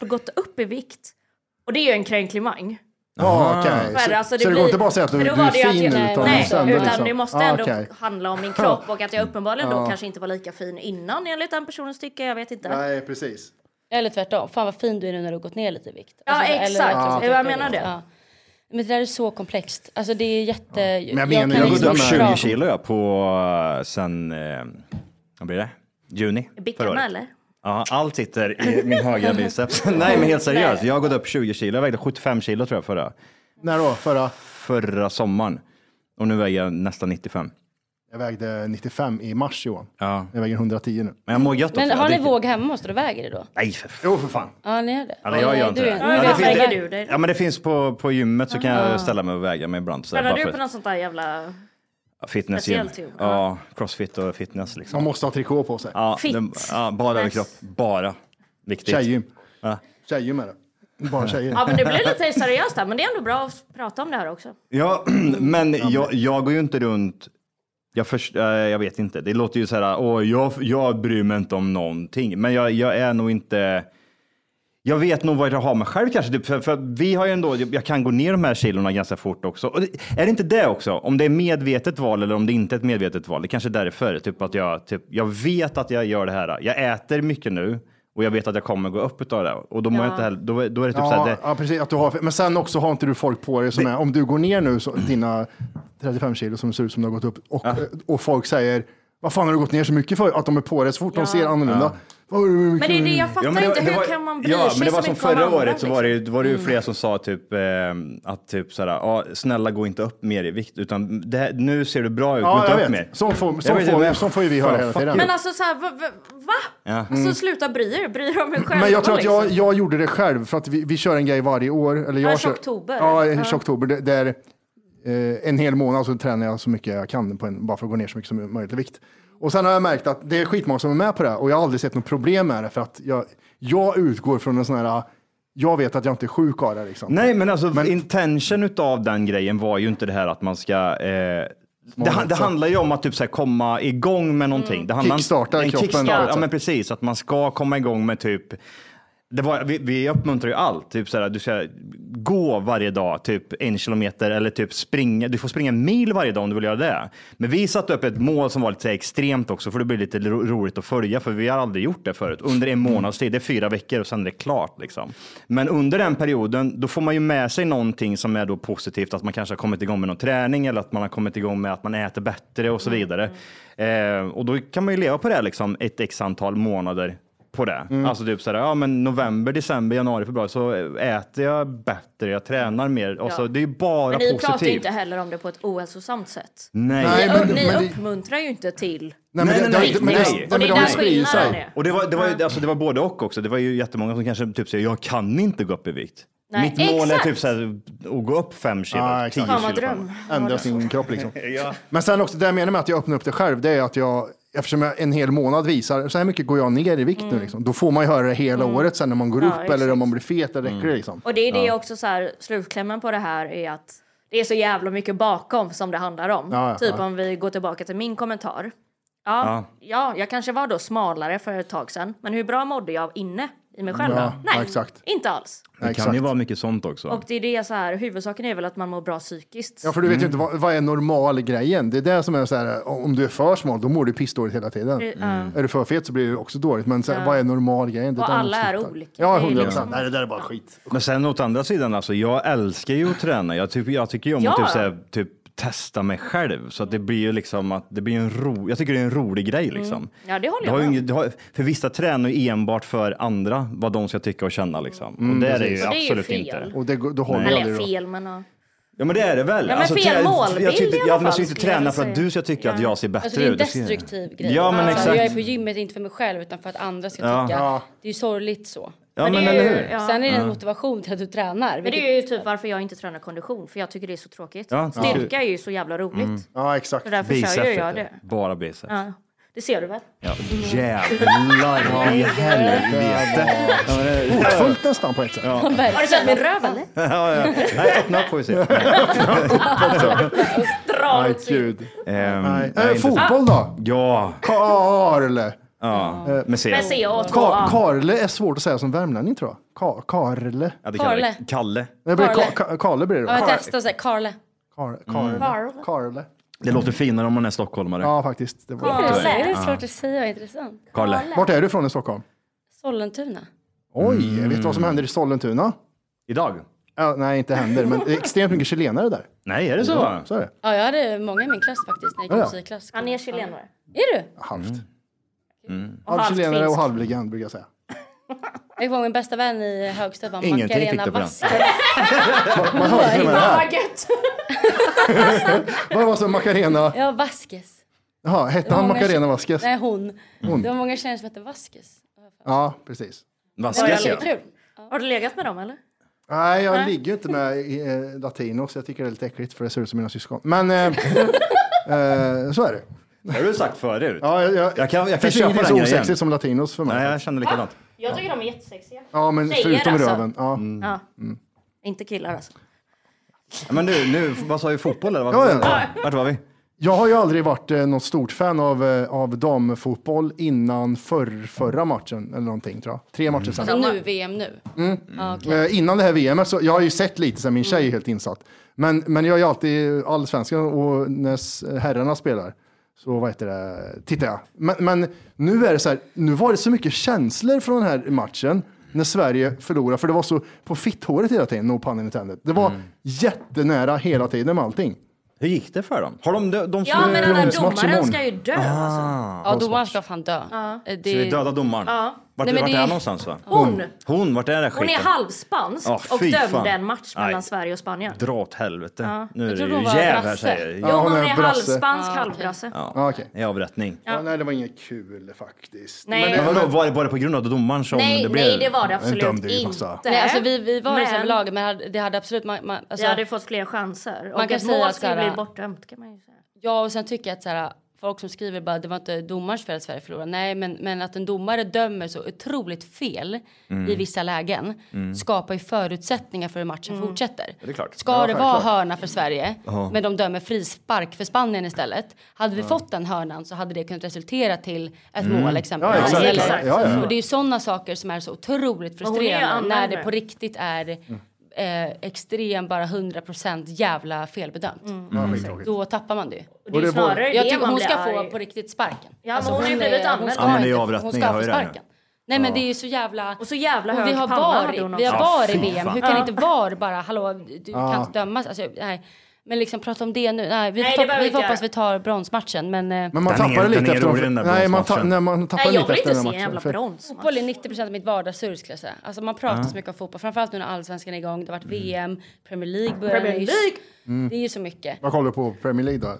Speaker 4: har gått upp i vikt. Och det är ju en kränklimang.
Speaker 1: Ja, okej.
Speaker 4: För,
Speaker 1: Så,
Speaker 4: alltså,
Speaker 1: så det går
Speaker 4: blir-
Speaker 1: inte bara att säga att du,
Speaker 4: för
Speaker 1: du
Speaker 4: då var
Speaker 1: är
Speaker 4: det ju att
Speaker 1: fin ut.
Speaker 4: jag-
Speaker 1: utan
Speaker 4: Nej,
Speaker 1: sen,
Speaker 4: utan
Speaker 1: liksom.
Speaker 4: det måste
Speaker 1: Ah,
Speaker 4: ändå
Speaker 1: okej.
Speaker 4: handla om min kropp och att jag uppenbarligen då kanske inte var lika fin innan enligt den personens tycke. Jag vet inte.
Speaker 1: Nej, precis.
Speaker 3: Eller tvärtom, fan vad fin du är nu när du har gått ner lite i vikt.
Speaker 4: Ja,
Speaker 3: Alltså,
Speaker 4: exakt.
Speaker 3: verkligen
Speaker 4: Ja.
Speaker 3: så
Speaker 4: Jag
Speaker 3: tycker
Speaker 4: menar det.
Speaker 3: Ja. Men det där är så komplext. Alltså det är jätte...
Speaker 2: Men jag, menar, jag har gått
Speaker 3: liksom
Speaker 2: upp
Speaker 3: inte dra-
Speaker 2: 20 kilo jag på eh, sen, eh, vad blir det? Juni förra
Speaker 4: Bickarna
Speaker 2: året.
Speaker 4: eller?
Speaker 2: Ja, allt sitter i min högra biceps. Nej, men helt seriöst.
Speaker 4: Nej.
Speaker 2: Jag har gått upp 20 kilo. Jag vägde 75 kilo tror jag förra.
Speaker 1: När då? Förra?
Speaker 2: Förra sommaren. Och nu väger jag nästan 95.
Speaker 1: Jag vägde 95 i mars Johan.
Speaker 2: Ja.
Speaker 1: Jag väger 110 nu.
Speaker 2: Men jag mår gött
Speaker 3: Men
Speaker 2: också.
Speaker 3: har
Speaker 2: Jag
Speaker 3: ni
Speaker 2: dricker-
Speaker 3: våg hemma? Måste du väga det då?
Speaker 2: Nej, för fan.
Speaker 1: Jo, för fan.
Speaker 3: Ja, ni gör det.
Speaker 2: Eller jag gör inte
Speaker 3: du
Speaker 2: det.
Speaker 3: är-
Speaker 2: det finns-
Speaker 4: väger du dig då?
Speaker 2: Ja, men det finns på, på gymmet så kan
Speaker 4: Aha.
Speaker 2: jag ställa mig och väga mig ibland. Så där,
Speaker 4: Tränar
Speaker 2: bara
Speaker 4: du
Speaker 2: för-
Speaker 4: på något sånt där jävla...
Speaker 2: Fitness
Speaker 4: speciellt
Speaker 2: gym.
Speaker 4: gym?
Speaker 2: Ja, crossfit och fitness liksom.
Speaker 1: Man måste ha trikå på sig.
Speaker 2: Ja,
Speaker 4: Fit.
Speaker 2: den- ja, bara överkropp, bara. Viktigt.
Speaker 1: Tjejgym.
Speaker 2: Ja.
Speaker 1: Tjejgym är det. Bara tjejer.
Speaker 4: Ja men det blir lite seriöst där, men det är ändå bra att prata om det här också.
Speaker 2: Ja, men jag, jag går ju inte runt. Jag, först, eh, jag vet inte, det låter ju så här, åh, jag, jag bryr mig inte om någonting, men jag, jag är nog inte. Jag vet nog vad jag har mig själv kanske, typ, för, för vi har ju ändå, jag kan gå ner de här kilorna ganska fort också. Och det, är det inte det också, om det är medvetet val eller om det inte är ett medvetet val? Det kanske är därför, typ att jag, typ, jag vet att jag gör det här. Jag äter mycket nu och jag vet att jag kommer gå upp utav det och då mår jag inte heller, då, är- då är det typ så här,
Speaker 1: Ja,
Speaker 2: det,
Speaker 1: ja, precis. Att du har, men sen också har inte du folk på dig som är, om du går ner nu, så, dina 35 kilo som ser ut som du har gått upp, och, och folk säger, vad fan har du gått ner så mycket för? Att de är på dig så fort de ser annorlunda. "Vad har du-
Speaker 4: Men det är det jag fattar
Speaker 2: men
Speaker 4: inte, hur
Speaker 2: var-
Speaker 4: kan man bry
Speaker 2: ja,
Speaker 4: sig
Speaker 2: men det
Speaker 4: så
Speaker 2: var som
Speaker 4: mycket om
Speaker 2: förra
Speaker 4: andra,
Speaker 2: året så var det, ju-
Speaker 4: liksom?
Speaker 2: var det ju
Speaker 1: Mm.
Speaker 2: flera som sa typ eh, att typ såhär, ja snälla gå inte upp mer i vikt utan det här, nu ser du bra ut, gå
Speaker 1: Ja,
Speaker 2: inte
Speaker 1: jag
Speaker 2: upp
Speaker 1: vet.
Speaker 2: mer.
Speaker 1: Sån får-
Speaker 2: Jag
Speaker 1: sån
Speaker 2: vet
Speaker 1: får-
Speaker 2: inte,
Speaker 1: sån får ju vi höra
Speaker 2: fan,
Speaker 1: hela
Speaker 2: fuck
Speaker 1: tiden.
Speaker 2: you.
Speaker 4: Men alltså så här, va? va- va?
Speaker 2: Ja.
Speaker 1: Mm.
Speaker 4: Alltså sluta bry er, bry er om er själva
Speaker 1: Men jag tror att jag,
Speaker 4: liksom.
Speaker 1: jag gjorde det själv, för att vi, vi kör en grej varje år. Eller jag
Speaker 4: Ja,
Speaker 1: kör-
Speaker 4: Tjocktober.
Speaker 1: Ja,
Speaker 4: Ja.
Speaker 1: en tjocktober. det- Där eh, en hel månad så tränar jag så mycket jag kan, på en, bara för att gå ner så mycket som möjligt i vikt. Och sen har jag märkt att det är skitmånga som är med på det här, och jag har aldrig sett något problem med det, för att jag, jag utgår från en sån här, jag vet att jag inte är sjuk av det liksom.
Speaker 2: Nej men alltså intention utav den grejen var ju inte det här att man ska eh, det, han- det
Speaker 1: också.
Speaker 2: handlar ju om att typ så här komma igång med någonting. Det handlar
Speaker 1: Kickstarta
Speaker 2: en
Speaker 1: kroppen på
Speaker 2: kickstart,
Speaker 1: ett
Speaker 2: Ja
Speaker 1: sätt.
Speaker 2: men precis, att man ska komma igång med typ det var, vi, vi uppmuntrar ju allt. Typ såhär, du ska gå varje dag, typ en kilometer eller typ springa. Du får springa en mil varje dag om du vill göra det. Men vi satte upp ett mål som var lite så här extremt också, för det blir lite ro- roligt att följa, för vi har aldrig gjort det förut. Under en månads tid, det är fyra veckor och sen är det klart. Liksom. Men under den perioden, då får man ju med sig någonting som är då positivt, att man kanske har kommit igång med någon träning eller att man har kommit igång med att man äter bättre och så
Speaker 4: Mm.
Speaker 2: vidare. Eh, och då kan man ju leva på det liksom, ett x antal månader på det.
Speaker 4: Mm.
Speaker 2: Alltså typ sådär, ja men november, december, januari, februari så äter jag bättre, jag tränar mer.
Speaker 1: Alltså,
Speaker 2: Och så, det är ju bara
Speaker 4: Men ni pratar ju
Speaker 2: positivt.
Speaker 4: inte heller om det på ett ohälsosamt sätt.
Speaker 2: Nej.
Speaker 1: Nej,
Speaker 4: Ni-
Speaker 1: men-
Speaker 4: ni
Speaker 1: men det-
Speaker 4: uppmuntrar ju inte till...
Speaker 1: Nej, men det- det- men det-
Speaker 2: nej.
Speaker 1: men
Speaker 4: Och det
Speaker 1: det
Speaker 4: är
Speaker 1: har ju
Speaker 4: där
Speaker 1: spridit sig.
Speaker 4: skillnaden är.
Speaker 2: Och det var, det, var, ju- alltså, det var både och också. Det var ju jättemånga som kanske typ säger, jag kan inte gå upp i vikt.
Speaker 4: Nej,
Speaker 2: Mitt mål
Speaker 4: exakt.
Speaker 2: är typ såhär, att gå upp fem kilo,
Speaker 1: Ah,
Speaker 2: tio
Speaker 1: exakt.
Speaker 2: kilo.
Speaker 4: Fan vad
Speaker 2: fram.
Speaker 4: dröm.
Speaker 1: ändra sin kropp liksom. Men sen också, det jag menar med att jag öppnar upp det själv, det är att jag, eftersom jag en hel månad visar, så här mycket går jag ner i vikt
Speaker 4: Mm.
Speaker 1: nu liksom. Då får man ju höra det hela året sen när man går upp eller om man blir fet, eller
Speaker 2: Mm.
Speaker 1: räcker det liksom.
Speaker 4: Och det är det också så här, slutklämmen på det här är att det är så jävla mycket bakom som det handlar om.
Speaker 1: Ja, ja,
Speaker 4: typ
Speaker 1: ja.
Speaker 4: om vi går tillbaka till min kommentar. Ja, ja. jag kanske var då smalare för ett tag sedan, men hur bra mådde jag inne i mig själv
Speaker 1: Ja,
Speaker 4: då? Nej,
Speaker 1: ja, exakt.
Speaker 4: inte alls.
Speaker 2: Det kan ju vara mycket sånt också.
Speaker 4: Och det är det så här, huvudsaken är väl att man mår bra psykiskt. Mm.
Speaker 1: Ja, för du vet
Speaker 2: Mm.
Speaker 1: ju inte vad, vad är normal grejen. Det är det som är så här, om du är för smal, då mår du pissdåligt hela tiden.
Speaker 4: Mm.
Speaker 1: Mm. Är du för fet så blir du också dåligt. Men så här, vad är normal grejen? Det
Speaker 4: Och
Speaker 1: där man
Speaker 4: alla
Speaker 1: måste
Speaker 4: är
Speaker 1: hitta.
Speaker 4: olika.
Speaker 1: Ja,
Speaker 4: Det är
Speaker 1: hundra
Speaker 4: liksom-
Speaker 1: procent. Nej, det där är bara skit.
Speaker 2: Men sen åt andra sidan, alltså, jag älskar ju att träna. Jag, typ, jag tycker ju om
Speaker 4: Ja.
Speaker 2: att typ, så här, typ, testa mig själv. Så att det blir ju liksom att det blir ju en ro, jag tycker det är en rolig grej liksom.
Speaker 4: Ja, Mm. det håller
Speaker 2: har
Speaker 4: jag med
Speaker 2: ju
Speaker 4: om.
Speaker 2: inget- det har, För vissa tränar ju enbart för andra, vad de ska tycka och känna liksom. och det är det ju
Speaker 4: precis. Och det är ju
Speaker 2: absolut
Speaker 4: fel.
Speaker 2: inte.
Speaker 1: Mm, Och det, går- då håller jag
Speaker 4: Eller
Speaker 1: det då.
Speaker 4: fel, men... ja.
Speaker 2: Ja men det är det väl.
Speaker 4: men fel
Speaker 2: trä-
Speaker 4: målbild
Speaker 2: jag, tycker-
Speaker 4: i alla
Speaker 2: jag, men jag
Speaker 4: fall,
Speaker 2: ska ju inte
Speaker 4: skulle jag
Speaker 2: träna
Speaker 4: vilja
Speaker 2: för att
Speaker 4: säga.
Speaker 2: du ska tycka att jag ser bättre
Speaker 3: Alltså det är en
Speaker 2: ut. Det ska-
Speaker 3: destruktiv grej.
Speaker 2: Ja men
Speaker 3: alltså, jag är
Speaker 2: exakt.
Speaker 3: på gymmet inte för mig själv utan för att andra ska
Speaker 2: Ja.
Speaker 3: tycka.
Speaker 2: Ja.
Speaker 3: Det är ju sorgligt så.
Speaker 2: Ja men
Speaker 4: det är
Speaker 2: eller
Speaker 4: ju-
Speaker 2: hur.
Speaker 4: ja.
Speaker 3: Sen är det en motivation till att du tränar.
Speaker 4: Men
Speaker 3: Vilket,
Speaker 4: det är ju typ varför jag inte tränar kondition, för jag tycker det är så tråkigt.
Speaker 2: Ja, ja.
Speaker 4: Styrka är ju så jävla roligt.
Speaker 1: Ja, exakt.
Speaker 4: Så därför
Speaker 2: Biceps.
Speaker 4: kör ju jag
Speaker 2: vet du.
Speaker 4: det.
Speaker 2: Mm. Bara biceps.
Speaker 4: Ja. Det ser du väl?
Speaker 2: Ja. Jävlar i helvete. Ja, det-
Speaker 1: Fullt nästan på ett sätt.
Speaker 4: Har du sett min röv eller?
Speaker 2: Ja, ja. Nej, öppna upp får vi se.
Speaker 4: Dra
Speaker 1: Nej,
Speaker 4: åt sidan.
Speaker 1: gud.
Speaker 2: Ehm,
Speaker 1: Nej.
Speaker 2: jag är
Speaker 1: Äh,
Speaker 2: inte-
Speaker 1: fotboll då?
Speaker 2: Ja,
Speaker 1: Karle. Eh,
Speaker 2: med C.
Speaker 4: Med C och två
Speaker 1: Ka-
Speaker 4: A.
Speaker 1: Karle är svårt att säga som värmlänning tror jag. Ka- Karle.
Speaker 2: Ja, det kallar
Speaker 3: Karle.
Speaker 2: det. Kalle.
Speaker 1: Nej, det blir
Speaker 3: Karle.
Speaker 1: Ka- Ka- Karle blir det
Speaker 3: Ja,
Speaker 1: då.
Speaker 3: jag testar såhär, Karle. Mm.
Speaker 1: Kar- Karle.
Speaker 2: Mm.
Speaker 4: Karle.
Speaker 1: Karle.
Speaker 2: Det låter finare om man är stockholmare.
Speaker 1: Ja, faktiskt. Det var...
Speaker 3: Är det svårt att säga och intressant?
Speaker 2: Karle.
Speaker 1: Vart är du från i Stockholm?
Speaker 3: Sollentuna.
Speaker 1: Oj, vet du vad som händer i Sollentuna?
Speaker 2: Mm. Idag?
Speaker 1: Ja, nej, inte händer, men det är extremt mycket chilenare där.
Speaker 2: Nej, är det så?
Speaker 1: Ja, så är det.
Speaker 3: Ja, jag hade många i min klass faktiskt när jag gick
Speaker 1: Ja, ja.
Speaker 3: musikklass.
Speaker 4: Han är chilenare.
Speaker 3: Är du?
Speaker 1: Halvt.
Speaker 2: Mm.
Speaker 4: Och
Speaker 1: Halv
Speaker 4: halvt
Speaker 1: chilenare och
Speaker 4: finsk.
Speaker 1: halv legend brukar jag säga.
Speaker 3: Jag kommer ihåg min bästa vän i högstadiet var
Speaker 2: Ingenting fick
Speaker 3: Macarena
Speaker 2: du på den.
Speaker 3: Basten.
Speaker 1: Vad har du med det här?
Speaker 4: gött!
Speaker 1: Vad var som Macarena?
Speaker 3: Ja, Vasquez.
Speaker 1: Jaha, hette han Macarena Vasquez?
Speaker 3: Nej, hon.
Speaker 1: Hon.
Speaker 3: Det var många tjejer som hette Vasquez.
Speaker 1: Ja, precis.
Speaker 2: Vasquez
Speaker 3: Det
Speaker 2: ja.
Speaker 3: var kul.
Speaker 4: Har du legat med dem eller?
Speaker 1: Nej, jag ligger ju inte med i, eh, latinos. Jag tycker det är lite äckligt för det ser ut som mina syskon. Men eh, eh, så är det.
Speaker 2: Det har du sagt förut.
Speaker 1: Ja, jag, jag,
Speaker 2: Jag kan, jag kan
Speaker 1: finns
Speaker 2: köpa
Speaker 1: ingenting
Speaker 2: den
Speaker 1: så
Speaker 2: grejen.
Speaker 1: osexigt som latinos för mig.
Speaker 2: Nej, jag känner likadant.
Speaker 4: Jag tycker de är jättesexiga.
Speaker 1: Ja, men
Speaker 4: Tjejer
Speaker 1: förutom
Speaker 4: alltså.
Speaker 1: röven. Mm. Ja.
Speaker 2: Mm.
Speaker 4: Ja. Inte killar alltså.
Speaker 2: Men nu, nu, vad sa vi, fotboll eller? Vad,
Speaker 1: Ja,
Speaker 2: Vart var vi?
Speaker 1: Jag har ju aldrig varit eh, något stort fan av, eh, av damfotboll innan förr, förra matchen eller någonting tror jag. Tre
Speaker 2: Mm.
Speaker 1: matcher sedan.
Speaker 3: Så Alltså, nu, VM nu. Ja, okej.
Speaker 1: Eh, innan det här VM, så jag har ju sett lite sen min tjej är helt insatt. Men, men jag är ju alltid allsvenskan och när s- herrarna spelar så vad heter det, tittar jag. Men, men nu är det så här, nu var det så mycket känslor från den här matchen när Sverige förlorade, för det var så på fitthåret hela tiden, no pun intended. Det var jättenära hela tiden med allting.
Speaker 2: Mm. Hur gick det för dem? Har de, de, de
Speaker 4: Ja, men den där
Speaker 1: bronsmatch
Speaker 4: domaren
Speaker 1: imorgon.
Speaker 4: ska ju dö alltså.
Speaker 3: Ja, domaren ska fan dö. Eh, Det,
Speaker 2: Ah. Ska vi döda domaren? Vart,
Speaker 3: Nej, men
Speaker 2: vart
Speaker 3: det-
Speaker 2: är han någonstans va?
Speaker 4: Hon!
Speaker 2: Hon, vart är det
Speaker 4: Hon
Speaker 2: skiten?
Speaker 4: är halvspansk
Speaker 2: Ja,
Speaker 4: och
Speaker 2: fy
Speaker 4: dömde
Speaker 2: fan.
Speaker 4: en match mellan
Speaker 2: Nej.
Speaker 4: Sverige och Spanien.
Speaker 2: Dra åt helvete. Nu är det
Speaker 3: trodde
Speaker 2: ju
Speaker 3: hon var
Speaker 2: jäv här
Speaker 3: brasse.
Speaker 2: säger
Speaker 4: Jo, hon
Speaker 1: hon är
Speaker 4: är
Speaker 1: brasse.
Speaker 4: halvspansk, halvbrasse.
Speaker 1: Ja, okej.
Speaker 2: i avrättning.
Speaker 1: Ja, nej, det var inget kul faktiskt.
Speaker 4: Nej.
Speaker 2: Men vadå, var det, var det på grund av domaren som
Speaker 4: Nej,
Speaker 2: det blev?
Speaker 4: nej, det var det
Speaker 1: Den
Speaker 4: absolut
Speaker 1: dömde ju massa.
Speaker 4: inte.
Speaker 3: Nej, alltså vi, vi var i
Speaker 4: Men-
Speaker 3: samma lag, men hade- det hade absolut... Man, man, alltså,
Speaker 4: Jag hade fått fler chanser. Och
Speaker 3: Man kan
Speaker 4: ett
Speaker 3: säga
Speaker 4: mål
Speaker 3: att
Speaker 4: skulle
Speaker 3: såhär-
Speaker 4: bli bortdömt kan man ju säga.
Speaker 3: Ja, och sen tycker jag att så här, folk som skriver bara det var inte domarens fel att Sverige förlorade. Nej, men, men att en domare dömer så otroligt fel i vissa lägen skapar ju förutsättningar för hur matchen fortsätter.
Speaker 2: det är klart.
Speaker 3: Ska det vara hörna för Sverige, men de dömer frispark för Spanien istället. Hade vi fått den hörnan så hade det kunnat resultera till ett
Speaker 2: Mm.
Speaker 3: mål
Speaker 1: Ja,
Speaker 3: exempelvis.
Speaker 1: exakt.
Speaker 3: Eller-
Speaker 1: Ja, ja, ja.
Speaker 3: Och det är ju sådana saker som är så otroligt
Speaker 4: hon är ju
Speaker 3: frustrerande när det
Speaker 4: användare.
Speaker 3: på riktigt är
Speaker 2: Mm.
Speaker 3: eh, extrem, bara 100% jävla felbedömt. Då tappar man det ju.
Speaker 4: Mm. Och
Speaker 1: Och
Speaker 4: det är
Speaker 1: det
Speaker 4: ju
Speaker 1: var-
Speaker 4: snarare
Speaker 3: Jag
Speaker 4: det
Speaker 3: tycker
Speaker 4: man
Speaker 3: hon
Speaker 4: blir
Speaker 3: ska
Speaker 4: arg.
Speaker 3: få på riktigt sparken.
Speaker 4: Ja, men hon har ju blivit
Speaker 3: eh,
Speaker 4: anmäld.
Speaker 3: ska
Speaker 2: Ja, men det är
Speaker 3: inte-
Speaker 2: ju
Speaker 3: hon
Speaker 2: avrättning,
Speaker 3: ska
Speaker 2: jag har
Speaker 3: få
Speaker 2: ju det här.
Speaker 3: sparken. Nej men det är ju så jävla...
Speaker 4: Och så jävla
Speaker 3: vi
Speaker 4: hög
Speaker 3: har
Speaker 4: panna
Speaker 3: VAR,
Speaker 4: hade hon
Speaker 3: vi har
Speaker 4: också.
Speaker 3: VAR i
Speaker 2: fy
Speaker 3: VM.
Speaker 2: fan.
Speaker 3: Hur kan inte VAR bara, hallå, du kan inte dömas. Alltså, nej. Men liksom prata om det nu. Nej, vi,
Speaker 4: Nej, det
Speaker 3: får-
Speaker 4: behöver
Speaker 3: vi
Speaker 4: vi
Speaker 3: får
Speaker 4: inte
Speaker 3: hoppas
Speaker 4: göra.
Speaker 3: vi tar bronsmatchen. Men, eh,
Speaker 1: Men man
Speaker 2: Den är-
Speaker 1: tappar det
Speaker 2: den
Speaker 1: lite
Speaker 2: är
Speaker 1: efter
Speaker 2: rolig, den där
Speaker 1: Nej, man, ta,
Speaker 2: bronsmatchen.
Speaker 1: nej, man tappar
Speaker 4: Nej, jag
Speaker 1: lite
Speaker 4: vill
Speaker 1: efter
Speaker 4: inte
Speaker 1: den
Speaker 4: se
Speaker 1: här
Speaker 4: en jävla alltså.
Speaker 1: matchen. för-
Speaker 4: bronsmatch.
Speaker 3: Fotboll är 90 av mitt vardagssurr skulle jag säga. Alltså man pratar så mycket om fotboll, framförallt nu när allsvenskan är igång. Det har varit
Speaker 2: Mm.
Speaker 3: VM, Premier League börjar
Speaker 4: Premier
Speaker 3: nyss.
Speaker 4: League.
Speaker 3: Det är ju så mycket.
Speaker 1: Vad kollar du på Premier League då?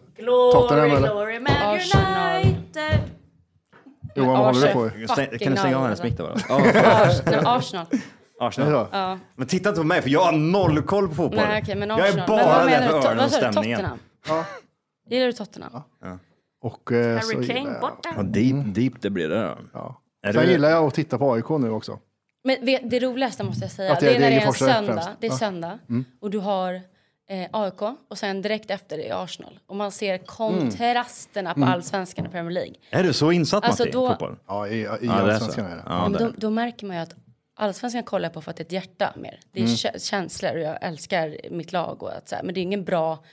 Speaker 1: Tottenham,
Speaker 4: Glory,
Speaker 1: eller?
Speaker 4: glory, Man
Speaker 3: Arsenal.
Speaker 4: United.
Speaker 1: Johan, vad håller du på?
Speaker 3: Arsenal.
Speaker 2: Stäng, kan du stänga av hennes mick då? bara? Ja,
Speaker 3: Ars- nej, Arsenal.
Speaker 2: Arsenal.
Speaker 1: Ja.
Speaker 2: Men titta inte på mig för jag har noll koll på fotboll.
Speaker 3: Nej, okej, men
Speaker 2: jag
Speaker 3: Arsenal.
Speaker 2: är
Speaker 3: men
Speaker 2: bara
Speaker 3: vad
Speaker 2: där
Speaker 3: menar du? To-
Speaker 2: för öronen
Speaker 3: vad
Speaker 2: och
Speaker 3: sa du?
Speaker 2: stämningen.
Speaker 3: Tottenham? Gillar du Tottenham?
Speaker 1: Och, eh, så
Speaker 4: Harry
Speaker 1: gillar
Speaker 4: Kane
Speaker 1: jag- Mm.
Speaker 2: Ja,
Speaker 4: borta.
Speaker 2: deep, deep det blir det.
Speaker 1: Ja.
Speaker 2: Är
Speaker 1: Sen
Speaker 2: du-
Speaker 1: gillar jag att titta på AIK nu också.
Speaker 3: Men vet, det roligaste måste jag säga,
Speaker 1: Att det
Speaker 3: det,
Speaker 1: är
Speaker 3: är när det är en
Speaker 1: Degerfors
Speaker 3: söndag,
Speaker 1: främst.
Speaker 3: det är
Speaker 1: Ja. Mm.
Speaker 3: söndag och du har eh, AIK och sen direkt efter det är Arsenal. Och man
Speaker 1: Mm.
Speaker 3: ser kontrasterna på allsvenskan och Premier League.
Speaker 2: Är du så insatt
Speaker 3: Alltså,
Speaker 2: Matti i
Speaker 3: då-
Speaker 2: fotboll?
Speaker 1: Ja, i, i
Speaker 2: Ja, det är så.
Speaker 1: allsvenskan är det.
Speaker 2: Ja,
Speaker 3: Men
Speaker 2: det.
Speaker 3: då, då märker man ju att allsvenskan kollar jag på för att det är ett hjärta mer. Det är
Speaker 2: Mm.
Speaker 3: kä- känslor och jag älskar mitt lag och att så här, men det är ingen bra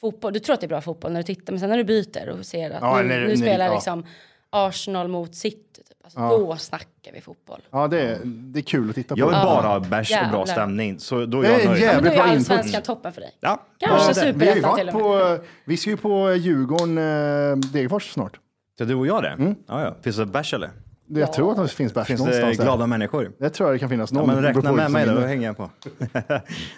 Speaker 3: fotboll. Du tror att det är bra fotboll när du tittar, men sen när du byter och ser att
Speaker 1: Ja,
Speaker 3: nu,
Speaker 1: när-
Speaker 3: nu
Speaker 1: när-
Speaker 3: spelar
Speaker 1: ja.
Speaker 3: liksom Arsenal mot City, typ. alltså, då snackar vi fotboll.
Speaker 1: Ja, det är, det är kul att titta på.
Speaker 2: Jag vill bara ha bärs och bra
Speaker 3: Jävlar.
Speaker 2: stämning. Så då
Speaker 1: Det
Speaker 2: är
Speaker 1: är
Speaker 2: jag nöjd.
Speaker 3: Ja, men då
Speaker 1: jävligt
Speaker 3: är
Speaker 1: bra
Speaker 3: allsvenskan
Speaker 1: input.
Speaker 3: toppen för dig.
Speaker 2: Ja.
Speaker 3: Kanske
Speaker 1: Ja, det- vi, har ju
Speaker 3: superettan till
Speaker 1: varit
Speaker 3: och med.
Speaker 1: på, eh, vi ska ju på Djurgården, eh, Degerfors snart.
Speaker 2: Så du och jag det? Ja, ja. Finns det bärs eller?
Speaker 1: Mm. Det- Jag tror att det finns bärs
Speaker 2: Finns det
Speaker 1: någonstans där.
Speaker 2: glada människor?
Speaker 1: Det tror jag det kan finnas någon.
Speaker 2: Ja, men räkna
Speaker 1: befolkning
Speaker 2: med mig då,
Speaker 1: som
Speaker 2: då
Speaker 1: vinner.
Speaker 2: hänger jag på.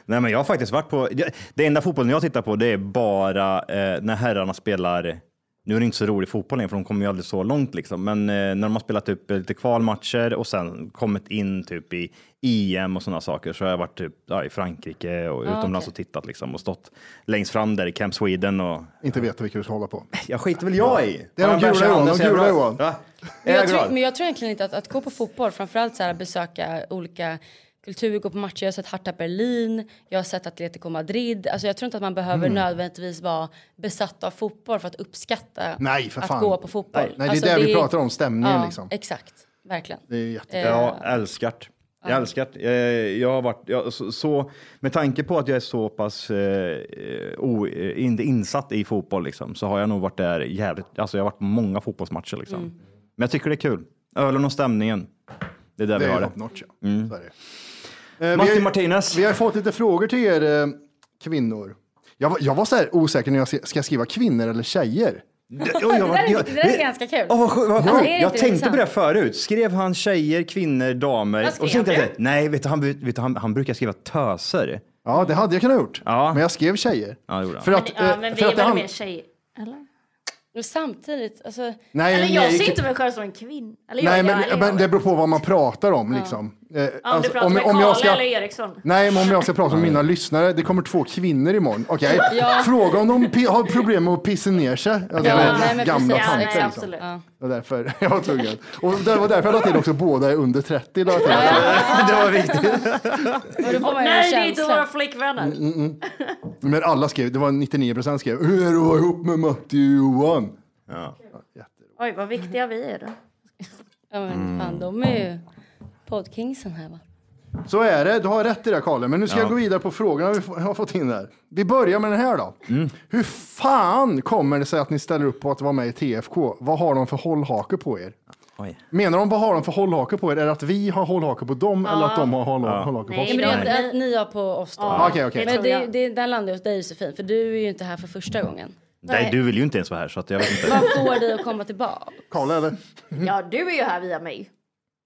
Speaker 2: Nej, men jag har faktiskt varit på... det- Det enda fotbollen jag tittar på det är bara eh, när herrarna spelar... Nu är det inte så rolig fotboll längre, för de kommer ju aldrig så långt liksom. Men eh, när de har spelat typ eh, lite kvalmatcher och sen kommit in typ i EM och sådana saker så har jag varit typ ja, i Frankrike och utomlands och tittat liksom och stått längst fram där i Camp Sweden och...
Speaker 1: Inte veta vilka du ska hålla på.
Speaker 2: Jag skiter väl jag i!
Speaker 1: Det är
Speaker 2: Har
Speaker 1: de
Speaker 2: jag en
Speaker 1: gula
Speaker 2: bärs i handen
Speaker 1: Johan, de
Speaker 2: så är jag
Speaker 1: gula
Speaker 2: glad.
Speaker 1: Johan.
Speaker 2: Va? Är
Speaker 3: Men
Speaker 2: jag
Speaker 3: jag,
Speaker 2: glad?
Speaker 3: tror, men jag tror egentligen inte att, att gå på fotboll, framförallt så här, besöka olika kulturer, gå på matcher. Jag har sett Harta Berlin, jag har sett Atletico Madrid. Alltså jag tror inte att man behöver
Speaker 1: Mm.
Speaker 3: nödvändigtvis vara besatt av fotboll för att uppskatta
Speaker 1: Nej, för fan.
Speaker 3: att gå på fotboll.
Speaker 1: Nej, det är
Speaker 3: alltså,
Speaker 1: det vi
Speaker 3: är-
Speaker 1: pratar om, stämningen
Speaker 3: ja,
Speaker 1: liksom.
Speaker 3: Exakt, verkligen.
Speaker 1: Det är jättekul.
Speaker 3: Eh,
Speaker 2: Ja, älskar det. Jag älskar det. Eh, Jag har varit, jag, så, så, med tanke på att jag är så pass eh, o, eh, in- insatt i fotboll liksom, så har jag nog varit där
Speaker 3: Mm.
Speaker 2: jävligt, alltså jag har varit på många fotbollsmatcher liksom. Men jag tycker det är kul. Ölen och stämningen. Det Det är där
Speaker 1: Det
Speaker 2: vi
Speaker 1: är
Speaker 2: har
Speaker 1: ju
Speaker 2: det.
Speaker 1: top notch, ja.
Speaker 2: Mm.
Speaker 1: Så är det. Eh,
Speaker 2: Martin
Speaker 1: vi har,
Speaker 2: Martinez.
Speaker 1: Vi har fått lite frågor till er eh, kvinnor. Jag, var- jag var så här osäker när jag ska ska jag skriva kvinnor eller tjejer.
Speaker 2: Oj, jag
Speaker 3: Det
Speaker 2: var-
Speaker 3: där är,
Speaker 2: jag-
Speaker 3: det där är ganska kul.
Speaker 2: Åh, vad skönt, vad
Speaker 3: Alltså,
Speaker 2: skönt.
Speaker 3: är det
Speaker 2: jag
Speaker 3: inte
Speaker 2: tänkte
Speaker 3: intressant?
Speaker 2: på det förut. Skrev han tjejer, kvinnor, damer?
Speaker 3: Vad skrev
Speaker 2: Och så tänkte jag
Speaker 3: du?
Speaker 2: så här, nej, vet du, han, vet du, han, han brukar skriva töser.
Speaker 1: Ja, det hade jag kunnat gjort.
Speaker 2: Ja.
Speaker 1: Men jag skrev tjejer.
Speaker 2: Ja, det gjorde han.
Speaker 1: För att,
Speaker 4: Ja,
Speaker 1: eh,
Speaker 4: men vi
Speaker 1: för
Speaker 4: är
Speaker 1: att det
Speaker 4: väl
Speaker 1: han...
Speaker 4: mer tjejer? Eller?
Speaker 3: Men samtidigt, alltså,
Speaker 1: Nej,
Speaker 4: Eller jag
Speaker 1: nej,
Speaker 4: ser inte mig själv som en kvinna. Eller
Speaker 1: Nej,
Speaker 4: jag,
Speaker 1: men,
Speaker 4: jag, eller
Speaker 1: men
Speaker 4: jag.
Speaker 1: det beror på vad man pratar om liksom. Eh,
Speaker 4: Ja, om
Speaker 1: alltså,
Speaker 4: du pratar med Karla eller Eriksson.
Speaker 1: Nej, men om jag ska prata med mina lyssnare, det kommer två kvinnor imorgon. Okej, fråga om de pi- har problem med att pissa ner sig. Alltså,
Speaker 3: Ja,
Speaker 1: de
Speaker 3: nej, men
Speaker 1: gamla
Speaker 3: precis. Ja,
Speaker 1: tanter
Speaker 3: nej,
Speaker 1: liksom.
Speaker 4: absolut.
Speaker 3: Ja.
Speaker 1: Det var därför jag var tvungen. Och det var därför jag la till också, båda är under 30. La jag till.
Speaker 2: det var viktigt.
Speaker 3: och då får man ju en
Speaker 4: Nej, det är inte
Speaker 3: känsla.
Speaker 4: våra flickvänner.
Speaker 3: Mm,
Speaker 1: Men alla skrev, det var 99 procent skrev, hur är det att vara ihop med Matti och Johan?
Speaker 4: Oj, vad viktiga vi är då.
Speaker 3: Ja,
Speaker 1: Mm.
Speaker 3: men fan, de är ju poddkingsen här va?
Speaker 1: Så är det, du har rätt i det Kalle, men nu ska jag gå vidare på frågorna vi f- har fått in där. Vi börjar med den här då.
Speaker 2: Mm.
Speaker 1: Hur fan kommer det sig att ni ställer upp på att vara med i TFK? Vad har de för hållhake på er?
Speaker 2: Oj.
Speaker 1: Menar de vad har de för hållhake på er? Är det att vi har hållhake på dem eller att de har håll- hållhake på
Speaker 4: Nej,
Speaker 1: oss?
Speaker 3: Nej, men det
Speaker 4: Nej.
Speaker 3: är att ni har på oss då.
Speaker 1: Ah, Okej, okej.
Speaker 3: Men
Speaker 4: tror
Speaker 3: det,
Speaker 4: jag.
Speaker 3: det, där landar jag hos dig Josefin, för du är ju inte här för första gången.
Speaker 2: Nej, du vill ju inte ens vara här så att jag vet inte.
Speaker 3: Vad får dig att komma tillbaka?
Speaker 1: Kalle eller?
Speaker 4: Ja, du är ju här via mig.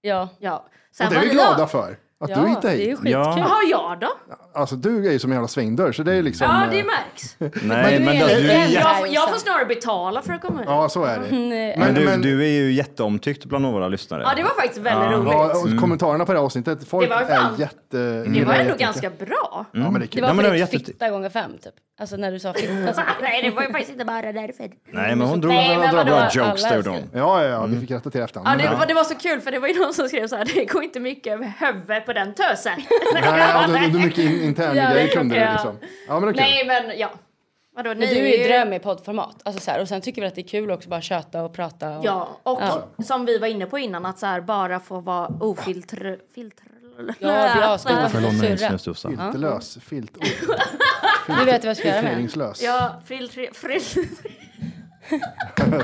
Speaker 3: Ja,
Speaker 4: Ja.
Speaker 1: Mm. Och
Speaker 4: Sen
Speaker 1: det är vi
Speaker 4: vad-
Speaker 1: glada för. Att
Speaker 3: ja
Speaker 1: du hittar
Speaker 3: det är ju
Speaker 1: hit.
Speaker 3: skitkul.
Speaker 2: Ja.
Speaker 4: Jaha, jag då?
Speaker 1: Alltså du är ju som en jävla svängdörr, så det är liksom...
Speaker 4: Ja, det
Speaker 1: eh,
Speaker 4: märks.
Speaker 2: Nej,
Speaker 3: Men-
Speaker 2: men du, du, är
Speaker 3: Ja.
Speaker 2: jätte-
Speaker 4: Jag, får- jag får snarare betala för att komma hit.
Speaker 1: ja så är det.
Speaker 3: Mm, Nej.
Speaker 2: men
Speaker 1: Men,
Speaker 2: du,
Speaker 1: men,
Speaker 2: du är ju jätteomtyckt bland våra lyssnare.
Speaker 4: Ja, det var faktiskt väldigt roligt.
Speaker 1: ja, och kommentarerna på det här avsnittet, folk
Speaker 4: Det var fan-
Speaker 1: är jätte...
Speaker 4: Det var
Speaker 1: gillar
Speaker 4: ändå
Speaker 1: jättemycket.
Speaker 4: ganska bra.
Speaker 1: Mm. Ja, men det är
Speaker 3: Det
Speaker 1: kul.
Speaker 3: var
Speaker 2: Ja,
Speaker 3: för
Speaker 2: men det var
Speaker 3: ditt
Speaker 2: jätte-
Speaker 3: fitta gånger fem typ. Alltså när du sa fitta så.
Speaker 4: Nej, det var ju faktiskt inte bara därför.
Speaker 2: Nej, men hon drog
Speaker 4: Nej,
Speaker 2: några
Speaker 4: men
Speaker 2: bra
Speaker 4: vadå?
Speaker 2: jokes.
Speaker 3: Alla
Speaker 2: Det gjorde hon.
Speaker 1: Ja, ja, ja,
Speaker 2: Mm.
Speaker 1: vi fick rätta till efterhand.
Speaker 4: Ja,
Speaker 1: Men-
Speaker 4: det, var- det var så kul för det var ju någon som skrev så här, det går inte mycket över huvudet på den tösen.
Speaker 1: Nej, ja, det det är mycket in, interna
Speaker 4: Ja,
Speaker 1: grejer
Speaker 4: det
Speaker 1: kunde
Speaker 4: är
Speaker 1: du
Speaker 4: klart,
Speaker 1: liksom. Ja, men okej.
Speaker 4: Nej, men ja. Vadå, ni
Speaker 3: Men du är ju dröm i poddformat. Alltså, så här, och sen tycker vi att det är kul också bara köta och prata. Och...
Speaker 4: Ja, och som vi var inne på innan, att så här bara få vara ofiltr... Filtr...
Speaker 3: Ja, det är
Speaker 4: Så här,
Speaker 3: ascoolt.
Speaker 2: Förlåt mig,
Speaker 3: Surra.
Speaker 2: snusdosa.
Speaker 1: Filterlös, filt,
Speaker 3: Du vet vad jag ska göra med.
Speaker 1: filtreringslös.
Speaker 4: Ja, filtr... Fil...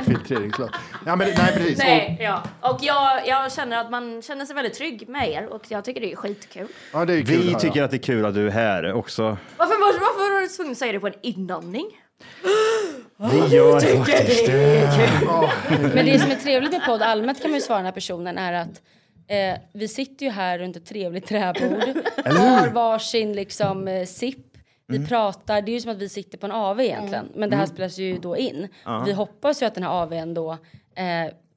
Speaker 1: filtreringslös. Ja, men nej, precis.
Speaker 4: Nej, ja. Och jag, jag känner att man känner sig väldigt trygg med er och jag tycker det är skitkul.
Speaker 1: Och, ja, det är ju kul
Speaker 2: Vi
Speaker 1: att höra.
Speaker 2: tycker att det är kul att du är här också.
Speaker 4: Varför, var- varför var du tvungen att säga det på en inandning?
Speaker 2: Vi gör faktiskt
Speaker 3: Men det som är trevligt med podd allmänt kan man ju svara den här personen är att eh, vi sitter ju här runt ett trevligt träbord. Har varsin liksom eh, sipp. Vi
Speaker 2: Mm.
Speaker 3: pratar, det är ju som att vi sitter på en AV egentligen. Men det här spelas ju då in. Vi hoppas ju att den här AVn då eh,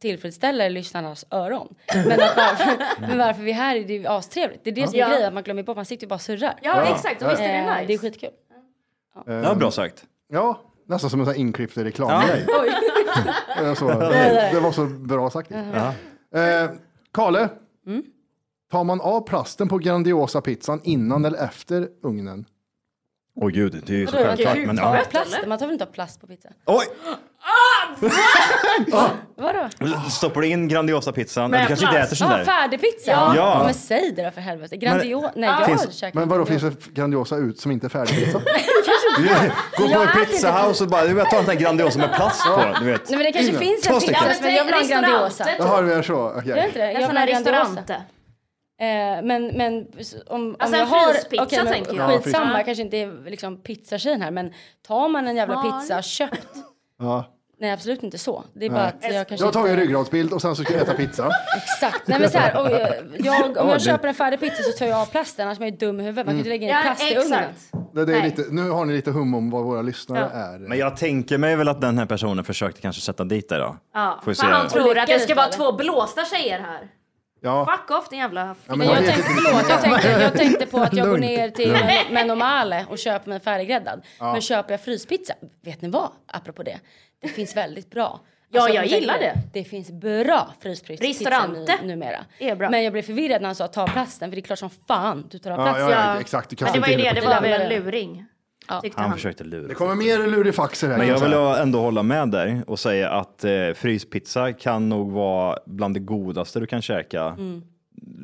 Speaker 3: tillfredsställer lyssnarnas öron. Men, att
Speaker 2: Mm.
Speaker 3: varför, men varför vi är här är det ju astrevligt. Det är det som är
Speaker 4: Ja.
Speaker 3: grejen, att man glömmer bort, man sitter ju bara och surrar.
Speaker 4: Ja, exakt. Och visst är det
Speaker 3: Eh,
Speaker 4: nice?
Speaker 3: det är skitkul.
Speaker 2: Det var bra sagt.
Speaker 1: Ehm, Ja, nästan som en sån här inklippt reklamgrej. Eh, så. Det var så bra sagt. Eh, Kale,
Speaker 3: Mm.
Speaker 1: tar man av plasten på Grandiosa-pizzan innan eller efter ugnen?
Speaker 2: Åh gud, det är ju så
Speaker 3: Vadå,
Speaker 2: självklart.
Speaker 3: gud,
Speaker 2: Men,
Speaker 3: tar man
Speaker 2: ja.
Speaker 3: plast? Man tar väl inte av plast på pizza?
Speaker 2: Oj!
Speaker 3: Ah! Vadå?
Speaker 2: Stoppar du in Grandiosa-pizzan?
Speaker 4: Med
Speaker 2: Du kanske inte
Speaker 4: plast.
Speaker 2: äter sån
Speaker 3: Ja,
Speaker 2: där?
Speaker 3: färdigpizza?
Speaker 2: Ja.
Speaker 3: Men säg det då för helvete. Grandiosa? Nej, jag
Speaker 2: Finns-
Speaker 3: har käkat
Speaker 1: Men vadå, finns
Speaker 3: grandiosa.
Speaker 1: det Grandiosa ut som inte är färdigpizzat?
Speaker 2: Gå
Speaker 3: Jag
Speaker 2: på
Speaker 3: äter
Speaker 2: en pizza house och bara, jag tar en sån här Grandiosa med plast på. Du vet.
Speaker 3: Nej men det kanske
Speaker 1: Innan.
Speaker 3: finns
Speaker 2: Två
Speaker 3: en
Speaker 2: stycken.
Speaker 3: pizza som jag vill ha en Grandiosa.
Speaker 4: Restauranter,
Speaker 1: Jaha, det är så. okej.
Speaker 3: Jag inte det?
Speaker 4: En
Speaker 3: Jag
Speaker 4: sån
Speaker 3: vill
Speaker 4: här
Speaker 3: ha Grandiosa.
Speaker 4: restaurant.
Speaker 3: Eh, men men s- om,
Speaker 4: Alltså
Speaker 3: om
Speaker 4: en
Speaker 3: jag har...
Speaker 4: fryspizza,
Speaker 3: okej, men
Speaker 4: tänker jag.
Speaker 3: Skitsamma,
Speaker 4: Ja.
Speaker 3: kanske inte är liksom pizzatjejen här men tar man en jävla pizza köpt?
Speaker 1: Ja.
Speaker 3: Nej absolut inte så. Det är bara att jag kanske
Speaker 1: Jag tar en
Speaker 3: inte...
Speaker 1: ryggradsbild och sen så ska jag äta pizza.
Speaker 3: Exakt. Nej men så här, och jag, jag, om
Speaker 2: Ja,
Speaker 3: jag
Speaker 2: det-
Speaker 3: köper en färdig pizza så tar jag av plasten annars är man ju dum i huvudet. Man kan ju inte lägga in
Speaker 4: Ja,
Speaker 3: plast i ugnen.
Speaker 4: exakt.
Speaker 1: Det, det är
Speaker 4: Nej.
Speaker 1: lite, nu har ni lite hum om vad våra lyssnare
Speaker 4: Ja.
Speaker 1: är.
Speaker 2: Men jag tänker mig väl att den här personen försökte kanske sätta dit dig då.
Speaker 4: Ja,
Speaker 2: Får vi
Speaker 4: för han
Speaker 2: se.
Speaker 4: tror att det ska
Speaker 3: Lycka
Speaker 4: vara
Speaker 3: till,
Speaker 4: två blåsta tjejer här.
Speaker 1: ja.
Speaker 4: Fuck off din jävla...
Speaker 1: Ja,
Speaker 4: Ja,
Speaker 1: men
Speaker 3: Jag
Speaker 1: vet
Speaker 3: tänkte,
Speaker 1: inte.
Speaker 3: förlåt, jag tänkte, jag tänkte på att jag går
Speaker 1: Lugnt.
Speaker 3: ner till Men- Menomale och köper mig färdiggräddad. Men köper jag fryspizza, vet ni vad? Apropå det. Det finns väldigt bra.
Speaker 4: Ja,
Speaker 3: Alltså,
Speaker 4: jag
Speaker 3: om ni
Speaker 4: gillar
Speaker 3: tänker,
Speaker 4: det.
Speaker 3: Det finns bra fryspizza
Speaker 4: Restauranter
Speaker 3: nu- numera.
Speaker 4: är bra.
Speaker 3: Men jag blev förvirrad när han sa ta plasten, för det är klart som fan du tar av
Speaker 1: Ja,
Speaker 3: plats.
Speaker 1: ja, ja, exakt. Du
Speaker 4: men
Speaker 1: kastar
Speaker 4: det var ju det,
Speaker 1: inte in
Speaker 4: Alltså, det
Speaker 1: det.
Speaker 4: var väl en luring. Tyckte
Speaker 2: Han
Speaker 4: han.
Speaker 2: försökte lura.
Speaker 1: Det kommer mer lurifaxer här.
Speaker 2: Men jag
Speaker 1: kan
Speaker 2: vill
Speaker 1: säga.
Speaker 2: ändå hålla med dig och säga att eh, fryspizza kan nog vara bland det godaste du kan käka.
Speaker 1: Mm.
Speaker 3: Mm.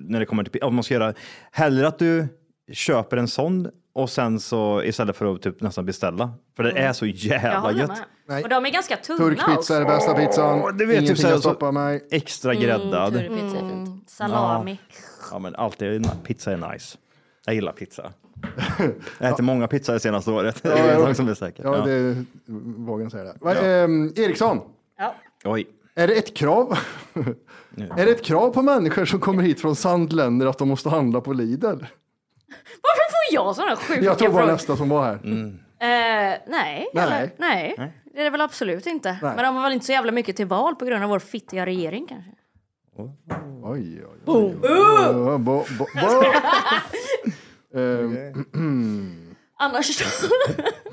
Speaker 2: När det kommer till pi- om man ska göra, Hellre att du köper en sån och sen så istället för att typ nästan beställa. För det
Speaker 1: Mm.
Speaker 2: är så
Speaker 4: Mm. Jag
Speaker 2: jävla
Speaker 4: håller
Speaker 2: gött.
Speaker 4: med. Och de är ganska tunna
Speaker 1: Turkpizza är
Speaker 4: också.
Speaker 1: den bästa pizzan.
Speaker 2: du vet, typ
Speaker 1: Ingenting
Speaker 2: så här,
Speaker 1: kan
Speaker 2: så-
Speaker 1: stoppa mig. Mm,
Speaker 4: Mm,
Speaker 2: Extra gräddad. Mm.
Speaker 3: Turkpizza är fint.
Speaker 4: Salami.
Speaker 2: Ja, men alltid pizza är nice. Jag gillar pizza. Jag äter många pizzor det senaste året. det är en sak som är säker.
Speaker 1: Ja,
Speaker 2: Ja.
Speaker 1: det vågar säga det. Va,
Speaker 2: Ja.
Speaker 1: ehm, Eriksson,
Speaker 2: Oj.
Speaker 1: är det ett krav? är det ett krav på människor som kommer hit från sandländer att de måste handla på Lidl?
Speaker 4: Varför får jag sådana sjuka
Speaker 1: Jag tror det var
Speaker 4: frågor?
Speaker 1: nästa som var här.
Speaker 4: Eh, nej,
Speaker 1: Nej.
Speaker 4: Eller, nej. det är det väl absolut inte.
Speaker 1: Nej.
Speaker 4: Men de har väl inte så jävla mycket till val på grund av vår fittiga regering kanske.
Speaker 1: Oj, oj, oj. Bo- bo- bo- Ehm,
Speaker 4: Annars så...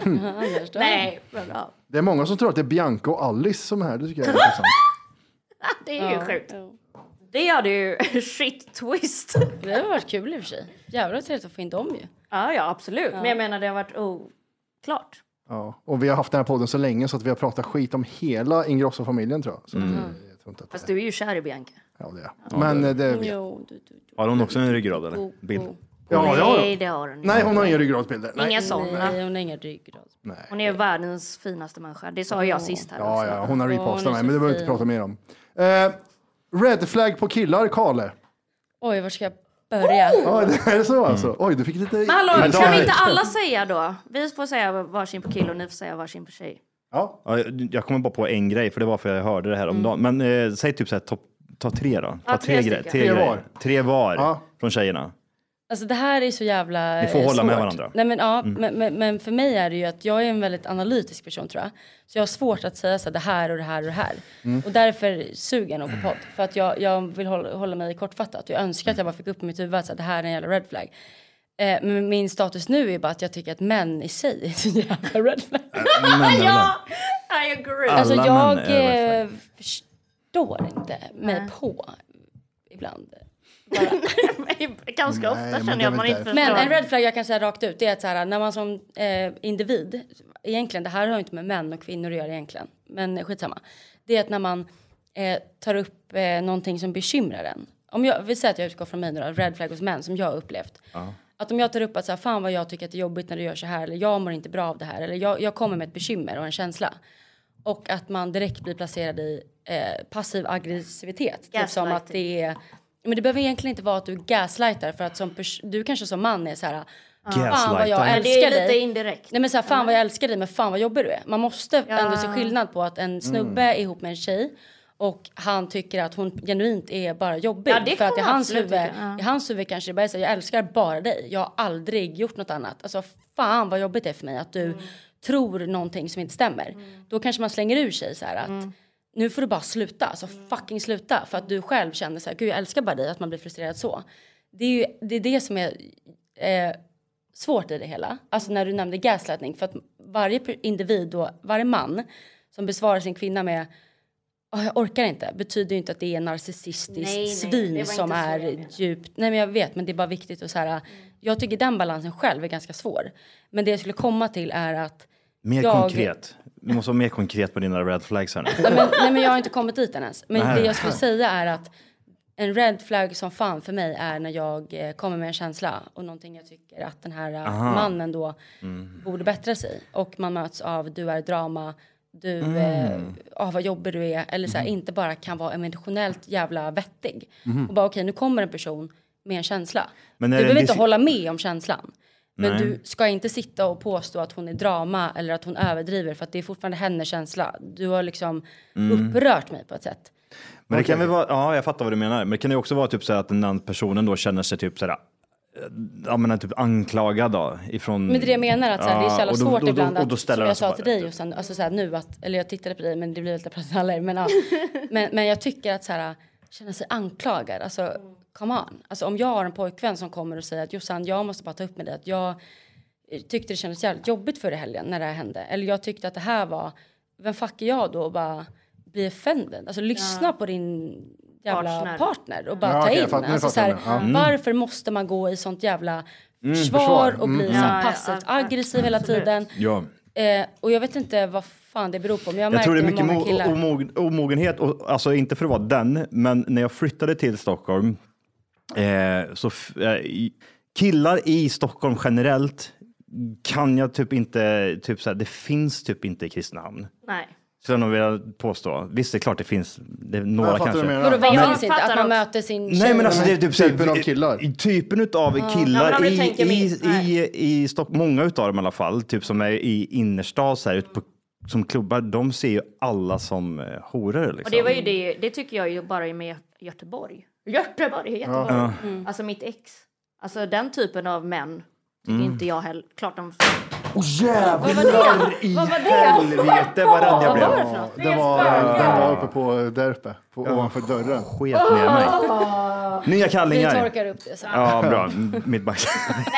Speaker 1: Mm.
Speaker 4: nej, men ja.
Speaker 1: Det är många som tror att det är Bianca och Alice som är här. Det tycker jag är intressant.
Speaker 4: Det är ju sjukt. Det hade ju shit twist.
Speaker 3: Det hade varit kul i och för sig. Jävlar vad trevligt att få in dem ju.
Speaker 4: Ja, ja absolut. Men jag menar det har varit oklart.
Speaker 1: Ja. Och vi har haft den här podden så länge så att vi har pratat skit om hela Ingrosso-familjen tror jag. Så att,
Speaker 4: Mm.
Speaker 1: eh, jag tror inte att
Speaker 4: Fast du är ju kär i Bianca. Mm.
Speaker 1: Ja, det är. jag. Men eh, det vet
Speaker 3: Jo, du, du, du.
Speaker 2: Har hon också en ryggrad eller?
Speaker 3: Oh,
Speaker 2: Bild?
Speaker 1: Ja, ja,
Speaker 4: Nej,
Speaker 1: ja.
Speaker 4: det har hon inte.
Speaker 1: Nej, hon har inga ryggradsbilder. Nej.
Speaker 4: Inga sådana.
Speaker 3: Nej, hon har ingen ryggrad.
Speaker 4: Hon är världens finaste människa. Det sa jag sist här
Speaker 1: Ja,
Speaker 4: också.
Speaker 1: ja, hon har
Speaker 3: Ja,
Speaker 1: repostat
Speaker 3: hon är
Speaker 1: mig,
Speaker 3: så
Speaker 1: men det behöver vi inte prata mer om. Eh, red flag på killar, Kale.
Speaker 3: Oj, var ska jag börja?
Speaker 1: Ja, det är
Speaker 2: Mm.
Speaker 1: så alltså. Oj, du fick lite...
Speaker 4: Men hallå,
Speaker 2: Men
Speaker 4: kan
Speaker 2: de-
Speaker 4: vi inte alla säga då? Vi får säga varsin på kille och ni får säga varsin på tjej.
Speaker 1: Ja.
Speaker 2: Ja, jag- jag kommer bara på en grej, för det var för jag hörde det här
Speaker 3: Mm.
Speaker 2: om dagen. Men eh, säg typ så här, topp- ta tre då. Ta
Speaker 4: Ja, tre
Speaker 2: tre, gre-
Speaker 4: stycken.
Speaker 2: tre,
Speaker 1: Tre
Speaker 2: grejer.
Speaker 1: var.
Speaker 2: Tre var
Speaker 1: Ja.
Speaker 2: från tjejerna.
Speaker 3: Alltså det här är så jävla
Speaker 2: Ni får
Speaker 3: eh,
Speaker 2: hålla
Speaker 3: svårt.
Speaker 2: med varandra. Mm.
Speaker 3: Nej, men, ja, men, men, men för mig är det ju att jag är en väldigt analytisk person tror jag. Så jag har svårt att säga så här, det här och det här och det här.
Speaker 2: Mm.
Speaker 3: Och därför suger jag nog på podd. För att jag, jag vill hålla, hålla mig kortfattat. Jag önskar att jag bara fick upp i mitt huvud att så här, det här är en jävla red flag. Eh, men min status nu är bara att jag tycker att män i sig är en jävla red flag.
Speaker 2: Men,
Speaker 4: Ja, I agree.
Speaker 2: Alla
Speaker 3: Alltså
Speaker 2: män
Speaker 3: jag
Speaker 2: är red
Speaker 3: eh, förstår inte mig på ibland.
Speaker 4: Ganska
Speaker 1: Nej,
Speaker 4: ofta
Speaker 1: men
Speaker 4: känner jag
Speaker 1: det är
Speaker 4: att
Speaker 1: väl
Speaker 4: man inte
Speaker 1: därför.
Speaker 3: Men en
Speaker 4: förstår.
Speaker 3: red flag jag kan säga rakt ut det är att så här, när man som eh, individ, egentligen det här har ju inte med män och kvinnor att göra egentligen, men skitsamma. Det är att när man eh, tar upp eh, någonting som bekymrar en. Om jag, vi säger att jag utgår från mig nu då, red flag hos män som jag har upplevt. Att om jag tar upp att så här, fan vad jag tycker att det är jobbigt när du gör så här eller jag mår inte bra av det här eller jag, jag kommer med ett bekymmer och en känsla. Och att man direkt blir placerad i eh, passiv aggressivitet. Typ som att det är... Men det behöver egentligen inte vara att du gaslightar för att som pers- du kanske som man är så här... Fan vad jag
Speaker 2: Gaslightar.
Speaker 4: Det är
Speaker 3: älskar
Speaker 4: lite
Speaker 3: dig.
Speaker 4: indirekt.
Speaker 3: Nej men så här, fan vad jag älskar dig men fan vad jobbig du är. Man måste ändå se skillnad på att en snubbe är ihop med en tjej och han tycker att hon genuint är bara jobbig.
Speaker 4: Ja, det
Speaker 3: för att i
Speaker 4: kan man
Speaker 3: hans,
Speaker 4: absolut
Speaker 3: huvud,
Speaker 4: tycka, ja.
Speaker 3: i hans huvud kanske det bara är så här, jag älskar bara dig. Jag har aldrig gjort något annat. Alltså fan vad jobbigt det är för mig att du
Speaker 4: Mm.
Speaker 3: tror någonting som inte stämmer. Då kanske man slänger ur sig så här att
Speaker 4: Mm.
Speaker 3: nu får du bara sluta, alltså fucking sluta. För att du själv känner så här, gud jag älskar bara dig, att man blir frustrerad så. Det är ju det, är det som är eh, svårt i det hela. Alltså när du nämnde gaslightning, för att varje per- individ då, varje man som besvarar sin kvinna med "Åh, jag orkar inte, betyder ju inte att det är en narcissistisk
Speaker 4: Nej, nej,
Speaker 3: svin
Speaker 4: det var inte
Speaker 3: som
Speaker 4: så jag
Speaker 3: är
Speaker 4: menade.
Speaker 3: djupt. Nej men jag vet, men det är bara viktigt att så här, jag tycker den balansen själv är ganska svår. Men det jag skulle komma till är att
Speaker 2: Mer
Speaker 3: jag-
Speaker 2: konkret. Du måste vara mer konkret på dina red flags här nu.
Speaker 3: Nej men, nej men jag har inte kommit dit än ens. Men
Speaker 2: Nej.
Speaker 3: det jag skulle säga är att en red flag som fan för mig är när jag eh, kommer med en känsla och någonting jag tycker att den här eh, mannen då
Speaker 1: Mm.
Speaker 3: borde bättra sig. Och man möts av du är drama, du,
Speaker 2: Mm.
Speaker 3: eh, ah, vad jobbig du är. Eller så här, inte bara kan vara emotionellt jävla vettig. Och bara okej nu kommer en person med en känsla.
Speaker 2: Mm. Men är
Speaker 3: du
Speaker 2: det en
Speaker 3: behöver inte
Speaker 2: dis-
Speaker 3: hålla med om känslan. Men
Speaker 2: Nej.
Speaker 3: du ska inte sitta och påstå att hon är drama eller att hon överdriver för att det är fortfarande hennes känsla. Du har liksom
Speaker 2: Mm.
Speaker 3: upprört mig på ett sätt.
Speaker 2: Men det kan väl vara, ja jag fattar vad du menar, men det kan ju också vara typ så här att den andra personen då känner sig typ så här, eh, ja men typ anklagad då ifrån.
Speaker 3: Men det är det jag menar, att så här, det är så jävla
Speaker 2: och då-
Speaker 3: svårt
Speaker 2: och då-
Speaker 3: ibland
Speaker 2: och då
Speaker 3: att,
Speaker 2: ställer
Speaker 3: som
Speaker 2: den
Speaker 3: jag
Speaker 2: sig
Speaker 3: sa
Speaker 2: bara
Speaker 3: till dig
Speaker 2: rätt
Speaker 3: och sen, alltså så här, nu att, eller jag tittade på dig men det blir lite prat alla er, men, ja. men, men jag tycker att så här, känna sig anklagad, alltså come on. Alltså om jag har en pojkvän som kommer och säger att Jossan jag måste bara ta upp med dig att jag tyckte det kändes jävligt jobbigt förra helgen när det här hände. Eller jag tyckte att det här var, vem fuck är jag då och bara bli offended. Alltså lyssna på din jävla
Speaker 4: Partner.
Speaker 3: partner, och bara
Speaker 1: Ja,
Speaker 3: ta
Speaker 1: okej, jag
Speaker 3: in.
Speaker 1: fattar- nu
Speaker 3: alltså, så
Speaker 1: fattar
Speaker 3: här,
Speaker 1: jag nu.
Speaker 3: Varför måste man gå i sånt jävla försvar,
Speaker 1: försvar.
Speaker 3: och bli
Speaker 1: Mm,
Speaker 3: så
Speaker 4: Ja,
Speaker 3: här
Speaker 4: ja,
Speaker 3: passivt
Speaker 4: ja, ja.
Speaker 3: aggressiv hela
Speaker 4: Absolut.
Speaker 3: tiden.
Speaker 2: Ja.
Speaker 3: Eh, och jag vet inte vad fan det beror på men jag,
Speaker 2: Jag
Speaker 3: märker
Speaker 2: tror det är
Speaker 3: med
Speaker 2: mycket
Speaker 3: många killar.
Speaker 2: mo- omogen, omogenhet, och, alltså inte för att vara den, men när jag flyttade till Stockholm, eh, så f- eh, i- killar i Stockholm generellt kan jag typ inte, typ så här, det finns typ inte i Kristinehamn.
Speaker 4: Nej.
Speaker 2: Skulle jag nog vilja påstå. Visst, det är klart det finns det är några
Speaker 1: fattar
Speaker 2: kanske.
Speaker 1: vad du menar.
Speaker 3: Vadå, vad
Speaker 2: Men-
Speaker 3: finns inte? Att man möter sin
Speaker 2: Nej men alltså det är typ såhär-
Speaker 1: Typen av killar.
Speaker 2: i- Typen
Speaker 3: Ja.
Speaker 2: utav
Speaker 3: Ja, men
Speaker 2: killar
Speaker 3: om du
Speaker 2: i,
Speaker 3: tänker
Speaker 2: i,
Speaker 3: mitt,
Speaker 2: i, i Stockholm, många utav dem i alla fall, typ som är i innerstad så här, ute på, som klubbar, de ser ju alla som eh, horor liksom.
Speaker 4: Och det var ju det, det tycker jag ju bara är med Göteborg. Göteborg, Göteborg.
Speaker 2: Ja.
Speaker 4: Alltså mitt ex. Alltså den typen av män tycker
Speaker 2: Mm.
Speaker 4: inte jag heller. Klart de...
Speaker 2: Jävlar i
Speaker 4: Vad var det?
Speaker 2: helvete vad rädd jag blev.
Speaker 1: Ja, den, var, den var uppe på eh, där uppe, på, ovanför dörren.
Speaker 2: Sket ner mig. Nya
Speaker 3: Vi
Speaker 2: kallingar.
Speaker 3: torkar upp det sen.
Speaker 2: Ja, bra. M- Mitt back.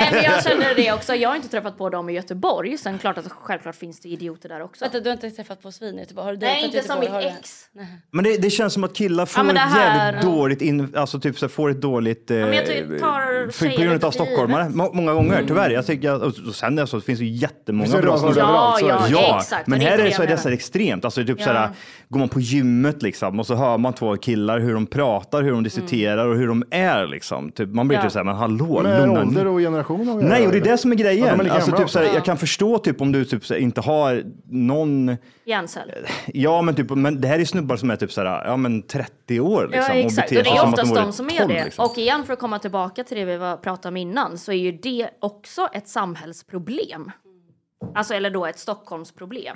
Speaker 4: Nej men jag känner det också. Jag har inte träffat på dem i Göteborg. Sen klart att självklart finns det idioter där också.
Speaker 3: Vänta, du har inte träffat på svin i Göteborg? Har du
Speaker 4: Nej
Speaker 3: dejtat
Speaker 4: inte som
Speaker 3: Göteborg?
Speaker 4: mitt
Speaker 3: Har du-
Speaker 4: ex.
Speaker 2: Men det, det känns som att killar får
Speaker 4: Ja, men det
Speaker 2: ett
Speaker 4: här-
Speaker 2: jävligt dåligt, in, alltså typ så här, får ett dåligt, eh,
Speaker 4: men jag tycker- tar
Speaker 2: för,
Speaker 4: tjejer
Speaker 2: på grund
Speaker 4: lite
Speaker 2: av
Speaker 4: för givet. Mm.
Speaker 2: stockholmare, må, många gånger tyvärr. Jag tycker, jag- och, och sen alltså, det finns ju
Speaker 1: Finns det
Speaker 2: jättemånga bra
Speaker 1: rövhål
Speaker 2: snubbar.
Speaker 1: överallt, så är
Speaker 4: Ja,
Speaker 1: det.
Speaker 4: ja, exakt.
Speaker 2: men
Speaker 4: det
Speaker 2: här
Speaker 4: inte
Speaker 2: är det så,
Speaker 4: jag
Speaker 2: det är så här
Speaker 4: menar.
Speaker 2: extremt. Alltså, typ
Speaker 4: Ja.
Speaker 2: så här, går man på gymmet liksom, och så hör man två killar hur de pratar, hur de diskuterar och hur de är. Liksom. Typ, man blir
Speaker 4: Mm. Ja.
Speaker 2: typ så här, men hallå,
Speaker 1: Med
Speaker 2: lugna
Speaker 1: ålder
Speaker 2: ner
Speaker 1: och generation har vi
Speaker 2: Nej,
Speaker 1: göra,
Speaker 2: och det är
Speaker 1: eller?
Speaker 2: det som är grejen.
Speaker 1: Ja, de är lika
Speaker 2: alltså,
Speaker 1: gamla
Speaker 2: typ, såhär,
Speaker 1: också.
Speaker 2: Jag kan förstå typ, om du typ, såhär, inte har någon...
Speaker 4: Jänsel.
Speaker 2: Ja, men, typ, men det här är snubbar som är typ såhär, ja, men 30 år. Liksom,
Speaker 4: ja exakt, och, det
Speaker 2: sig
Speaker 4: är
Speaker 2: som att de
Speaker 4: oftast
Speaker 2: vore
Speaker 4: de som
Speaker 2: 12,
Speaker 4: är det.
Speaker 2: liksom.
Speaker 4: Och igen för att komma tillbaka till det vi var, pratade om innan så är ju det också ett samhällsproblem. Alltså eller då ett Stockholmsproblem.
Speaker 2: ja,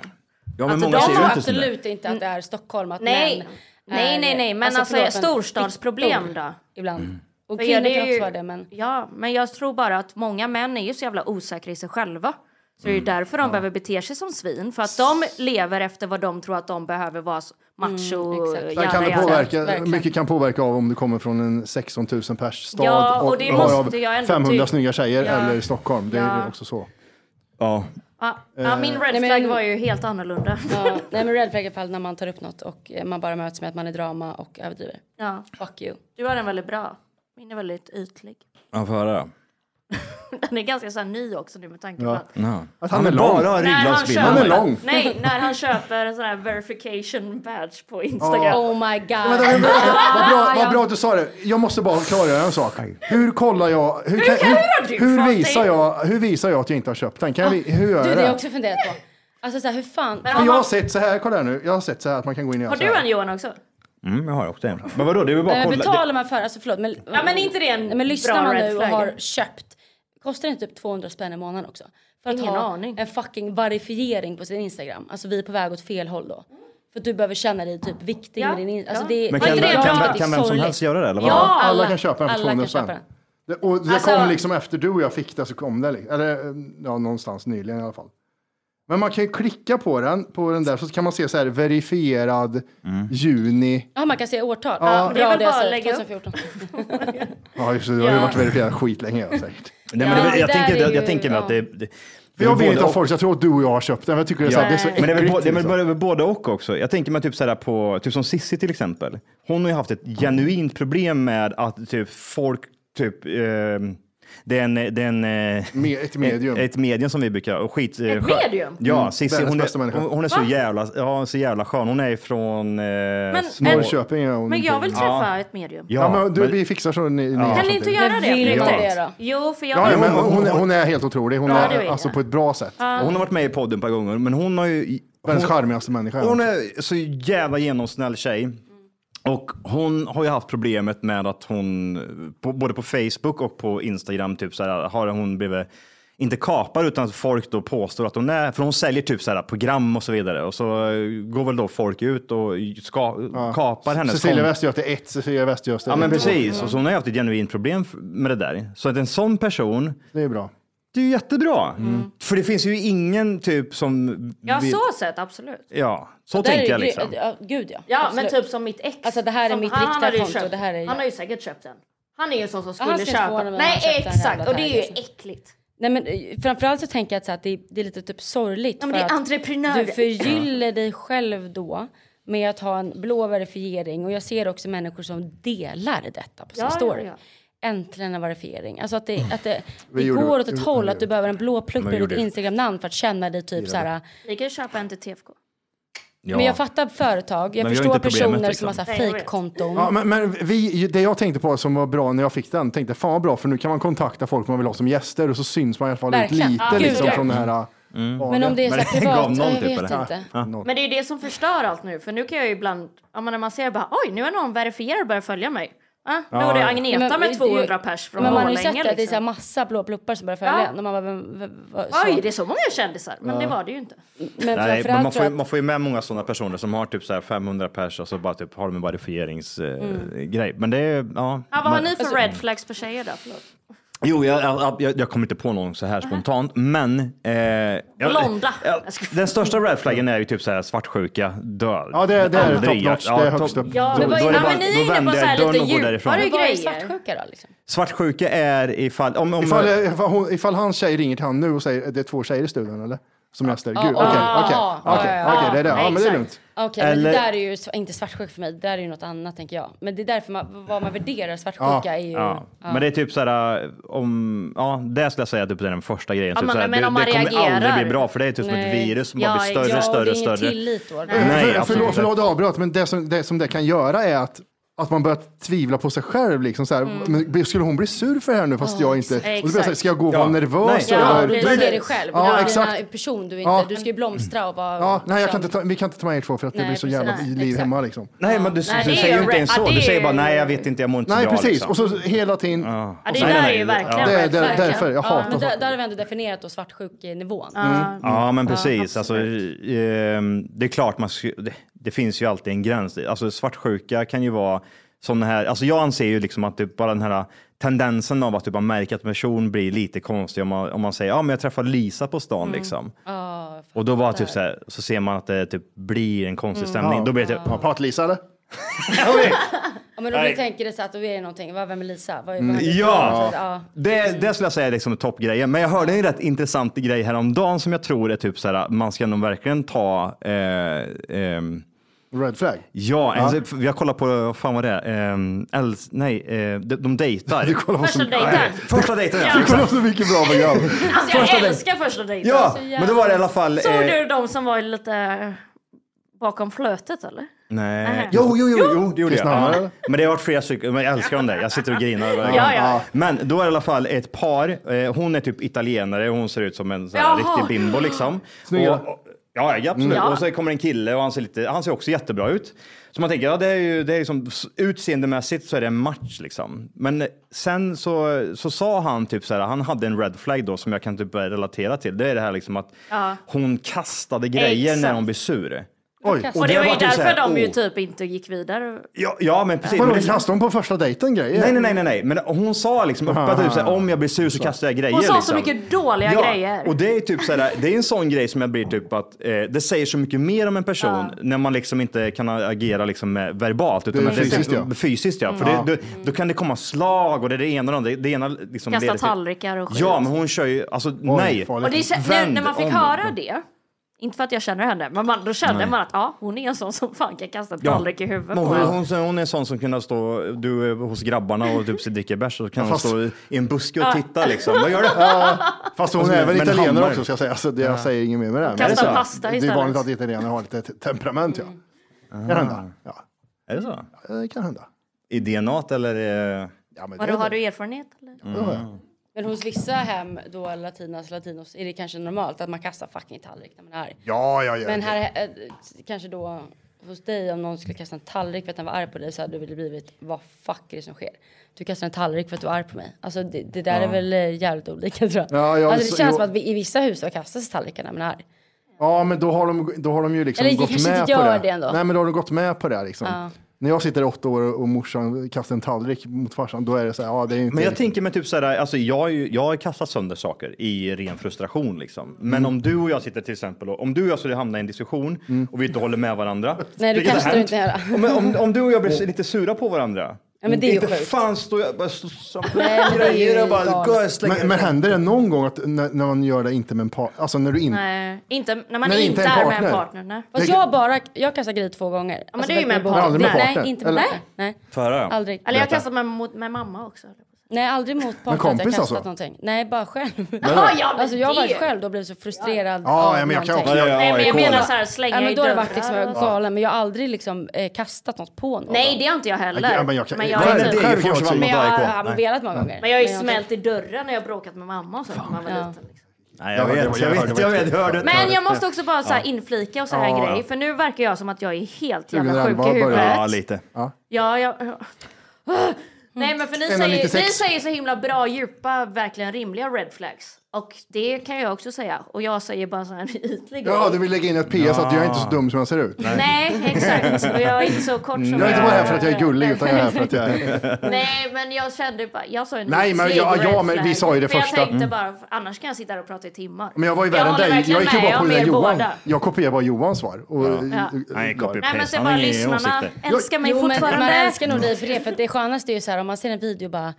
Speaker 2: men
Speaker 4: Alltså,
Speaker 2: många
Speaker 4: de
Speaker 2: ser ju
Speaker 4: har
Speaker 2: inte sådär.
Speaker 3: Absolut inte att det är Stockholm, att
Speaker 4: Nej,
Speaker 3: män
Speaker 4: nej,
Speaker 3: är-
Speaker 4: nej, nej, men alltså,
Speaker 3: förlåt, men
Speaker 4: storstadsproblem
Speaker 3: fittor
Speaker 4: då?
Speaker 3: Ibland. Och
Speaker 4: För ja,
Speaker 3: kvinnor
Speaker 4: det är
Speaker 3: kan också
Speaker 4: ju-
Speaker 3: vara det, men...
Speaker 4: Ja, men jag tror bara att många män är ju så jävla osäkra i sig själva. Så det
Speaker 2: Mm.
Speaker 4: är ju därför de behöver bete sig som svin. För att de lever efter vad de tror att de behöver vara s- macho,
Speaker 3: exakt.
Speaker 4: mm,
Speaker 3: Sen
Speaker 1: Sen kan det påverka,
Speaker 3: verkligen.
Speaker 1: mycket kan påverka av om du kommer från en 16 000 pers stad
Speaker 4: Ja, och det
Speaker 1: varav
Speaker 4: måste jag ändå
Speaker 1: 500
Speaker 4: tycka.
Speaker 1: snygga tjejer
Speaker 4: Ja.
Speaker 1: eller Stockholm. Det är
Speaker 4: Ja.
Speaker 1: ju också så.
Speaker 2: Ja.
Speaker 4: Ja, ja, min red
Speaker 3: Nej, men-
Speaker 4: flag var ju helt annorlunda.
Speaker 3: Ja, nej men red flag i alla fall när man tar upp något och eh, man bara möts med att man är drama och överdriver.
Speaker 4: Ja.
Speaker 3: Fuck you.
Speaker 4: Du har den väldigt bra. Min är väldigt ytlig.
Speaker 2: Ja, får höra då.
Speaker 4: Den är ganska så här ny också nu med tanke på
Speaker 1: Ja.
Speaker 4: att...
Speaker 2: Ja.
Speaker 1: Att
Speaker 2: Han är bara har
Speaker 4: När han,
Speaker 2: rygglagsbild.
Speaker 4: köper,
Speaker 1: Han är lång.
Speaker 4: Nej, när han köper en sån här verification badge på Instagram.
Speaker 3: Oh my god.
Speaker 1: Vänta, vänta, vänta. Vad, bra, vad bra att du sa det. Jag måste bara klargöra en sak. Hur kollar jag? Hur, kan,
Speaker 4: kallar du
Speaker 1: hur, hur,
Speaker 4: någonting?
Speaker 1: visar jag hur visar jag att jag inte har köpt den? Kan jag, vi- hur gör
Speaker 3: Du,
Speaker 1: jag
Speaker 3: det har jag
Speaker 1: det?
Speaker 3: också funderat på. Alltså så här, hur fan...
Speaker 4: Men
Speaker 1: Jag
Speaker 4: har,
Speaker 1: har
Speaker 4: man,
Speaker 1: sett så här, kolla här nu. Jag har sett så här att man kan gå in och göra
Speaker 4: har
Speaker 1: så
Speaker 4: du
Speaker 1: här.
Speaker 4: en Johan också?
Speaker 2: Mm, jag har också en. Men vadå, det är väl bara
Speaker 3: Nej,
Speaker 2: att
Speaker 3: men
Speaker 2: kolla.
Speaker 3: betalar man för, alltså förlåt. Men,
Speaker 4: Ja, men är inte det en
Speaker 3: Nej, men lyssnar
Speaker 4: bra
Speaker 3: man
Speaker 4: red
Speaker 3: nu och
Speaker 4: flag?
Speaker 3: har köpt, kostar det inte typ 200 spänn i månaden också? För att
Speaker 4: Ingen
Speaker 3: ha
Speaker 4: aning.
Speaker 3: en fucking verifiering på sin Instagram. Alltså vi är på väg åt fel håll då. För att du behöver känna dig typ viktig
Speaker 4: Ja,
Speaker 3: med din in-
Speaker 4: ja.
Speaker 3: alltså, det,
Speaker 2: Men
Speaker 4: Var
Speaker 2: kan,
Speaker 4: inte det
Speaker 2: kan,
Speaker 4: bra?
Speaker 2: kan,
Speaker 4: Det är
Speaker 2: vem som
Speaker 3: sorgligt.
Speaker 2: helst göra det? Eller vad?
Speaker 4: Ja.
Speaker 1: alla,
Speaker 4: alla-
Speaker 1: kan köpa den för
Speaker 3: alla
Speaker 1: 200
Speaker 3: kan köpa
Speaker 1: spänn.
Speaker 3: den.
Speaker 1: Det, och det
Speaker 4: Alltså-
Speaker 1: kom liksom efter du och jag fick det så kom det. liksom. Eller ja, någonstans nyligen i alla fall. Men man kan ju klicka på den, på den där så kan man se så här verifierad
Speaker 2: Mm.
Speaker 1: juni.
Speaker 3: Ja, man kan se årtal.
Speaker 4: Ja, det är
Speaker 3: Bra
Speaker 4: väl
Speaker 3: det
Speaker 4: bara
Speaker 3: jag
Speaker 4: att
Speaker 3: säger,
Speaker 4: lägga upp.
Speaker 3: 2014.
Speaker 1: Ja, just det, det har ju varit verifierad skitlänge ja, säkert.
Speaker 2: Nej, men
Speaker 3: Ja,
Speaker 2: det,
Speaker 3: det
Speaker 2: jag,
Speaker 3: där
Speaker 2: tänker,
Speaker 3: är
Speaker 2: jag,
Speaker 3: ju-
Speaker 2: jag tänker mig
Speaker 3: ja.
Speaker 2: att det, det
Speaker 1: För jag vill inte att folk ska tro att du och jag har köpt den. Jag tycker det är så, här, det är så
Speaker 2: Men det är väl, både,
Speaker 1: äckligt.
Speaker 2: det är väl
Speaker 1: liksom.
Speaker 2: både- både och också. Jag tänker mig typ såhär på, typ som Sissi till exempel. Hon har ju haft ett genuint problem med att typ folk, typ, eh, det är en, det är en, eh,
Speaker 1: Me- ett medium. Mm.
Speaker 2: Ett, ett medium som vi brukar, och skit. eh,
Speaker 4: Ett
Speaker 2: skön-
Speaker 4: medium?
Speaker 2: Ja, Sissi
Speaker 1: Världens
Speaker 2: hon
Speaker 1: bästa
Speaker 2: är,
Speaker 1: människa.
Speaker 2: hon, hon är så jävla, ja, så jävla skön. Hon är ifrån eh, små...
Speaker 4: en-
Speaker 1: Norrköping är hon
Speaker 4: Men jag
Speaker 1: på.
Speaker 4: vill träffa ett medium.
Speaker 1: Ja,
Speaker 2: Ja,
Speaker 1: men du,
Speaker 2: men-
Speaker 1: vi fixar så ni, ni
Speaker 4: Kan ni inte göra
Speaker 3: Men
Speaker 4: det?
Speaker 3: vill
Speaker 4: på
Speaker 3: man
Speaker 4: riktigt?
Speaker 3: det då?
Speaker 4: Jo, för jag...
Speaker 1: Ja, ja, men hon, hon är helt otrolig. Hon
Speaker 4: Ja, det
Speaker 1: är
Speaker 4: vet
Speaker 1: alltså
Speaker 4: jag.
Speaker 1: på ett bra sätt.
Speaker 2: hon har varit med i podden ett par gånger, men hon har ju...
Speaker 1: Världens
Speaker 2: hon-
Speaker 1: charmigaste människa.
Speaker 2: Hon är så jävla genomsnäll tjej. Och hon har ju haft problemet med att hon, på, både på Facebook och på Instagram, typ så här, har hon blivit, inte kapad utan att folk då påstår att hon är, för hon säljer typ så här program och så vidare. Och så eh, går väl då folk ut och ska, kapar hennes
Speaker 1: Cecilia
Speaker 2: kon-
Speaker 1: Västergöte 1, Cecilia Västergöte
Speaker 2: Ja men
Speaker 1: 1.
Speaker 2: precis, och så hon har ju haft ett genuint problem f- med det där. Så att en sån person,
Speaker 1: Det är bra. Mm.
Speaker 2: det är ju jättebra. För det finns ju ingen typ som...
Speaker 4: Ja,
Speaker 2: vill-
Speaker 4: så sett absolut.
Speaker 2: Ja, så
Speaker 3: Där är
Speaker 2: tänker
Speaker 3: det
Speaker 2: jag
Speaker 3: gry-
Speaker 2: liksom.
Speaker 3: Ja, gud ja.
Speaker 4: Ja,
Speaker 3: Absolut.
Speaker 4: men typ som mitt ex.
Speaker 3: Alltså, det här är
Speaker 4: som,
Speaker 3: mitt
Speaker 4: han- han
Speaker 3: riktiga
Speaker 4: hade ju
Speaker 3: konto,
Speaker 4: köpt-
Speaker 3: det här är ju-
Speaker 4: Han har ju säkert köpt den. Han är ju en sån som
Speaker 3: Ja, han
Speaker 4: skulle
Speaker 3: ska inte
Speaker 4: köpa.
Speaker 3: förvåna mig om han
Speaker 4: Nej,
Speaker 3: köpte den
Speaker 4: exakt.
Speaker 3: jävla
Speaker 4: Och det är ju
Speaker 3: taggen.
Speaker 4: äckligt.
Speaker 3: Nej, men eh, framförallt så tänker jag att, så här, att det, det är lite typ sorgligt.
Speaker 4: Ja, men
Speaker 3: för
Speaker 4: det är
Speaker 3: att
Speaker 4: entreprenörer.
Speaker 3: Du förgyller dig själv då med att ha en blå verifiering. Och jag ser också människor som delar detta på sin
Speaker 4: Ja, ja,
Speaker 3: story.
Speaker 4: ja.
Speaker 3: Äntligen en verifiering. Alltså att
Speaker 2: Mm.
Speaker 3: det, att det,
Speaker 1: Vi
Speaker 3: det
Speaker 1: gjorde-
Speaker 3: går åt ett
Speaker 1: gjorde-
Speaker 3: håll att du behöver en blå
Speaker 2: Men
Speaker 3: plupp
Speaker 2: vi
Speaker 3: med ditt
Speaker 2: gjorde-
Speaker 3: Instagram-namn för att känna dig typ så här.
Speaker 4: Vi kan ju köpa en till TFK.
Speaker 2: Ja.
Speaker 3: Men jag fattar företag. Jag
Speaker 2: Men vi har
Speaker 3: förstår
Speaker 2: inte problemet,
Speaker 3: personer
Speaker 2: liksom.
Speaker 3: som
Speaker 4: Nej,
Speaker 3: har
Speaker 4: jag vet.
Speaker 3: fejkkonton.
Speaker 1: Ja, men, men vi, det jag tänkte på som var bra när jag fick den, tänkte fan vad bra för nu kan man kontakta folk man vill ha som gäster och så syns man i alla fall ut
Speaker 3: Verkligen.
Speaker 1: lite
Speaker 3: Ja,
Speaker 1: liksom,
Speaker 3: gud, ja.
Speaker 1: från den här
Speaker 4: Men om det är så här
Speaker 2: Mm. det
Speaker 4: privat,
Speaker 2: gav noll
Speaker 4: jag
Speaker 2: typ,
Speaker 4: vet
Speaker 2: eller?
Speaker 4: inte.
Speaker 2: Ja.
Speaker 4: Men det är ju det som förstör allt nu, för nu kan jag ju ibland, ja, men när man ser bara oj, nu har någon verifierat och börjat följa mig. Ah, nu
Speaker 3: Ja,
Speaker 4: var det
Speaker 3: ja.
Speaker 4: Agneta
Speaker 3: Men det är
Speaker 4: med
Speaker 3: ju-
Speaker 4: 200 pers från
Speaker 3: Men man har ju
Speaker 4: Borlänge.
Speaker 3: sett
Speaker 4: Liksom.
Speaker 3: att det är så här massa blå pluppar som börjar följa
Speaker 4: Ja.
Speaker 3: en. Och man bara, vem, vem, vad-
Speaker 4: Oj, det är så många kändisar, men
Speaker 2: Ja.
Speaker 4: det var det ju inte.
Speaker 3: Men
Speaker 2: Nej,
Speaker 3: framförallt
Speaker 2: men man, får,
Speaker 3: tror
Speaker 2: ju-
Speaker 3: jag att-
Speaker 2: man får ju med många sådana personer som har typ så här 500 pers och så bara typ har de en verifieringsgrej.
Speaker 4: Mm.
Speaker 2: grej. Men det är, ja.
Speaker 4: Ja, vad har
Speaker 2: man, Mm.
Speaker 4: ni
Speaker 3: Alltså-
Speaker 4: för red flags på tjejer då? Förlåt.
Speaker 2: Jo, jag, jag, jag, jag kommer inte på någon så här spontant, men... Eh, jag,
Speaker 4: Blonda.
Speaker 2: Jag, den största red flaggen är ju typ så här svartsjuka, död.
Speaker 1: Ja, det- det är
Speaker 2: Aldrig.
Speaker 1: top notch,
Speaker 2: Ja,
Speaker 1: det är
Speaker 2: top-
Speaker 1: högst upp.
Speaker 4: Ja,
Speaker 2: då-
Speaker 4: men vad
Speaker 2: då
Speaker 4: är-
Speaker 2: är
Speaker 4: ja,
Speaker 2: bara-
Speaker 4: men ni
Speaker 2: då
Speaker 4: är inne
Speaker 2: vänder
Speaker 4: på så
Speaker 2: jag
Speaker 4: här
Speaker 2: dörren
Speaker 4: lite
Speaker 2: och går därifrån.
Speaker 4: djupare
Speaker 3: Vad är
Speaker 4: grejer.
Speaker 3: svartsjuka då? Liksom?
Speaker 2: Svartsjuka är ifall... Om, om,
Speaker 1: Ifall, ifall, hon, ifall hans tjej ringer till han nu och säger det är två tjejer i studion eller? Som gäster. Gud, okej,
Speaker 3: ja, ja,
Speaker 1: okej,
Speaker 3: ja, ja,
Speaker 1: okej,
Speaker 3: ja,
Speaker 1: okej, det är det.
Speaker 3: ja,
Speaker 1: Ja, men det är
Speaker 3: ah, exakt.
Speaker 1: lugnt.
Speaker 3: Okej, men det
Speaker 2: Eller-
Speaker 3: där är ju sv- inte svartsjuk för mig. Det där är ju något annat tänker jag. Men det är därför man, vad man värderar svartsjuka
Speaker 2: Ja,
Speaker 3: är ju...
Speaker 2: ja. Men det är typ så här, om, ja, det skulle jag säga typ är den första grejen.
Speaker 3: Ja,
Speaker 2: typ
Speaker 3: men-
Speaker 2: så här,
Speaker 3: men
Speaker 2: det
Speaker 3: om
Speaker 2: det
Speaker 3: man
Speaker 2: kommer aldrig
Speaker 3: reagerar-
Speaker 2: bli bra för det är typ som ett
Speaker 3: Nej.
Speaker 2: virus som
Speaker 3: Ja,
Speaker 2: bara blir större
Speaker 3: ja,
Speaker 2: och större
Speaker 3: det är
Speaker 2: och
Speaker 3: ingen
Speaker 2: större.
Speaker 3: tillit då.
Speaker 2: Nej,
Speaker 1: För-
Speaker 2: absolut
Speaker 1: förlåt,
Speaker 2: inte.
Speaker 1: förlåt avbrott, men det som, det som det kan göra är att att man börjar tvivla på sig själv. Liksom, så här, men skulle hon bli sur för det här nu fast jag inte...
Speaker 3: Mm. exakt.
Speaker 1: Och då blir jag så här, ska jag gå och vara
Speaker 2: Ja.
Speaker 1: nervös?
Speaker 2: Nej.
Speaker 3: Ja,
Speaker 1: över-
Speaker 3: och du
Speaker 1: Då
Speaker 3: ser
Speaker 1: är det-
Speaker 3: dig själv.
Speaker 1: Ja,
Speaker 3: du är
Speaker 1: exakt.
Speaker 3: en person du är inte...
Speaker 1: Ja.
Speaker 3: Du ska ju blomstra och vara...
Speaker 1: Ja, nej, jag kan
Speaker 3: liksom-
Speaker 1: inte ta, vi kan inte ta med er två för att det
Speaker 3: Nej,
Speaker 1: blir så
Speaker 3: precis.
Speaker 1: jävla
Speaker 3: Nej,
Speaker 1: liv
Speaker 3: exakt.
Speaker 1: hemma. Liksom.
Speaker 2: Nej, men du,
Speaker 3: Nej,
Speaker 2: du
Speaker 3: det
Speaker 2: säger
Speaker 3: är
Speaker 2: ju inte
Speaker 3: red-
Speaker 2: ens så.
Speaker 3: ja, det
Speaker 2: du
Speaker 3: är-
Speaker 2: säger bara nej, jag vet inte, jag mår inte så
Speaker 1: Nej,
Speaker 2: bra.
Speaker 1: precis.
Speaker 2: Liksom.
Speaker 1: Och så hela tiden...
Speaker 4: Ja, det
Speaker 2: Och sen-
Speaker 4: där
Speaker 2: nej,
Speaker 4: är ju
Speaker 2: nej,
Speaker 4: verkligen
Speaker 1: Det är
Speaker 4: red
Speaker 1: där-
Speaker 4: flag.
Speaker 1: därför jag
Speaker 3: Ja,
Speaker 1: hatar Mm.
Speaker 3: men
Speaker 1: sånt.
Speaker 3: där, där har vi ändå definierat då Mm. svartsjukenivån.
Speaker 2: Ja, men precis. Alltså, ehm, det är klart, man, sku- det, det finns ju alltid en gräns. Alltså, svartsjuka kan ju vara sån här... Alltså, jag anser ju liksom att typ bara den här tendensen av att typ man märker att en person blir lite konstig om man, om man säger ja men jag träffade Lisa på stan. Liksom.
Speaker 3: Ja,
Speaker 2: Och då var typ så, här, så ser man att det typ blir en konstig stämning.
Speaker 1: Ja.
Speaker 2: Då blir det typ...
Speaker 1: Ja, Prat-Lisa eller?
Speaker 3: Ja, men om du
Speaker 2: Nej.
Speaker 3: tänker dig så att då är det någonting, vad- vem är Lisa? Vad,
Speaker 1: Mm.
Speaker 3: vad
Speaker 2: Mm. Ja,
Speaker 3: ja.
Speaker 2: det, det skulle jag säga är liksom toppgrejen. Men jag hörde en rätt intressant grej häromdagen som jag tror är typ så här, man ska nog verkligen ta eh, ehm,
Speaker 1: Red flag.
Speaker 2: Ja,
Speaker 1: Ja.
Speaker 2: en- för jag kollar på, vad fan var det? Ehm, Els, nej, eh, de, de dejtar.
Speaker 1: Du kollar på så,
Speaker 4: Första dejten.
Speaker 2: Första dejten, ja.
Speaker 1: du kollar på så mycket bra program.
Speaker 4: Alltså jag
Speaker 2: Första dejten.
Speaker 4: älskar första dejten.
Speaker 2: Ja,
Speaker 4: Så jävla-
Speaker 2: men då var det i alla fall...
Speaker 4: Såg
Speaker 2: eh,
Speaker 4: du de som var lite bakom flötet eller?
Speaker 2: Nej.
Speaker 4: Nej.
Speaker 2: Jo, jo, jo, jo, det gjorde jag.
Speaker 1: Kristna Hammar,
Speaker 2: Ja.
Speaker 1: eller?
Speaker 2: Men det har varit flera stycken, men jag älskar dem där. Jag sitter och grinar. varje gång.
Speaker 4: Ja, ja.
Speaker 2: Men då är det i alla fall ett par, eh, hon är typ italienare, hon ser ut som en sån här
Speaker 4: Jaha.
Speaker 2: riktig bimbo liksom.
Speaker 1: Snygga.
Speaker 2: Och- och- Ja, ja, absolut.
Speaker 4: Ja.
Speaker 2: Och så kommer en kille och han ser, lite, han ser också jättebra ut. Så man tänker, ja, det är ju det är liksom, utseendemässigt så är det en match liksom. Men sen så, så sa han typ så här, han hade en red flag då som jag kan typ börja relatera till. Det är det här liksom att hon kastade grejer när
Speaker 4: Exakt.
Speaker 2: hon blev sur.
Speaker 1: Oj.
Speaker 4: Och det
Speaker 2: det
Speaker 4: var ju
Speaker 2: var typ så här,
Speaker 4: därför de ju
Speaker 2: oh.
Speaker 4: typ inte gick vidare.
Speaker 2: Ja, ja men precis.
Speaker 1: Vadå,
Speaker 2: Men det-
Speaker 1: kastade hon på första dejten grejer? Ah.
Speaker 2: Nej, nej, nej, nej, nej. Men hon sa liksom öppet typ såhär, om jag blir sur så kastar jag grejer.
Speaker 4: Hon sa så
Speaker 2: liksom.
Speaker 4: mycket dåliga
Speaker 2: ja,
Speaker 4: grejer.
Speaker 2: Och det är typ såhär, det är en sån grej som jag blir typ att eh, det säger så mycket mer om en person
Speaker 4: Ah.
Speaker 2: när man liksom inte kan agera liksom med verbalt. Utan
Speaker 1: Det är
Speaker 2: att typ
Speaker 1: fysiskt, ja.
Speaker 2: Fysiskt ja. För
Speaker 4: Ah.
Speaker 2: det, då, då kan det komma slag och det är det ena och det, det ena liksom
Speaker 4: Kasta
Speaker 2: leder till-
Speaker 4: tallrikar och skit.
Speaker 2: Ja, men hon kör ju, alltså nej.
Speaker 1: farligt.
Speaker 4: Och det, kä- när,
Speaker 2: Vänd
Speaker 4: när man fick
Speaker 2: om.
Speaker 4: höra det, inte för att jag känner henne, men man, då kände man att ja, hon är en sån som fan kan kasta en
Speaker 2: Ja.
Speaker 4: tallrik i huvudet
Speaker 2: Men
Speaker 4: på
Speaker 2: Hon,
Speaker 4: en.
Speaker 2: hon, hon är en sån som kunde stå du, är hos grabbarna och typ dricka bärs och kan hon
Speaker 1: Fast-
Speaker 2: stå i en buske och titta liksom. Vad gör du?
Speaker 1: Fast hon
Speaker 2: Alltså,
Speaker 1: är väl
Speaker 2: men
Speaker 1: italienare
Speaker 2: Hammar-
Speaker 1: också ska jag säga. Alltså, det, jag säger inget mer med det. här.
Speaker 4: Kasta
Speaker 1: Men det är så.
Speaker 4: pasta
Speaker 1: Det är
Speaker 4: istället.
Speaker 1: vanligt att italienare har lite temperament. Ja. Kan hända. Ja,
Speaker 2: Är det så?
Speaker 1: det kan hända.
Speaker 2: I DNAt eller? Mm. eh,
Speaker 1: Ja, men det,
Speaker 4: Vadå,
Speaker 1: är
Speaker 4: har
Speaker 1: det.
Speaker 4: du erfarenhet eller?
Speaker 1: Ja, ja.
Speaker 3: Men hos vissa hem, då latinas, latinos, är det kanske normalt att man kastar fucking tallrik när man är arg.
Speaker 1: Ja, ja, ja.
Speaker 3: Men här, eh, kanske då hos dig, om någon skulle kasta en tallrik för att den var arg på dig så hade du väl blivit, vad fuck är det som sker? Du kastar en tallrik för att du är arg på mig. Alltså det, det där är väl eh, jävligt olika tror jag.
Speaker 1: Ja, ja,
Speaker 3: alltså,
Speaker 1: så-
Speaker 3: det känns
Speaker 1: jo.
Speaker 3: som att vi, i vissa hus så kastas tallrikarna när man är arg.
Speaker 1: Ja, men då har de, då har de ju liksom
Speaker 3: Eller det
Speaker 1: gått
Speaker 3: kanske
Speaker 1: med
Speaker 3: inte
Speaker 1: på
Speaker 3: gör
Speaker 1: det.
Speaker 3: det ändå.
Speaker 1: Nej, men då har de gått med på det. Liksom. När jag sitter i åtta år och morsan kastar en tallrik mot farsan, då är det så här, ja, det är inte...
Speaker 2: Men jag tänker mig typ så här, alltså jag, har ju- jag har kastat sönder saker i ren frustration liksom. Men om du och jag sitter till exempel, och, om du och jag skulle hamna i en diskussion och vi inte håller med varandra.
Speaker 3: Nej, du
Speaker 2: vilket har
Speaker 3: kastar
Speaker 2: hänt.
Speaker 3: inte heller.
Speaker 2: Om, om, om du och jag blir lite sura på varandra.
Speaker 3: Ja, men det är ju
Speaker 2: inte
Speaker 3: sjukt.
Speaker 2: fan står jag bara så- så-
Speaker 3: Nej, men det är ju
Speaker 2: grejer och bara
Speaker 3: galet.
Speaker 2: går och slänger-
Speaker 1: men, men händer det någon gång att när, när man gör det inte med en par, alltså när du inte...
Speaker 4: Nej, inte, när man
Speaker 1: Nej,
Speaker 4: inte
Speaker 1: inte en
Speaker 4: är med en
Speaker 1: partner.
Speaker 4: partner. Nej.
Speaker 3: Fast
Speaker 1: Det-
Speaker 3: jag bara, jag kastar grejer två gånger. Alltså, Ja,
Speaker 4: men det är ju med
Speaker 1: partner. Aldrig med partner.
Speaker 3: Nej, inte med
Speaker 1: Eller-
Speaker 3: partner. Nej.
Speaker 2: Förra.
Speaker 3: Aldrig.
Speaker 4: Eller jag
Speaker 2: Berätta.
Speaker 4: kastar med, mot, med mamma också.
Speaker 3: Nej, aldrig mot partner.
Speaker 1: kompis
Speaker 3: att jag kastat
Speaker 1: alltså?
Speaker 3: någonting. Nej, bara själv.
Speaker 4: Ja, ja, men
Speaker 3: Alltså jag har
Speaker 4: det-
Speaker 3: varit själv då blev så frustrerad
Speaker 1: Ja,
Speaker 3: av
Speaker 1: ja, men jag kan
Speaker 3: någonting.
Speaker 1: också...
Speaker 2: Ja,
Speaker 4: Nej, men jag
Speaker 2: AIK.
Speaker 4: menar så här, slänga
Speaker 3: Ja, men
Speaker 4: i
Speaker 3: då har det
Speaker 4: dörrar
Speaker 3: varit liksom
Speaker 4: och
Speaker 3: jag
Speaker 4: så.
Speaker 3: var galen, men jag har aldrig liksom eh, kastat något på någon.
Speaker 4: Nej, det har inte jag heller.
Speaker 1: Ja, men jag kan-
Speaker 4: men
Speaker 1: Nej,
Speaker 4: har
Speaker 2: men
Speaker 1: nej,
Speaker 4: typ-
Speaker 2: det är ju folk som vann
Speaker 3: men
Speaker 2: mot
Speaker 3: jag har
Speaker 2: AIK.
Speaker 3: har velat många gånger.
Speaker 4: men jag har ju
Speaker 3: Men
Speaker 4: smält i dörrar när jag bråkat med mamma och så när man var liten. Liksom.
Speaker 2: Nej, jag, vet, jag, vet, jag vet, jag hörde
Speaker 4: Men jag måste också bara så här inflika och så här
Speaker 2: Ja,
Speaker 4: grej,
Speaker 2: ja.
Speaker 4: för nu verkar jag som att jag är helt jävla sjuk
Speaker 2: 2011
Speaker 4: i huvudet.
Speaker 2: började- Ja, lite.
Speaker 4: Ja, jag...
Speaker 1: Mm.
Speaker 4: Nej, men för ni säger,
Speaker 2: 196.
Speaker 4: ni säger så himla bra, djupa, verkligen rimliga red flags. Och det kan jag också säga. Och jag säger bara så här ytlig
Speaker 1: Ja, du vill lägga in ett PS att jag är inte så dum som jag ser ut.
Speaker 4: Nej, exakt. Och jag är inte så kort som
Speaker 1: Jag är inte bara här för att jag är gullig, utan jag är här för att jag är...
Speaker 4: Nej, men jag kände bara, jag sa en
Speaker 1: Nej, men
Speaker 4: ytlig
Speaker 1: ja,
Speaker 4: red
Speaker 1: ja, men
Speaker 4: flag.
Speaker 1: vi sa ju det
Speaker 4: För
Speaker 1: första.
Speaker 4: jag tänkte
Speaker 1: Mm.
Speaker 4: bara, annars kan jag sitta här och prata i timmar.
Speaker 1: Men jag var ju värre än
Speaker 4: håller
Speaker 1: dig. Jag
Speaker 4: verkligen
Speaker 1: gick ju
Speaker 4: med
Speaker 1: bara
Speaker 4: om
Speaker 1: på det där
Speaker 4: er
Speaker 1: Johan.
Speaker 4: båda.
Speaker 1: Jag kopierade bara Johans svar. Och,
Speaker 4: Ja.
Speaker 2: Nej, copy
Speaker 4: Nej, men sen bara lyssnarna älskar mig
Speaker 3: jo,
Speaker 4: fortfarande.
Speaker 3: Men man älskar nog dig för det. För att det skönaste är ju så här om man ser en video bara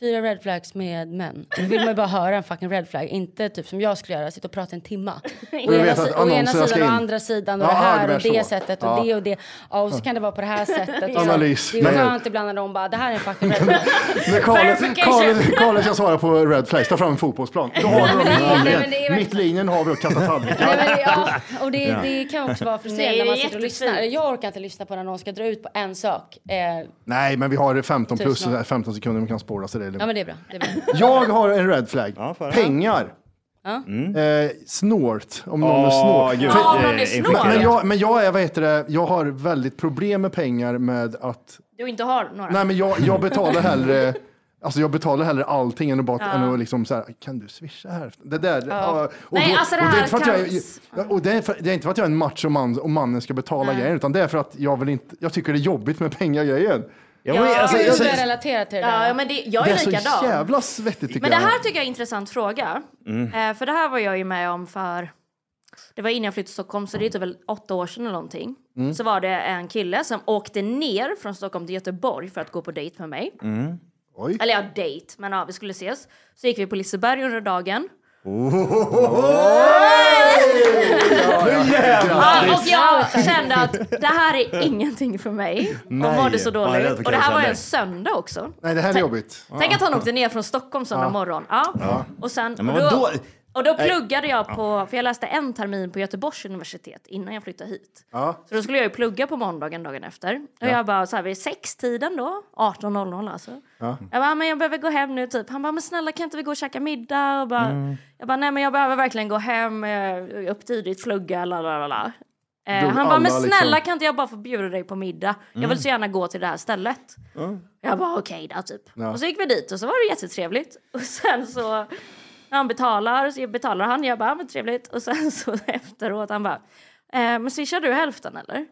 Speaker 3: Fyra red flags med män. Då vill man ju bara höra en fucking red flag. Inte typ som jag skulle göra, sitta och prata en timma. Å
Speaker 1: du vet
Speaker 3: ena, si-
Speaker 1: att
Speaker 3: å ena
Speaker 1: annonserna ska
Speaker 3: sidan och
Speaker 1: in.
Speaker 3: andra sidan och
Speaker 1: Ja,
Speaker 3: det
Speaker 1: du
Speaker 3: här
Speaker 1: menar
Speaker 3: och det
Speaker 1: så.
Speaker 3: sättet
Speaker 1: Ja.
Speaker 3: och det och det. Ja, och så kan det vara på det här sättet. Och så.
Speaker 1: Analys.
Speaker 3: Det är
Speaker 1: Men-
Speaker 3: skönt ibland när de bara, det här är en fucking red flag.
Speaker 1: När Karl- Karl- Karl ska svara på Red Flags, ta fram en fotbollsplan. Då har vi
Speaker 3: Nej, men det är-
Speaker 1: dem
Speaker 3: nej, men
Speaker 1: i
Speaker 3: det är
Speaker 1: linjen.
Speaker 3: verkligen-
Speaker 1: Mittlinjen har vi och kasta
Speaker 3: Nej, men,
Speaker 1: tallrikar.
Speaker 3: ja, och det,
Speaker 1: Ja.
Speaker 3: det kan också vara frustrerande
Speaker 4: Nej,
Speaker 3: när man
Speaker 4: det är
Speaker 3: sitter och
Speaker 4: jättefint.
Speaker 3: lyssnar. Jag orkar inte lyssna på när någon ska dra ut på en sak. Eh, ja,
Speaker 1: Nej, men vi har 15 plus,
Speaker 3: Tusen.
Speaker 1: 15 sekunder, vi kan spåra så det är lugnt.
Speaker 3: men det är bra. Det är bra.
Speaker 1: Jag har en red flag. Pengar.
Speaker 3: Ja.
Speaker 1: Eh, snålt, om någon
Speaker 2: Mm. Åh,
Speaker 1: är snål.
Speaker 2: gud, Ja, om någon är eh, snål.
Speaker 1: Men, men, jag, men jag är, vad heter det, jag har väldigt problem med pengar med att,
Speaker 4: Du inte har några.
Speaker 1: nej men jag, jag betalar hellre, alltså jag betalar hellre allting än att bara,
Speaker 4: Ja.
Speaker 1: än att liksom så här, kan du swisha hälften? Det där.
Speaker 4: Ja.
Speaker 1: ja,
Speaker 4: Nej, alltså det
Speaker 1: och
Speaker 4: här
Speaker 1: är inte för att jag,
Speaker 4: kans-
Speaker 1: ja, och det, är för, det är inte för att jag är en macho man och mannen ska betala grejer, utan det är för att jag vill inte, jag tycker det är jobbigt med pengar-grejen.
Speaker 2: alltså,
Speaker 3: Gud,
Speaker 1: jag-
Speaker 3: jag relaterar till det där.
Speaker 4: Ja, ja, men det, jag
Speaker 1: det
Speaker 4: är,
Speaker 1: är så
Speaker 4: likadan.
Speaker 1: jävla svettigt tycker
Speaker 4: Men det
Speaker 1: jag.
Speaker 4: här tycker jag är en intressant fråga.
Speaker 1: Mm.
Speaker 4: Eh, för det här var jag ju med om för, det var innan jag flyttade till Stockholm, så det är typ väl åtta år sedan eller någonting.
Speaker 9: Mm.
Speaker 4: Så var det en kille som åkte ner från Stockholm till Göteborg för att gå på dejt med mig.
Speaker 9: Mm.
Speaker 1: Oj.
Speaker 4: Eller ja, dejt, men ja, vi skulle ses. Så gick vi på Liseberg under dagen.
Speaker 9: Nu
Speaker 4: Ja, och
Speaker 9: jävlar!
Speaker 4: jag kände att det här är ingenting för mig. Och
Speaker 1: Nej.
Speaker 4: mådde så
Speaker 1: Ja, det är
Speaker 4: dåligt.
Speaker 1: för
Speaker 4: och det här var
Speaker 1: kallsande.
Speaker 4: en söndag också.
Speaker 1: Nej, det här är
Speaker 4: Tänk-
Speaker 1: jobbigt.
Speaker 4: Tänk att han åkte ner från Stockholm söndag
Speaker 1: Ja.
Speaker 4: morgon. Ja.
Speaker 1: Ja.
Speaker 4: Och, sen,
Speaker 1: Ja, men
Speaker 4: och då,
Speaker 1: vadå?
Speaker 4: och då
Speaker 1: Nej.
Speaker 4: pluggade jag på, för jag läste en termin på Göteborgs universitet innan jag flyttade hit.
Speaker 1: Ja.
Speaker 4: Så då skulle jag ju plugga på måndagen dagen efter. Och
Speaker 1: Ja.
Speaker 4: jag bara så här vid sextiden då, 18.00 alltså.
Speaker 1: Ja.
Speaker 4: Jag bara, men jag behöver gå hem nu typ. Han bara, men snälla kan inte vi gå och käka middag? Och bara,
Speaker 1: Mm.
Speaker 4: Jag bara, nej men jag behöver verkligen gå hem, eh, upp tidigt, plugga, la la la la. Eh,
Speaker 1: Drog
Speaker 4: Han bara, men
Speaker 1: alla,
Speaker 4: snälla
Speaker 1: liksom.
Speaker 4: kan inte jag bara få bjuda dig på middag? Jag
Speaker 1: Mm.
Speaker 4: vill så gärna gå till det här stället. Jag bara, okej då typ.
Speaker 1: Ja.
Speaker 4: Och så gick vi dit och så var det jättetrevligt. Och sen så, när han betalar, så betalar han. Jag bara, ja, men trevligt. Och sen så efteråt, han bara, eh, men swishar du hälften eller?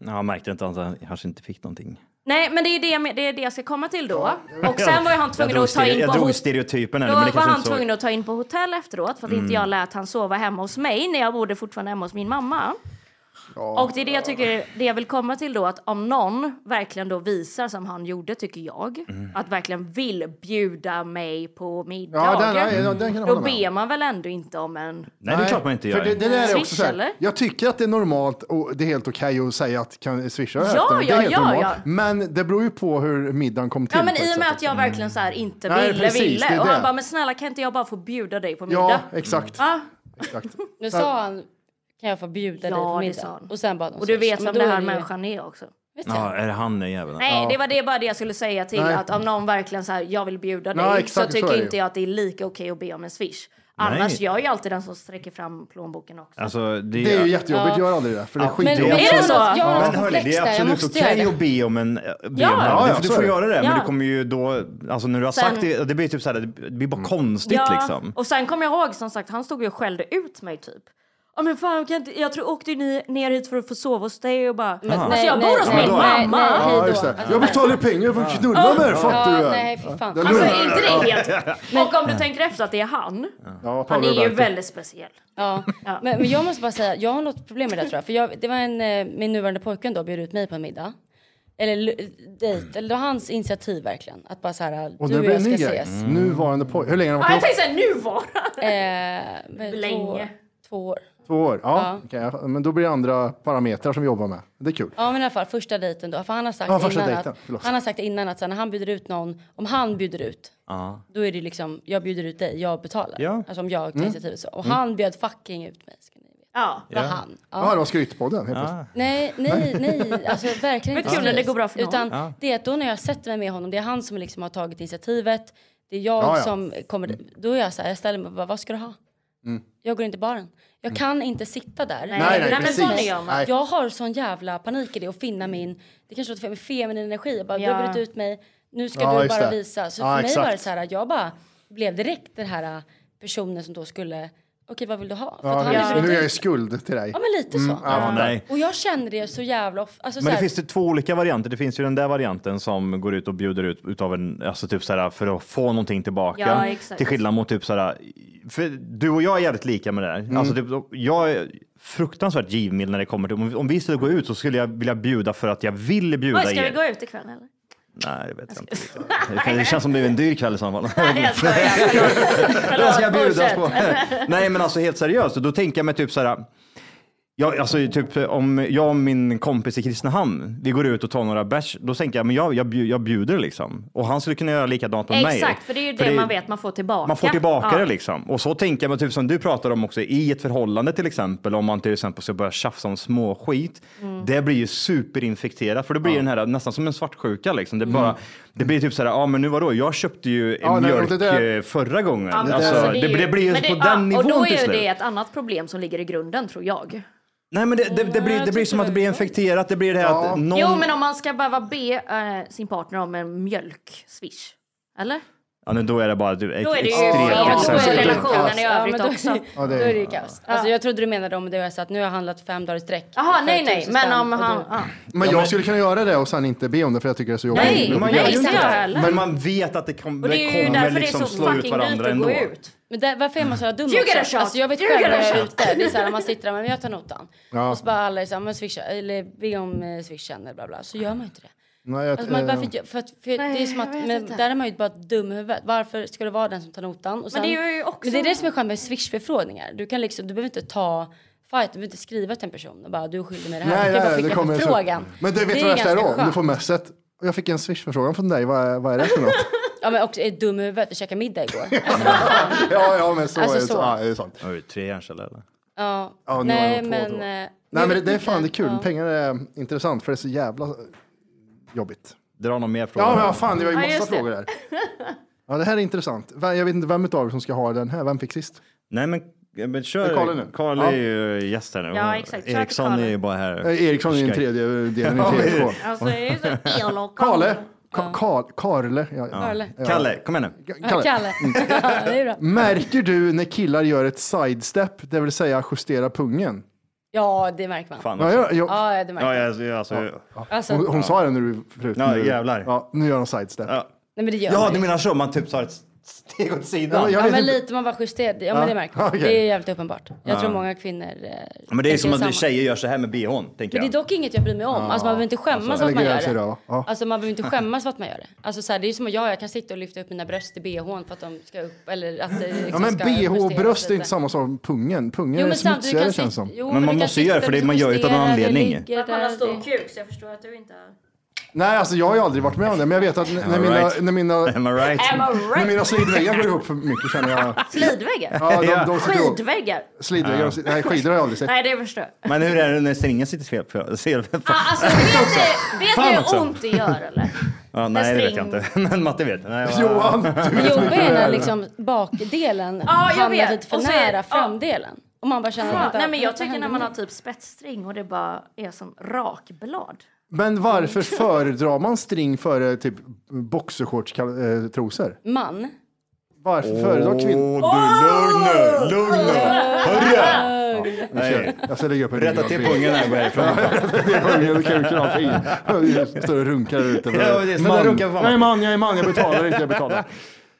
Speaker 2: Ja, jag märkte inte att han kanske inte fick någonting.
Speaker 4: Nej, men det är det, jag men- det, är det jag ska komma till då. Och sen var ju han
Speaker 2: Jag
Speaker 4: tvungen
Speaker 2: drog
Speaker 4: att ta
Speaker 2: stere-
Speaker 4: in
Speaker 2: Jag
Speaker 4: på
Speaker 2: drog
Speaker 4: hot-
Speaker 2: stereotypen här nu,
Speaker 4: Då
Speaker 2: men det
Speaker 4: var
Speaker 2: kanske
Speaker 4: han
Speaker 2: inte så.
Speaker 4: tvungen att ta in på hotell efteråt för att
Speaker 2: Mm.
Speaker 4: inte jag lät han sova hemma hos mig när jag bodde fortfarande hemma hos min mamma. Och det är det jag tycker, det jag vill komma till då, att om någon verkligen då visar som han gjorde, tycker jag, att verkligen vill bjuda mig på middag.
Speaker 1: Ja, den- ja, den kan jag hålla
Speaker 4: då
Speaker 1: med om.
Speaker 4: ber man väl ändå inte om en...
Speaker 2: Nej, det är klart man inte gör.
Speaker 1: För det, det där är
Speaker 4: Swish,
Speaker 1: också så här,
Speaker 4: eller?
Speaker 1: jag tycker att det är normalt och det är helt okej att säga att kan swisha
Speaker 4: Ja,
Speaker 1: hälften. det
Speaker 4: ja,
Speaker 1: är helt
Speaker 4: ja,
Speaker 1: normalt.
Speaker 4: ja.
Speaker 1: Men det beror ju på hur middagen kom till.
Speaker 4: Ja men
Speaker 1: på ett
Speaker 4: i och med
Speaker 1: sätt.
Speaker 4: att jag verkligen så här inte
Speaker 1: Mm. Nej,
Speaker 4: ville,
Speaker 1: precis, det är
Speaker 4: ville. Och han
Speaker 1: det.
Speaker 4: bara, men snälla kan inte jag bara få bjuda dig på middag? Mm.
Speaker 1: Ja, exakt.
Speaker 4: Ja.
Speaker 3: Nu sa han, kan jag få bjuda dig
Speaker 4: Ja,
Speaker 3: på
Speaker 4: det
Speaker 3: middag?
Speaker 4: sa han.
Speaker 3: Och sen bad de
Speaker 4: Och du
Speaker 3: sex.
Speaker 4: vet
Speaker 3: Men
Speaker 4: vem
Speaker 3: då
Speaker 4: den
Speaker 3: är
Speaker 4: här
Speaker 3: det ju-
Speaker 4: människan är också.
Speaker 2: Ja, är det han den jäveln?
Speaker 4: Nej,
Speaker 2: ja.
Speaker 4: det var det, bara det jag skulle säga till.
Speaker 2: Nej.
Speaker 4: Att om någon verkligen så här, jag vill bjuda dig,
Speaker 2: Nej, exakt,
Speaker 4: så
Speaker 2: så är
Speaker 4: tycker
Speaker 2: det
Speaker 4: inte
Speaker 2: ju.
Speaker 4: jag att det är lika okej att be om en swish.
Speaker 2: Nej.
Speaker 4: Annars, jag är ju alltid den som sträcker fram plånboken också.
Speaker 2: Alltså, det,
Speaker 1: Det är ju jättejobbigt, gör aldrig det. För det är
Speaker 2: Ja. Men-
Speaker 1: skitjobbigt.
Speaker 4: Är det så? Jag har något
Speaker 2: Men hörni,
Speaker 4: komplex
Speaker 2: det är
Speaker 4: där, jag
Speaker 2: absolut
Speaker 4: måste göra
Speaker 2: okej
Speaker 4: det.
Speaker 2: att be om en... eh, Be om
Speaker 4: Ja,
Speaker 2: en-
Speaker 4: ja,
Speaker 2: du,
Speaker 4: ja,
Speaker 2: du
Speaker 4: så
Speaker 2: får
Speaker 4: är det.
Speaker 2: göra det,
Speaker 4: Ja.
Speaker 2: men det kommer ju då... Alltså när du har
Speaker 4: Sen- Mm.
Speaker 2: sagt det, det blir typ så här, det blir bara konstigt liksom.
Speaker 4: Och sen kommer jag ihåg, som sagt, han stod ju och skällde ut mig typ. Ja men fan, kan inte, jag tror åkte ju ni ner hit för att få sova hos dig och bara...
Speaker 1: Men-
Speaker 4: alltså
Speaker 1: nej,
Speaker 4: jag
Speaker 1: nej,
Speaker 4: bor hos
Speaker 1: nej,
Speaker 4: min
Speaker 1: nej,
Speaker 4: mamma!
Speaker 1: nej, hej då. Alltså- Ja, just det. Jag betalar ju pengar för att knulla med er, fattar du väl?
Speaker 4: Alltså- Nej, fy fan.
Speaker 1: Den
Speaker 4: Alltså,
Speaker 1: lurar.
Speaker 4: är inte det helt...
Speaker 3: Men-
Speaker 4: Och om du tänker efter att det är han.
Speaker 1: Ja,
Speaker 4: Han
Speaker 1: Paolo
Speaker 4: är ju
Speaker 1: Roberto.
Speaker 4: väldigt speciell.
Speaker 3: Ja. Men, men jag måste bara säga, jag har något problem med det tror jag. För jag, det var en, eh, min nuvarande pojkvän då bjöd ut mig på en middag. Eller lu- dejt, eller det var hans initiativ verkligen. Att bara så här,
Speaker 1: Och
Speaker 3: du
Speaker 1: nu
Speaker 3: och
Speaker 1: blir det
Speaker 3: jag
Speaker 1: en
Speaker 3: ska
Speaker 1: ny
Speaker 3: ses.
Speaker 1: grej. Mm. Nuvarande pojk. Hur länge har
Speaker 4: Ja,
Speaker 1: ni
Speaker 4: jag
Speaker 1: varit ihop?
Speaker 4: tänkte såhär, nu var
Speaker 3: Eh,
Speaker 4: Länge.
Speaker 3: Två, två år.
Speaker 1: Två år?
Speaker 3: Ja.
Speaker 1: Ja. okej, jag- men då blir det andra parametrar som vi jobbar med. Det är kul.
Speaker 3: Ja men i alla fall första dejten då. För han har sagt,
Speaker 1: Ja, första
Speaker 3: innan,
Speaker 1: dejten,
Speaker 3: att,
Speaker 1: förlåt.
Speaker 3: han har sagt innan att så här, när han bjuder ut någon, om han bjuder ut,
Speaker 2: Ja.
Speaker 3: då är det liksom jag bjuder ut dig, jag betalar.
Speaker 1: Ja.
Speaker 3: Alltså om jag tar
Speaker 1: Mm.
Speaker 3: initiativet så. Och
Speaker 1: Mm.
Speaker 3: han bjöd fucking ut mig. Ska ni veta.
Speaker 4: Ja.
Speaker 3: Det var han.
Speaker 1: Ja, det var skrytpodden helt
Speaker 4: Ah.
Speaker 1: plötsligt.
Speaker 3: Nej, nej, nej. Alltså verkligen
Speaker 4: Men
Speaker 3: inte.
Speaker 4: kul när det
Speaker 3: seriöst.
Speaker 4: går bra för någon.
Speaker 3: Utan
Speaker 4: Ja.
Speaker 3: det är att då när jag sätter mig med honom, det är han som liksom har tagit initiativet. Det är
Speaker 4: Ja,
Speaker 3: jag
Speaker 4: Mm. ja.
Speaker 3: som kommer. Då är jag så här, jag ställer mig och bara, vad ska du ha? Jag går inte i baren. Jag kan inte sitta där.
Speaker 4: Mm. Nej, nej, nej, men sån precis. är jag, va? Nej.
Speaker 3: Jag har sån jävla panik i det att finna min, det kanske låter fel, min feminin energi. Jag bara, du har
Speaker 4: Ja.
Speaker 3: brutit ut mig, nu ska
Speaker 4: Ja,
Speaker 3: du
Speaker 4: just
Speaker 3: bara
Speaker 4: det.
Speaker 3: visa. Så
Speaker 4: Ja,
Speaker 3: för mig
Speaker 4: exakt.
Speaker 3: var det så här, jag bara blev direkt den här äh, personen som då skulle, okej vad vill du ha? För att
Speaker 1: Ja,
Speaker 3: han hade
Speaker 1: Nu
Speaker 3: brutit
Speaker 1: är jag
Speaker 3: ut-
Speaker 1: i skuld till dig.
Speaker 3: Ja men lite
Speaker 2: Mm,
Speaker 3: så.
Speaker 2: ja, nej.
Speaker 3: Och jag känner det så jävla ofta. Alltså, så
Speaker 2: Men det
Speaker 3: här-
Speaker 2: finns det två olika varianter. Det finns ju den där varianten som går ut och bjuder ut utav en, alltså typ så här för att få någonting tillbaka.
Speaker 3: Ja, exakt.
Speaker 2: Till skillnad mot typ så här, för du och jag är jävligt lika med det här. Alltså typ, jag är fruktansvärt givmild när det kommer till, om- om vi skulle gå ut så skulle jag vilja bjuda för att jag vill bjuda
Speaker 4: Oj, ska
Speaker 2: er.
Speaker 4: vi gå ut ikväll eller?
Speaker 2: Nej, det vet jag inte. Det kan- Det känns som det är en dyr kväll i så fall.
Speaker 4: Nej, jag skojar. Förlåt.
Speaker 2: Det ska
Speaker 4: Förlåt,
Speaker 2: jag bjudas
Speaker 4: fortsätt.
Speaker 2: på. Nej, men alltså helt seriöst, då tänker jag mig typ så här. Ja, alltså typ om jag och min kompis i Kristinehamn, vi går ut och tar några bärs, då tänker jag, men jag, jag, bju- jag bjuder liksom. Och han skulle kunna göra likadant med mig.
Speaker 4: Exakt, för det är ju det, man vet man får tillbaka.
Speaker 2: Man får tillbaka
Speaker 4: Ja.
Speaker 2: det liksom. Och så tänker man, typ som du pratar om också, i ett förhållande till exempel, om man till exempel ska börja tjafsa om småskit,
Speaker 5: Mm.
Speaker 2: det blir ju superinfekterat, för det blir den här nästan som en svartsjuka liksom. Det,
Speaker 4: Mm.
Speaker 2: bara, det blir typ så här, ja men nu vadå, jag köpte ju
Speaker 1: Ja, nej,
Speaker 2: mjölk
Speaker 1: det där-
Speaker 2: eh, förra gången.
Speaker 4: Ja, men
Speaker 2: alltså,
Speaker 4: alltså,
Speaker 2: det, det blir ju
Speaker 4: men
Speaker 2: på
Speaker 4: ja,
Speaker 2: den nivån
Speaker 4: Och då
Speaker 2: till
Speaker 4: är ju
Speaker 2: slut.
Speaker 4: det ett annat problem som ligger i grunden tror jag.
Speaker 2: Nej men det, det, det blir, det blir som att det blir infekterat, det blir det här att någon...
Speaker 4: typ Jo, men om man ska behöva be eh, sin partner om en mjölk-swish. Eller?
Speaker 2: Ja, nu, då är det bara du,
Speaker 4: Då är det ju
Speaker 3: Ja, då är det
Speaker 4: relationen i övrigt
Speaker 3: men då är-
Speaker 4: också.
Speaker 2: Ja, det
Speaker 3: Då
Speaker 2: är-
Speaker 3: är det ju kaos. Alltså, jag trodde du menade om det var så att nu har jag handlat fem dagar i sträck.
Speaker 4: Jaha,
Speaker 3: för
Speaker 4: nej, nej.
Speaker 3: 1000
Speaker 4: Men
Speaker 3: spänn
Speaker 4: om
Speaker 3: och då-
Speaker 4: han... ja.
Speaker 1: Men jag skulle kunna göra det och sen inte be om det för jag tycker det är så jobbigt.
Speaker 4: Nej,
Speaker 1: Då
Speaker 4: man
Speaker 1: blir
Speaker 4: gör
Speaker 1: ju
Speaker 4: ju inte det.
Speaker 2: Men, man vet att det, kom,
Speaker 4: Och det är ju
Speaker 2: kommer
Speaker 4: därför
Speaker 2: liksom
Speaker 4: det är så
Speaker 2: slå ut
Speaker 4: fucking dyrt
Speaker 2: varandra
Speaker 4: att
Speaker 2: ändå.
Speaker 4: gå ut.
Speaker 3: Men där, varför är man så jävla dum
Speaker 4: You
Speaker 3: också?
Speaker 4: get a shot!
Speaker 3: Alltså, jag vet
Speaker 4: You
Speaker 3: själv
Speaker 4: get a
Speaker 3: när jag är
Speaker 4: shot!
Speaker 3: ute. Det är så här, man sitter där, men jag tar notan.
Speaker 1: Ja.
Speaker 3: Och så bara alla är så här, men swisha, eller be om eh, swishen eller bla bla. Så gör man ju inte det.
Speaker 1: Nej, jag,
Speaker 3: Alltså, man,
Speaker 1: eh,
Speaker 3: varför, gör- för att, för det är som
Speaker 4: jag
Speaker 3: att,
Speaker 4: vet
Speaker 3: men
Speaker 4: inte.
Speaker 3: där är man ju bara dum i huvudet. Varför ska du vara den som tar notan? Och
Speaker 4: Men det är ju också-
Speaker 3: men det är det som är skönt med swishförfrågningar. Du kan liksom, du behöver inte ta fight, du behöver inte skriva till en person och bara du skyller mig det här.
Speaker 1: Nej,
Speaker 3: du kan ju bara
Speaker 1: nej, det
Speaker 3: skicka
Speaker 1: kommer så-
Speaker 3: förfrågan.
Speaker 1: Men det vet du
Speaker 3: är
Speaker 1: vad värsta är
Speaker 3: ganska
Speaker 1: då? Om du
Speaker 3: skönt.
Speaker 1: får messet. Och Jag fick en swishförfrågan från dig, vad är, vad är det för något?
Speaker 3: Ja men också är dum i huvudet, vi käkade middag igår.
Speaker 1: ja, ja, men så
Speaker 3: Alltså,
Speaker 1: är det.
Speaker 3: så.
Speaker 1: Så. Ja, det är sant.
Speaker 2: Har du tre hjärnceller eller?
Speaker 3: Ja,
Speaker 1: Ja, nu har
Speaker 3: nej
Speaker 1: jag på
Speaker 3: men...
Speaker 1: då.
Speaker 3: eh,
Speaker 1: Nej,
Speaker 3: jag
Speaker 1: men det,
Speaker 3: vet
Speaker 1: det är fan det är
Speaker 3: inte.
Speaker 1: kul.
Speaker 3: Ja.
Speaker 1: Pengar är intressant för det är så jävla jobbigt.
Speaker 2: Dra någon mer fråga.
Speaker 1: Ja, men vad fan, det var ju
Speaker 4: Ja,
Speaker 1: massa
Speaker 4: just det.
Speaker 1: frågor där. Ja, det här är intressant. Vem- Jag vet inte vem av er som ska ha den här. Vem fick sist?
Speaker 2: Nej, men, eh, men kör.
Speaker 1: Det är Karl nu.
Speaker 2: Karl
Speaker 1: Ja.
Speaker 2: är ju gäst här nu.
Speaker 4: Ja, exakt. Kör till
Speaker 2: Eriksson
Speaker 4: Karl.
Speaker 2: är ju bara här.
Speaker 1: Eh, Eriksson är ju den
Speaker 2: Ska-
Speaker 1: tredje delen i
Speaker 2: Ja,
Speaker 1: tredje två.
Speaker 4: Alltså, det är ju så elak.
Speaker 1: Karle. Ka- Karl, Karle. Ja, ja.
Speaker 2: Ja.
Speaker 1: Ja.
Speaker 2: Kalle, kom igen nu.
Speaker 1: Kalle. Mm.
Speaker 3: Ja, det är bra.
Speaker 1: Märker du när killar gör ett sidestep, det vill säga justera pungen?
Speaker 3: Ja, det märker man.
Speaker 2: Fan
Speaker 1: Ja, jag- jag-
Speaker 3: ja, det märker man.
Speaker 2: Ja, jag, jag, alltså,
Speaker 3: Alltså,
Speaker 1: Hon, hon sa det när du förut.
Speaker 2: Ja,
Speaker 1: nu-
Speaker 2: jävlar.
Speaker 1: Ja, nu gör hon sidestep.
Speaker 2: Ja,
Speaker 3: nej, men det gör
Speaker 2: ja
Speaker 3: man
Speaker 2: du
Speaker 3: ju.
Speaker 2: menar så, man typ tar ett steg åt
Speaker 3: Ja,
Speaker 2: sidan.
Speaker 3: ja men lite, man bara justerar. Ja, men
Speaker 2: Ja,
Speaker 3: det märker man.
Speaker 2: okej.
Speaker 3: Det är jävligt uppenbart. Jag
Speaker 2: Ja.
Speaker 3: tror många kvinnor... eh,
Speaker 2: Ja, men det är
Speaker 3: tänker
Speaker 2: som
Speaker 3: samma.
Speaker 2: att tjejer gör så här med bhn, tänker
Speaker 3: Men det är
Speaker 2: jag.
Speaker 3: dock inget jag bryr mig om.
Speaker 2: Ja.
Speaker 3: Alltså man behöver inte skämmas
Speaker 2: Alltså,
Speaker 3: för att
Speaker 2: eller
Speaker 3: man
Speaker 2: grejer
Speaker 3: gör
Speaker 2: sig
Speaker 3: det.
Speaker 2: då, ja.
Speaker 3: Alltså man behöver inte skämmas för att man gör det. Alltså så här, det är ju som att jag, jag kan sitta och lyfta upp mina bröst i bhn för att de ska upp eller att det liksom
Speaker 1: Ja, men
Speaker 3: ska
Speaker 1: bh och
Speaker 3: justeras
Speaker 1: bröst är
Speaker 3: lite.
Speaker 1: inte samma som pungen. Pungen
Speaker 3: Jo,
Speaker 1: är
Speaker 3: men samtidigt
Speaker 1: smutsigare
Speaker 3: kan sitta-
Speaker 1: känns som.
Speaker 3: jo, Men men man du kan måste göra det, sitta för det- man gör det av någon justera, det anledning. ligger
Speaker 4: Att man har
Speaker 3: där,
Speaker 4: stor
Speaker 3: det-
Speaker 4: kuk så jag förstår att du inte...
Speaker 1: Nej, alltså jag har ju aldrig varit med om det, men jag vet att n- när
Speaker 2: Am I
Speaker 1: mina,
Speaker 2: right?
Speaker 1: när mina,
Speaker 2: Am I right?
Speaker 4: Am I right?
Speaker 1: när mina slidväggar går ihop för mycket känner jag.
Speaker 4: Slidväggar?
Speaker 1: Ja, de- de sitter ihop.
Speaker 4: Skidväggar?
Speaker 1: Slidväggar, och si- nej skidor har jag aldrig sett.
Speaker 4: Nej, det förstår jag.
Speaker 2: Men hur är det när stringen sitter fel? på- fel på-
Speaker 4: Ah, alltså, vet du, vet
Speaker 2: Fan
Speaker 4: du
Speaker 2: också.
Speaker 4: hur ont det gör eller?
Speaker 2: Ja, nej, det vet jag
Speaker 4: string-
Speaker 2: inte. Men Matte vet. Nej, jag-
Speaker 1: Johan, du
Speaker 3: Det jobbiga är när liksom bakdelen
Speaker 4: Ja, jag
Speaker 3: hamnar
Speaker 4: vet.
Speaker 3: lite för
Speaker 4: Och så är-
Speaker 3: nära
Speaker 4: ja.
Speaker 3: framdelen. Och man bara känner
Speaker 4: Ja,
Speaker 3: att...
Speaker 4: nej, men jag
Speaker 3: vad
Speaker 4: tycker
Speaker 3: händer
Speaker 4: när man
Speaker 3: nu?
Speaker 4: har typ spetsstring och det bara är som rakblad.
Speaker 1: Men varför föredrar man string före typ boxershortstrosor?
Speaker 3: Man.
Speaker 1: Varför föredrar kvinnor?
Speaker 2: Åh, du, lugn nu, lugn nu.
Speaker 4: Oh!
Speaker 2: Hörru!
Speaker 1: Nej. Jag ska lägga upp en bild
Speaker 2: Rätta
Speaker 1: av
Speaker 2: till
Speaker 1: bild.
Speaker 2: pungen här och gå härifrån.
Speaker 1: Det är pungen och kuken och allting. Står och runkar där ute.
Speaker 2: Ja, men det är
Speaker 1: Men jag
Speaker 2: man.
Speaker 1: runkar för fan. Jag är man, jag är man, jag betalar inte, jag betalar.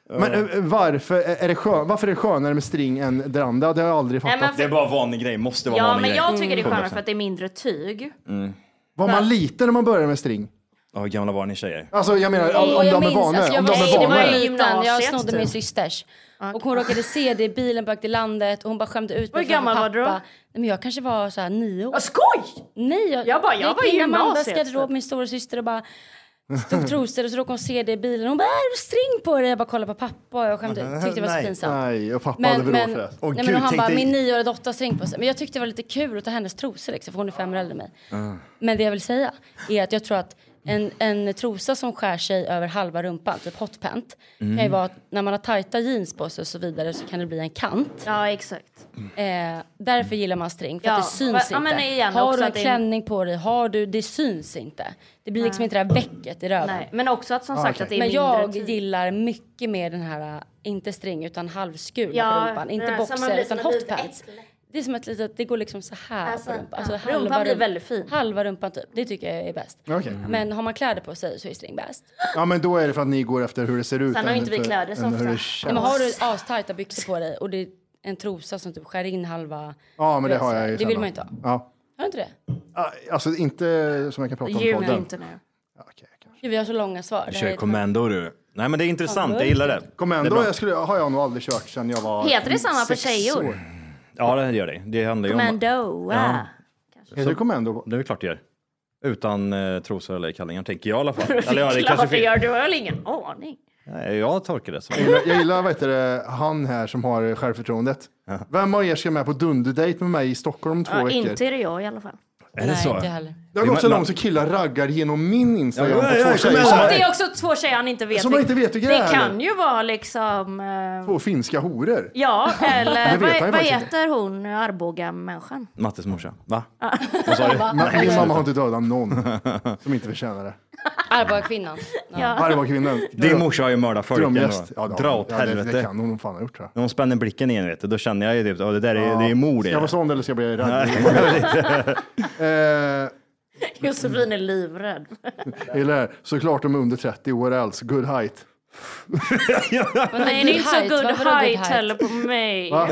Speaker 1: Men eh, varför är det, skön, varför är det skönare med string än det andra? Det har jag aldrig
Speaker 4: Nej,
Speaker 1: fattat.
Speaker 4: men för-
Speaker 2: Det är bara vanlig grej, måste vara
Speaker 4: Ja,
Speaker 2: vanlig
Speaker 4: men
Speaker 2: grej. Mm,
Speaker 4: jag tycker det är skönare
Speaker 2: 100%.
Speaker 4: för att det är mindre tyg.
Speaker 1: Var man liten när man började med string?
Speaker 2: Ja, hur gamla var ni tjejer?
Speaker 1: Alltså jag menar om,
Speaker 3: Och jag
Speaker 1: om de är
Speaker 3: minns,
Speaker 1: vana.
Speaker 3: alltså, jag
Speaker 1: om
Speaker 3: var-
Speaker 1: de
Speaker 3: nej,
Speaker 1: är
Speaker 3: det var
Speaker 1: vana.
Speaker 3: jag liten, jag
Speaker 4: Gymnasiet,
Speaker 3: snodde
Speaker 4: typ.
Speaker 3: min systers. Och hon råkade se det i bilen på väg till landet och hon bara skämde ut mig
Speaker 4: Hur gammal var du då?
Speaker 3: Nej, men jag kanske var så här nio år.
Speaker 4: Skoj!
Speaker 3: Nej, jag,
Speaker 4: Jag bara, jag
Speaker 3: gick
Speaker 4: var i
Speaker 3: in i Amandas
Speaker 4: gymnasiet.
Speaker 3: garderob, min stora syster och bara stod trosor och så råkade hon se det i bilen. Hon bara, "Äh, är du string på dig? Jag bara kollade på pappa och jag skämde ut. Tyckte det var så
Speaker 1: nej.
Speaker 3: pinsamt.
Speaker 1: Nej, och pappa hade
Speaker 3: Men,
Speaker 1: bråk
Speaker 3: men,
Speaker 1: för det.
Speaker 3: nej, men och han bara, min nioåriga dotter har string på sig. Men jag tyckte det var lite kul att ta hennes trosor liksom, för hon är fem år äldre än mig. Men det jag vill säga är att jag tror att En, en trosa som skär sig över halva rumpan, typ hotpant, kan ju
Speaker 4: Mm.
Speaker 3: vara att när man har tajta jeans på sig och så vidare så kan det bli en kant.
Speaker 4: Ja, exakt.
Speaker 3: Eh, därför gillar man string, för
Speaker 4: Ja,
Speaker 3: att det syns
Speaker 4: va-
Speaker 3: inte.
Speaker 4: ja, men igen,
Speaker 3: har
Speaker 4: också
Speaker 3: du en
Speaker 4: att det är-
Speaker 3: klänning på dig, har du, det syns inte. Det blir liksom
Speaker 4: Nej.
Speaker 3: inte det här vecket i röven.
Speaker 4: Nej, men också
Speaker 2: Ah,
Speaker 4: att som sagt att det är
Speaker 3: Men
Speaker 4: mindre
Speaker 3: jag
Speaker 4: tid.
Speaker 3: gillar mycket mer den här, äh, inte string utan halvskur
Speaker 4: Ja, eh,
Speaker 3: på rumpan. Inte
Speaker 4: nej, så man
Speaker 3: boxer
Speaker 4: blir som ett
Speaker 3: utan
Speaker 4: litet
Speaker 3: hotpants. Det är som ett litet, det går liksom så här
Speaker 4: Alltså,
Speaker 3: på rumpan. Alltså,
Speaker 4: ja.
Speaker 3: halva
Speaker 4: Rumpan blir
Speaker 3: rump-
Speaker 4: väldigt fin.
Speaker 3: Halva rumpan typ, det tycker jag är bäst.
Speaker 1: Okej.
Speaker 3: Men har man kläder på sig så är string bäst.
Speaker 1: Mm. Ja, men då är det för att ni går efter hur det ser ut.
Speaker 3: Sen har
Speaker 1: än
Speaker 3: inte vi
Speaker 1: för-
Speaker 3: kläder så
Speaker 1: än hur
Speaker 3: ofta.
Speaker 1: det
Speaker 3: Nej,
Speaker 1: känns.
Speaker 3: men har du astajta byxor på dig och det är en trosa som typ skär in halva...
Speaker 1: Ja, men det har jag ju.
Speaker 3: Det vill
Speaker 1: sällan.
Speaker 3: man ju inte ha.
Speaker 1: Ja.
Speaker 3: Har du inte det?
Speaker 1: Ja, Alltså inte som jag kan prata om i
Speaker 3: Ljug
Speaker 1: podden.
Speaker 3: inte nu. Gud, vi har så långa svar.
Speaker 2: Du
Speaker 3: Det här
Speaker 2: kör
Speaker 3: är-
Speaker 2: kommando du. Nej men det är intressant, jag gillar det.
Speaker 1: Commando
Speaker 2: Det är bra.
Speaker 1: jag skulle, har jag nog aldrig kört sedan jag var
Speaker 4: Heter det samma för
Speaker 1: sex
Speaker 4: tjejor?
Speaker 1: år.
Speaker 2: Ja det gör det. Det handlar ju om...
Speaker 4: Commando.
Speaker 2: Ja.
Speaker 4: Ja.
Speaker 1: Heter det kommando?
Speaker 2: Det är väl klart det gör. Utan eh, trosor eller kallingar tänker jag i alla fall.
Speaker 4: Det
Speaker 2: Eller ja,
Speaker 4: är
Speaker 2: det
Speaker 4: klart
Speaker 2: kanske
Speaker 4: det
Speaker 2: fel.
Speaker 4: gör, du har väl ingen aning?
Speaker 2: Nej, jag tolkar det som...
Speaker 1: Jag gillar, jag gillar vad heter det, han här som har självförtroendet. Vem av er ska med på dunderdejt med mig i Stockholm om två
Speaker 4: Ja,
Speaker 1: veckor?
Speaker 4: inte är det jag i alla fall.
Speaker 2: Är det så?
Speaker 1: Det har gått så långt så killar raggar genom min Instagram
Speaker 2: Ja, ja, ja,
Speaker 1: på två
Speaker 2: kom
Speaker 1: tjejer
Speaker 2: igen.
Speaker 1: som
Speaker 4: Och
Speaker 1: har
Speaker 4: det är också två tjejer han inte vet.
Speaker 1: Som man inte vet hur
Speaker 4: Det
Speaker 1: grejer
Speaker 4: kan ju vara liksom... eh,
Speaker 1: två finska horor.
Speaker 4: Ja,
Speaker 2: Det
Speaker 4: eller
Speaker 2: vet
Speaker 4: vad,
Speaker 2: han ju
Speaker 4: vad
Speaker 2: faktiskt
Speaker 4: heter hon Arboga-människan?
Speaker 2: Mattes morsa. Va? Vad sa du?
Speaker 4: Va?
Speaker 1: Ma-
Speaker 4: Nej.
Speaker 1: Min mamma har inte dödat någon som inte förtjänar det.
Speaker 3: Arboga kvinnan.
Speaker 1: Här var kvinnan.
Speaker 2: Din morsa har ju mördat folk.
Speaker 1: Drömgäst.
Speaker 2: ändå.
Speaker 1: Ja, det har
Speaker 2: Dra
Speaker 1: hon.
Speaker 2: åt
Speaker 1: Ja, det- det
Speaker 2: helvete.
Speaker 1: kan hon fan ha gjort tror
Speaker 2: När hon spänner blicken igen vet du, då känner jag ju typ, oh, det där är,
Speaker 1: Ja.
Speaker 2: det är mord
Speaker 1: Ska
Speaker 2: i
Speaker 1: jag
Speaker 2: det.
Speaker 1: vara sån eller ska jag bli rädd? Eh,
Speaker 4: Josefin är livrädd.
Speaker 1: Eller såklart de är under 30 år else. Good height.
Speaker 4: Nej, det är inte så
Speaker 3: height?
Speaker 4: good
Speaker 3: Vad vadå good
Speaker 4: height
Speaker 3: height?
Speaker 4: heller på mig.
Speaker 1: Va?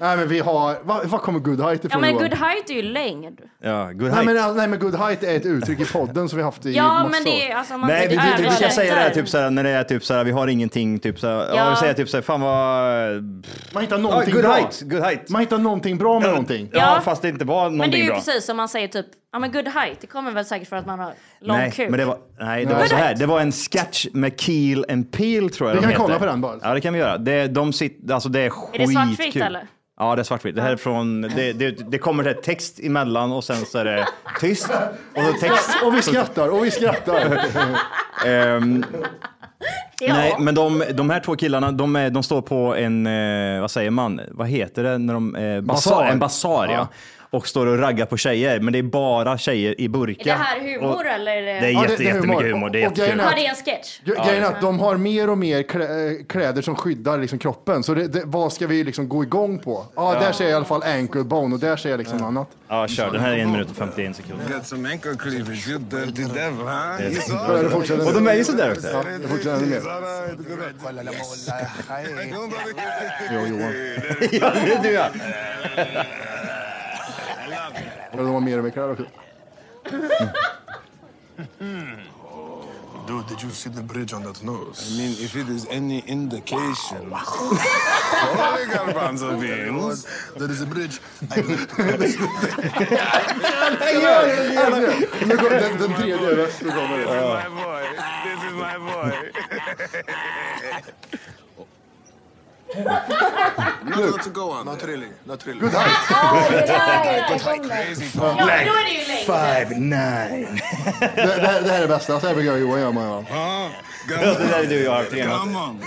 Speaker 1: nej men vi har, va, vad kommer good height
Speaker 4: Ja,
Speaker 1: ifrån
Speaker 4: men
Speaker 1: Johan?
Speaker 4: good height är ju längd.
Speaker 2: Ja, good
Speaker 1: Nej
Speaker 2: height.
Speaker 1: men, all- nej men good height är ett uttryck i podden som vi haft i
Speaker 4: Ja,
Speaker 1: massa
Speaker 4: men det är-
Speaker 1: år.
Speaker 4: alltså, man
Speaker 2: Nej, vi, vi, vi kan
Speaker 4: översätter.
Speaker 2: säga det här, typ såhär, när det är typ såhär, vi har ingenting, typ såhär, ja.
Speaker 1: Ja.
Speaker 2: vi säger typ såhär, fan vad...
Speaker 1: Man hittar någonting
Speaker 2: good
Speaker 1: bra.
Speaker 2: Height, good height.
Speaker 1: Man hittar någonting bra med någonting.
Speaker 2: Ja,
Speaker 4: Ja.
Speaker 2: fast det inte var
Speaker 4: Men det är
Speaker 2: någonting
Speaker 4: ju
Speaker 2: bra.
Speaker 4: precis som man säger typ, ja men good height, det kommer väl säkert för att man har lång
Speaker 2: nej,
Speaker 4: kuk.
Speaker 2: men det var, nej, det
Speaker 4: Nej.
Speaker 2: var
Speaker 4: Good
Speaker 2: så här.
Speaker 4: height.
Speaker 2: Det var en sketch med Keel and Peel tror jag
Speaker 1: Vi
Speaker 2: de
Speaker 1: kan kolla
Speaker 2: heter.
Speaker 1: på den bara.
Speaker 2: Ja, det kan vi göra. Det, de sitter, alltså det är
Speaker 4: Är
Speaker 2: skitkul.
Speaker 4: det svartvitt eller?
Speaker 2: Ja, det är svartvitt. Det här är från, det, det, det kommer det text emellan och sen så är det tyst. Och, så text.
Speaker 1: Och vi skrattar, och vi skrattar.
Speaker 2: Ehm,
Speaker 4: Ja.
Speaker 2: Nej, men de, de här två killarna, de, är- de står på en, eh, vad säger man, vad heter det när de, eh,
Speaker 1: Basar.
Speaker 2: En basar ja.
Speaker 1: Ja.
Speaker 2: Och står och raggar på tjejer, men det är bara tjejer i burkar.
Speaker 4: Är det här humor
Speaker 2: Och,
Speaker 4: eller? Är det...
Speaker 2: det är
Speaker 1: Ja, det-
Speaker 2: jätte,
Speaker 1: det är humor.
Speaker 2: jättemycket humor. Det är
Speaker 1: Och- och grejen
Speaker 4: Ja,
Speaker 2: jättekul.
Speaker 1: är-
Speaker 4: det är en sketch.
Speaker 1: Gre- Grejen är att de har mer och mer klä- eh, kläder som skyddar liksom kroppen. Så det, det, vad ska vi liksom gå igång på? Ja,
Speaker 2: Ja.
Speaker 1: där ser jag i alla fall ankle bone och där ser jag liksom annat.
Speaker 2: Ja, kör. Den här är en minut och 51 sekunder.
Speaker 5: Got some ankle cleavage, you dirty devil, huh?
Speaker 2: Det är-
Speaker 5: You saw
Speaker 2: Börjar
Speaker 5: it?
Speaker 2: det fortsätta nu? Och de är ju sådär också.
Speaker 1: Ja, det fortsätter ännu mer. Jo, Johan.
Speaker 2: Ja, det är du ja.
Speaker 1: Och de har mer och mer kläder också.
Speaker 5: Dude, did you see the bridge on that nose? I mean, if it is any indication. Holy garbanzo beans. There is a bridge.
Speaker 1: Nu går- Den, den tredje rösten kommer. Ja.
Speaker 5: This is my boy. Not a lot to go on. Not really. Not really. Good height.
Speaker 1: Five nine. Det, det, här- det här är det bästa. Så här brukar jag och Johan göra med varandra.
Speaker 2: Det där är du jag har haft igenom.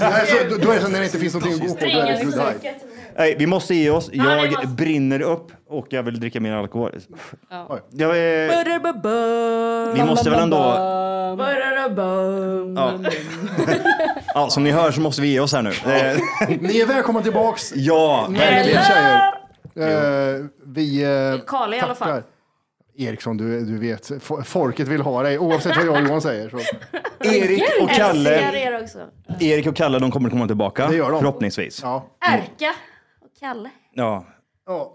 Speaker 1: Nej, så- Då är det så när det inte finns någonting att gå på. Då är det good height.
Speaker 2: Nej, vi måste ge oss.
Speaker 1: Ja, det
Speaker 2: Jag
Speaker 1: måste-
Speaker 2: brinner upp och jag vill dricka mer alkohol.
Speaker 3: Ja.
Speaker 2: Jag, eh, Vi måste väl ändå... Ja. Ja, som ni hör så måste vi ge oss här nu. Eh,
Speaker 1: Ni är välkomna tillbaks.
Speaker 2: Ja,
Speaker 1: verkligen tjejer. Eh, vi eh,
Speaker 4: Karla i alla fall.
Speaker 1: tackar. Eriksson, du, du vet, fo- folket vill ha dig oavsett vad jag och Johan säger. Så.
Speaker 2: Erik och
Speaker 4: Älskar
Speaker 2: Kalle,
Speaker 4: er också.
Speaker 2: Erik och Kalle de kommer komma tillbaka.
Speaker 1: Det gör de.
Speaker 2: Förhoppningsvis.
Speaker 1: Ja.
Speaker 4: Erka och Kalle.
Speaker 2: ja.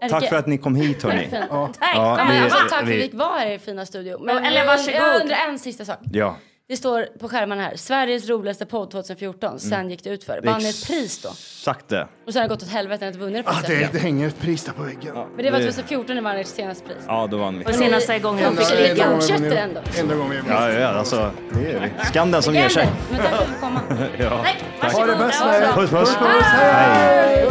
Speaker 3: Erika.
Speaker 2: Tack för att ni kom hit hörni.
Speaker 3: Tack.
Speaker 2: Ja.
Speaker 3: Tack.
Speaker 2: Ja,
Speaker 3: Ja,
Speaker 2: vi-
Speaker 3: alltså, tack för att
Speaker 2: vi-
Speaker 3: vi fick vara här i er fina studio.
Speaker 4: Ja,
Speaker 3: Men
Speaker 4: eller
Speaker 3: jag-
Speaker 4: varsågod.
Speaker 3: Jag undrar en sista sak.
Speaker 2: Ja.
Speaker 3: Det står på skärmen här. Sveriges roligaste podd 2014. Sen gick det ut för. Vann ett pris då.
Speaker 2: Exakt det.
Speaker 3: Och sen har det gått åt helvete när det inte vunnit
Speaker 1: Ah,
Speaker 3: priset.
Speaker 1: det, det hänger ett pris där på väggen.
Speaker 3: Men det var 2014 när man vann ert senaste pris.
Speaker 2: Ja, då vann vi.
Speaker 3: Och senaste gången de fick
Speaker 1: Enda- enda
Speaker 3: ligga.
Speaker 1: gången vi
Speaker 3: Fortsätter
Speaker 1: vinner.
Speaker 3: ändå.
Speaker 1: Enda gången vi
Speaker 2: Ja, ja, alltså. Det gör vi. Skam den som ger sig.
Speaker 3: Men tack för att du kom.
Speaker 2: Ja. Tack.
Speaker 1: Ha det bäst med er.
Speaker 2: Puss, puss.
Speaker 1: Hej.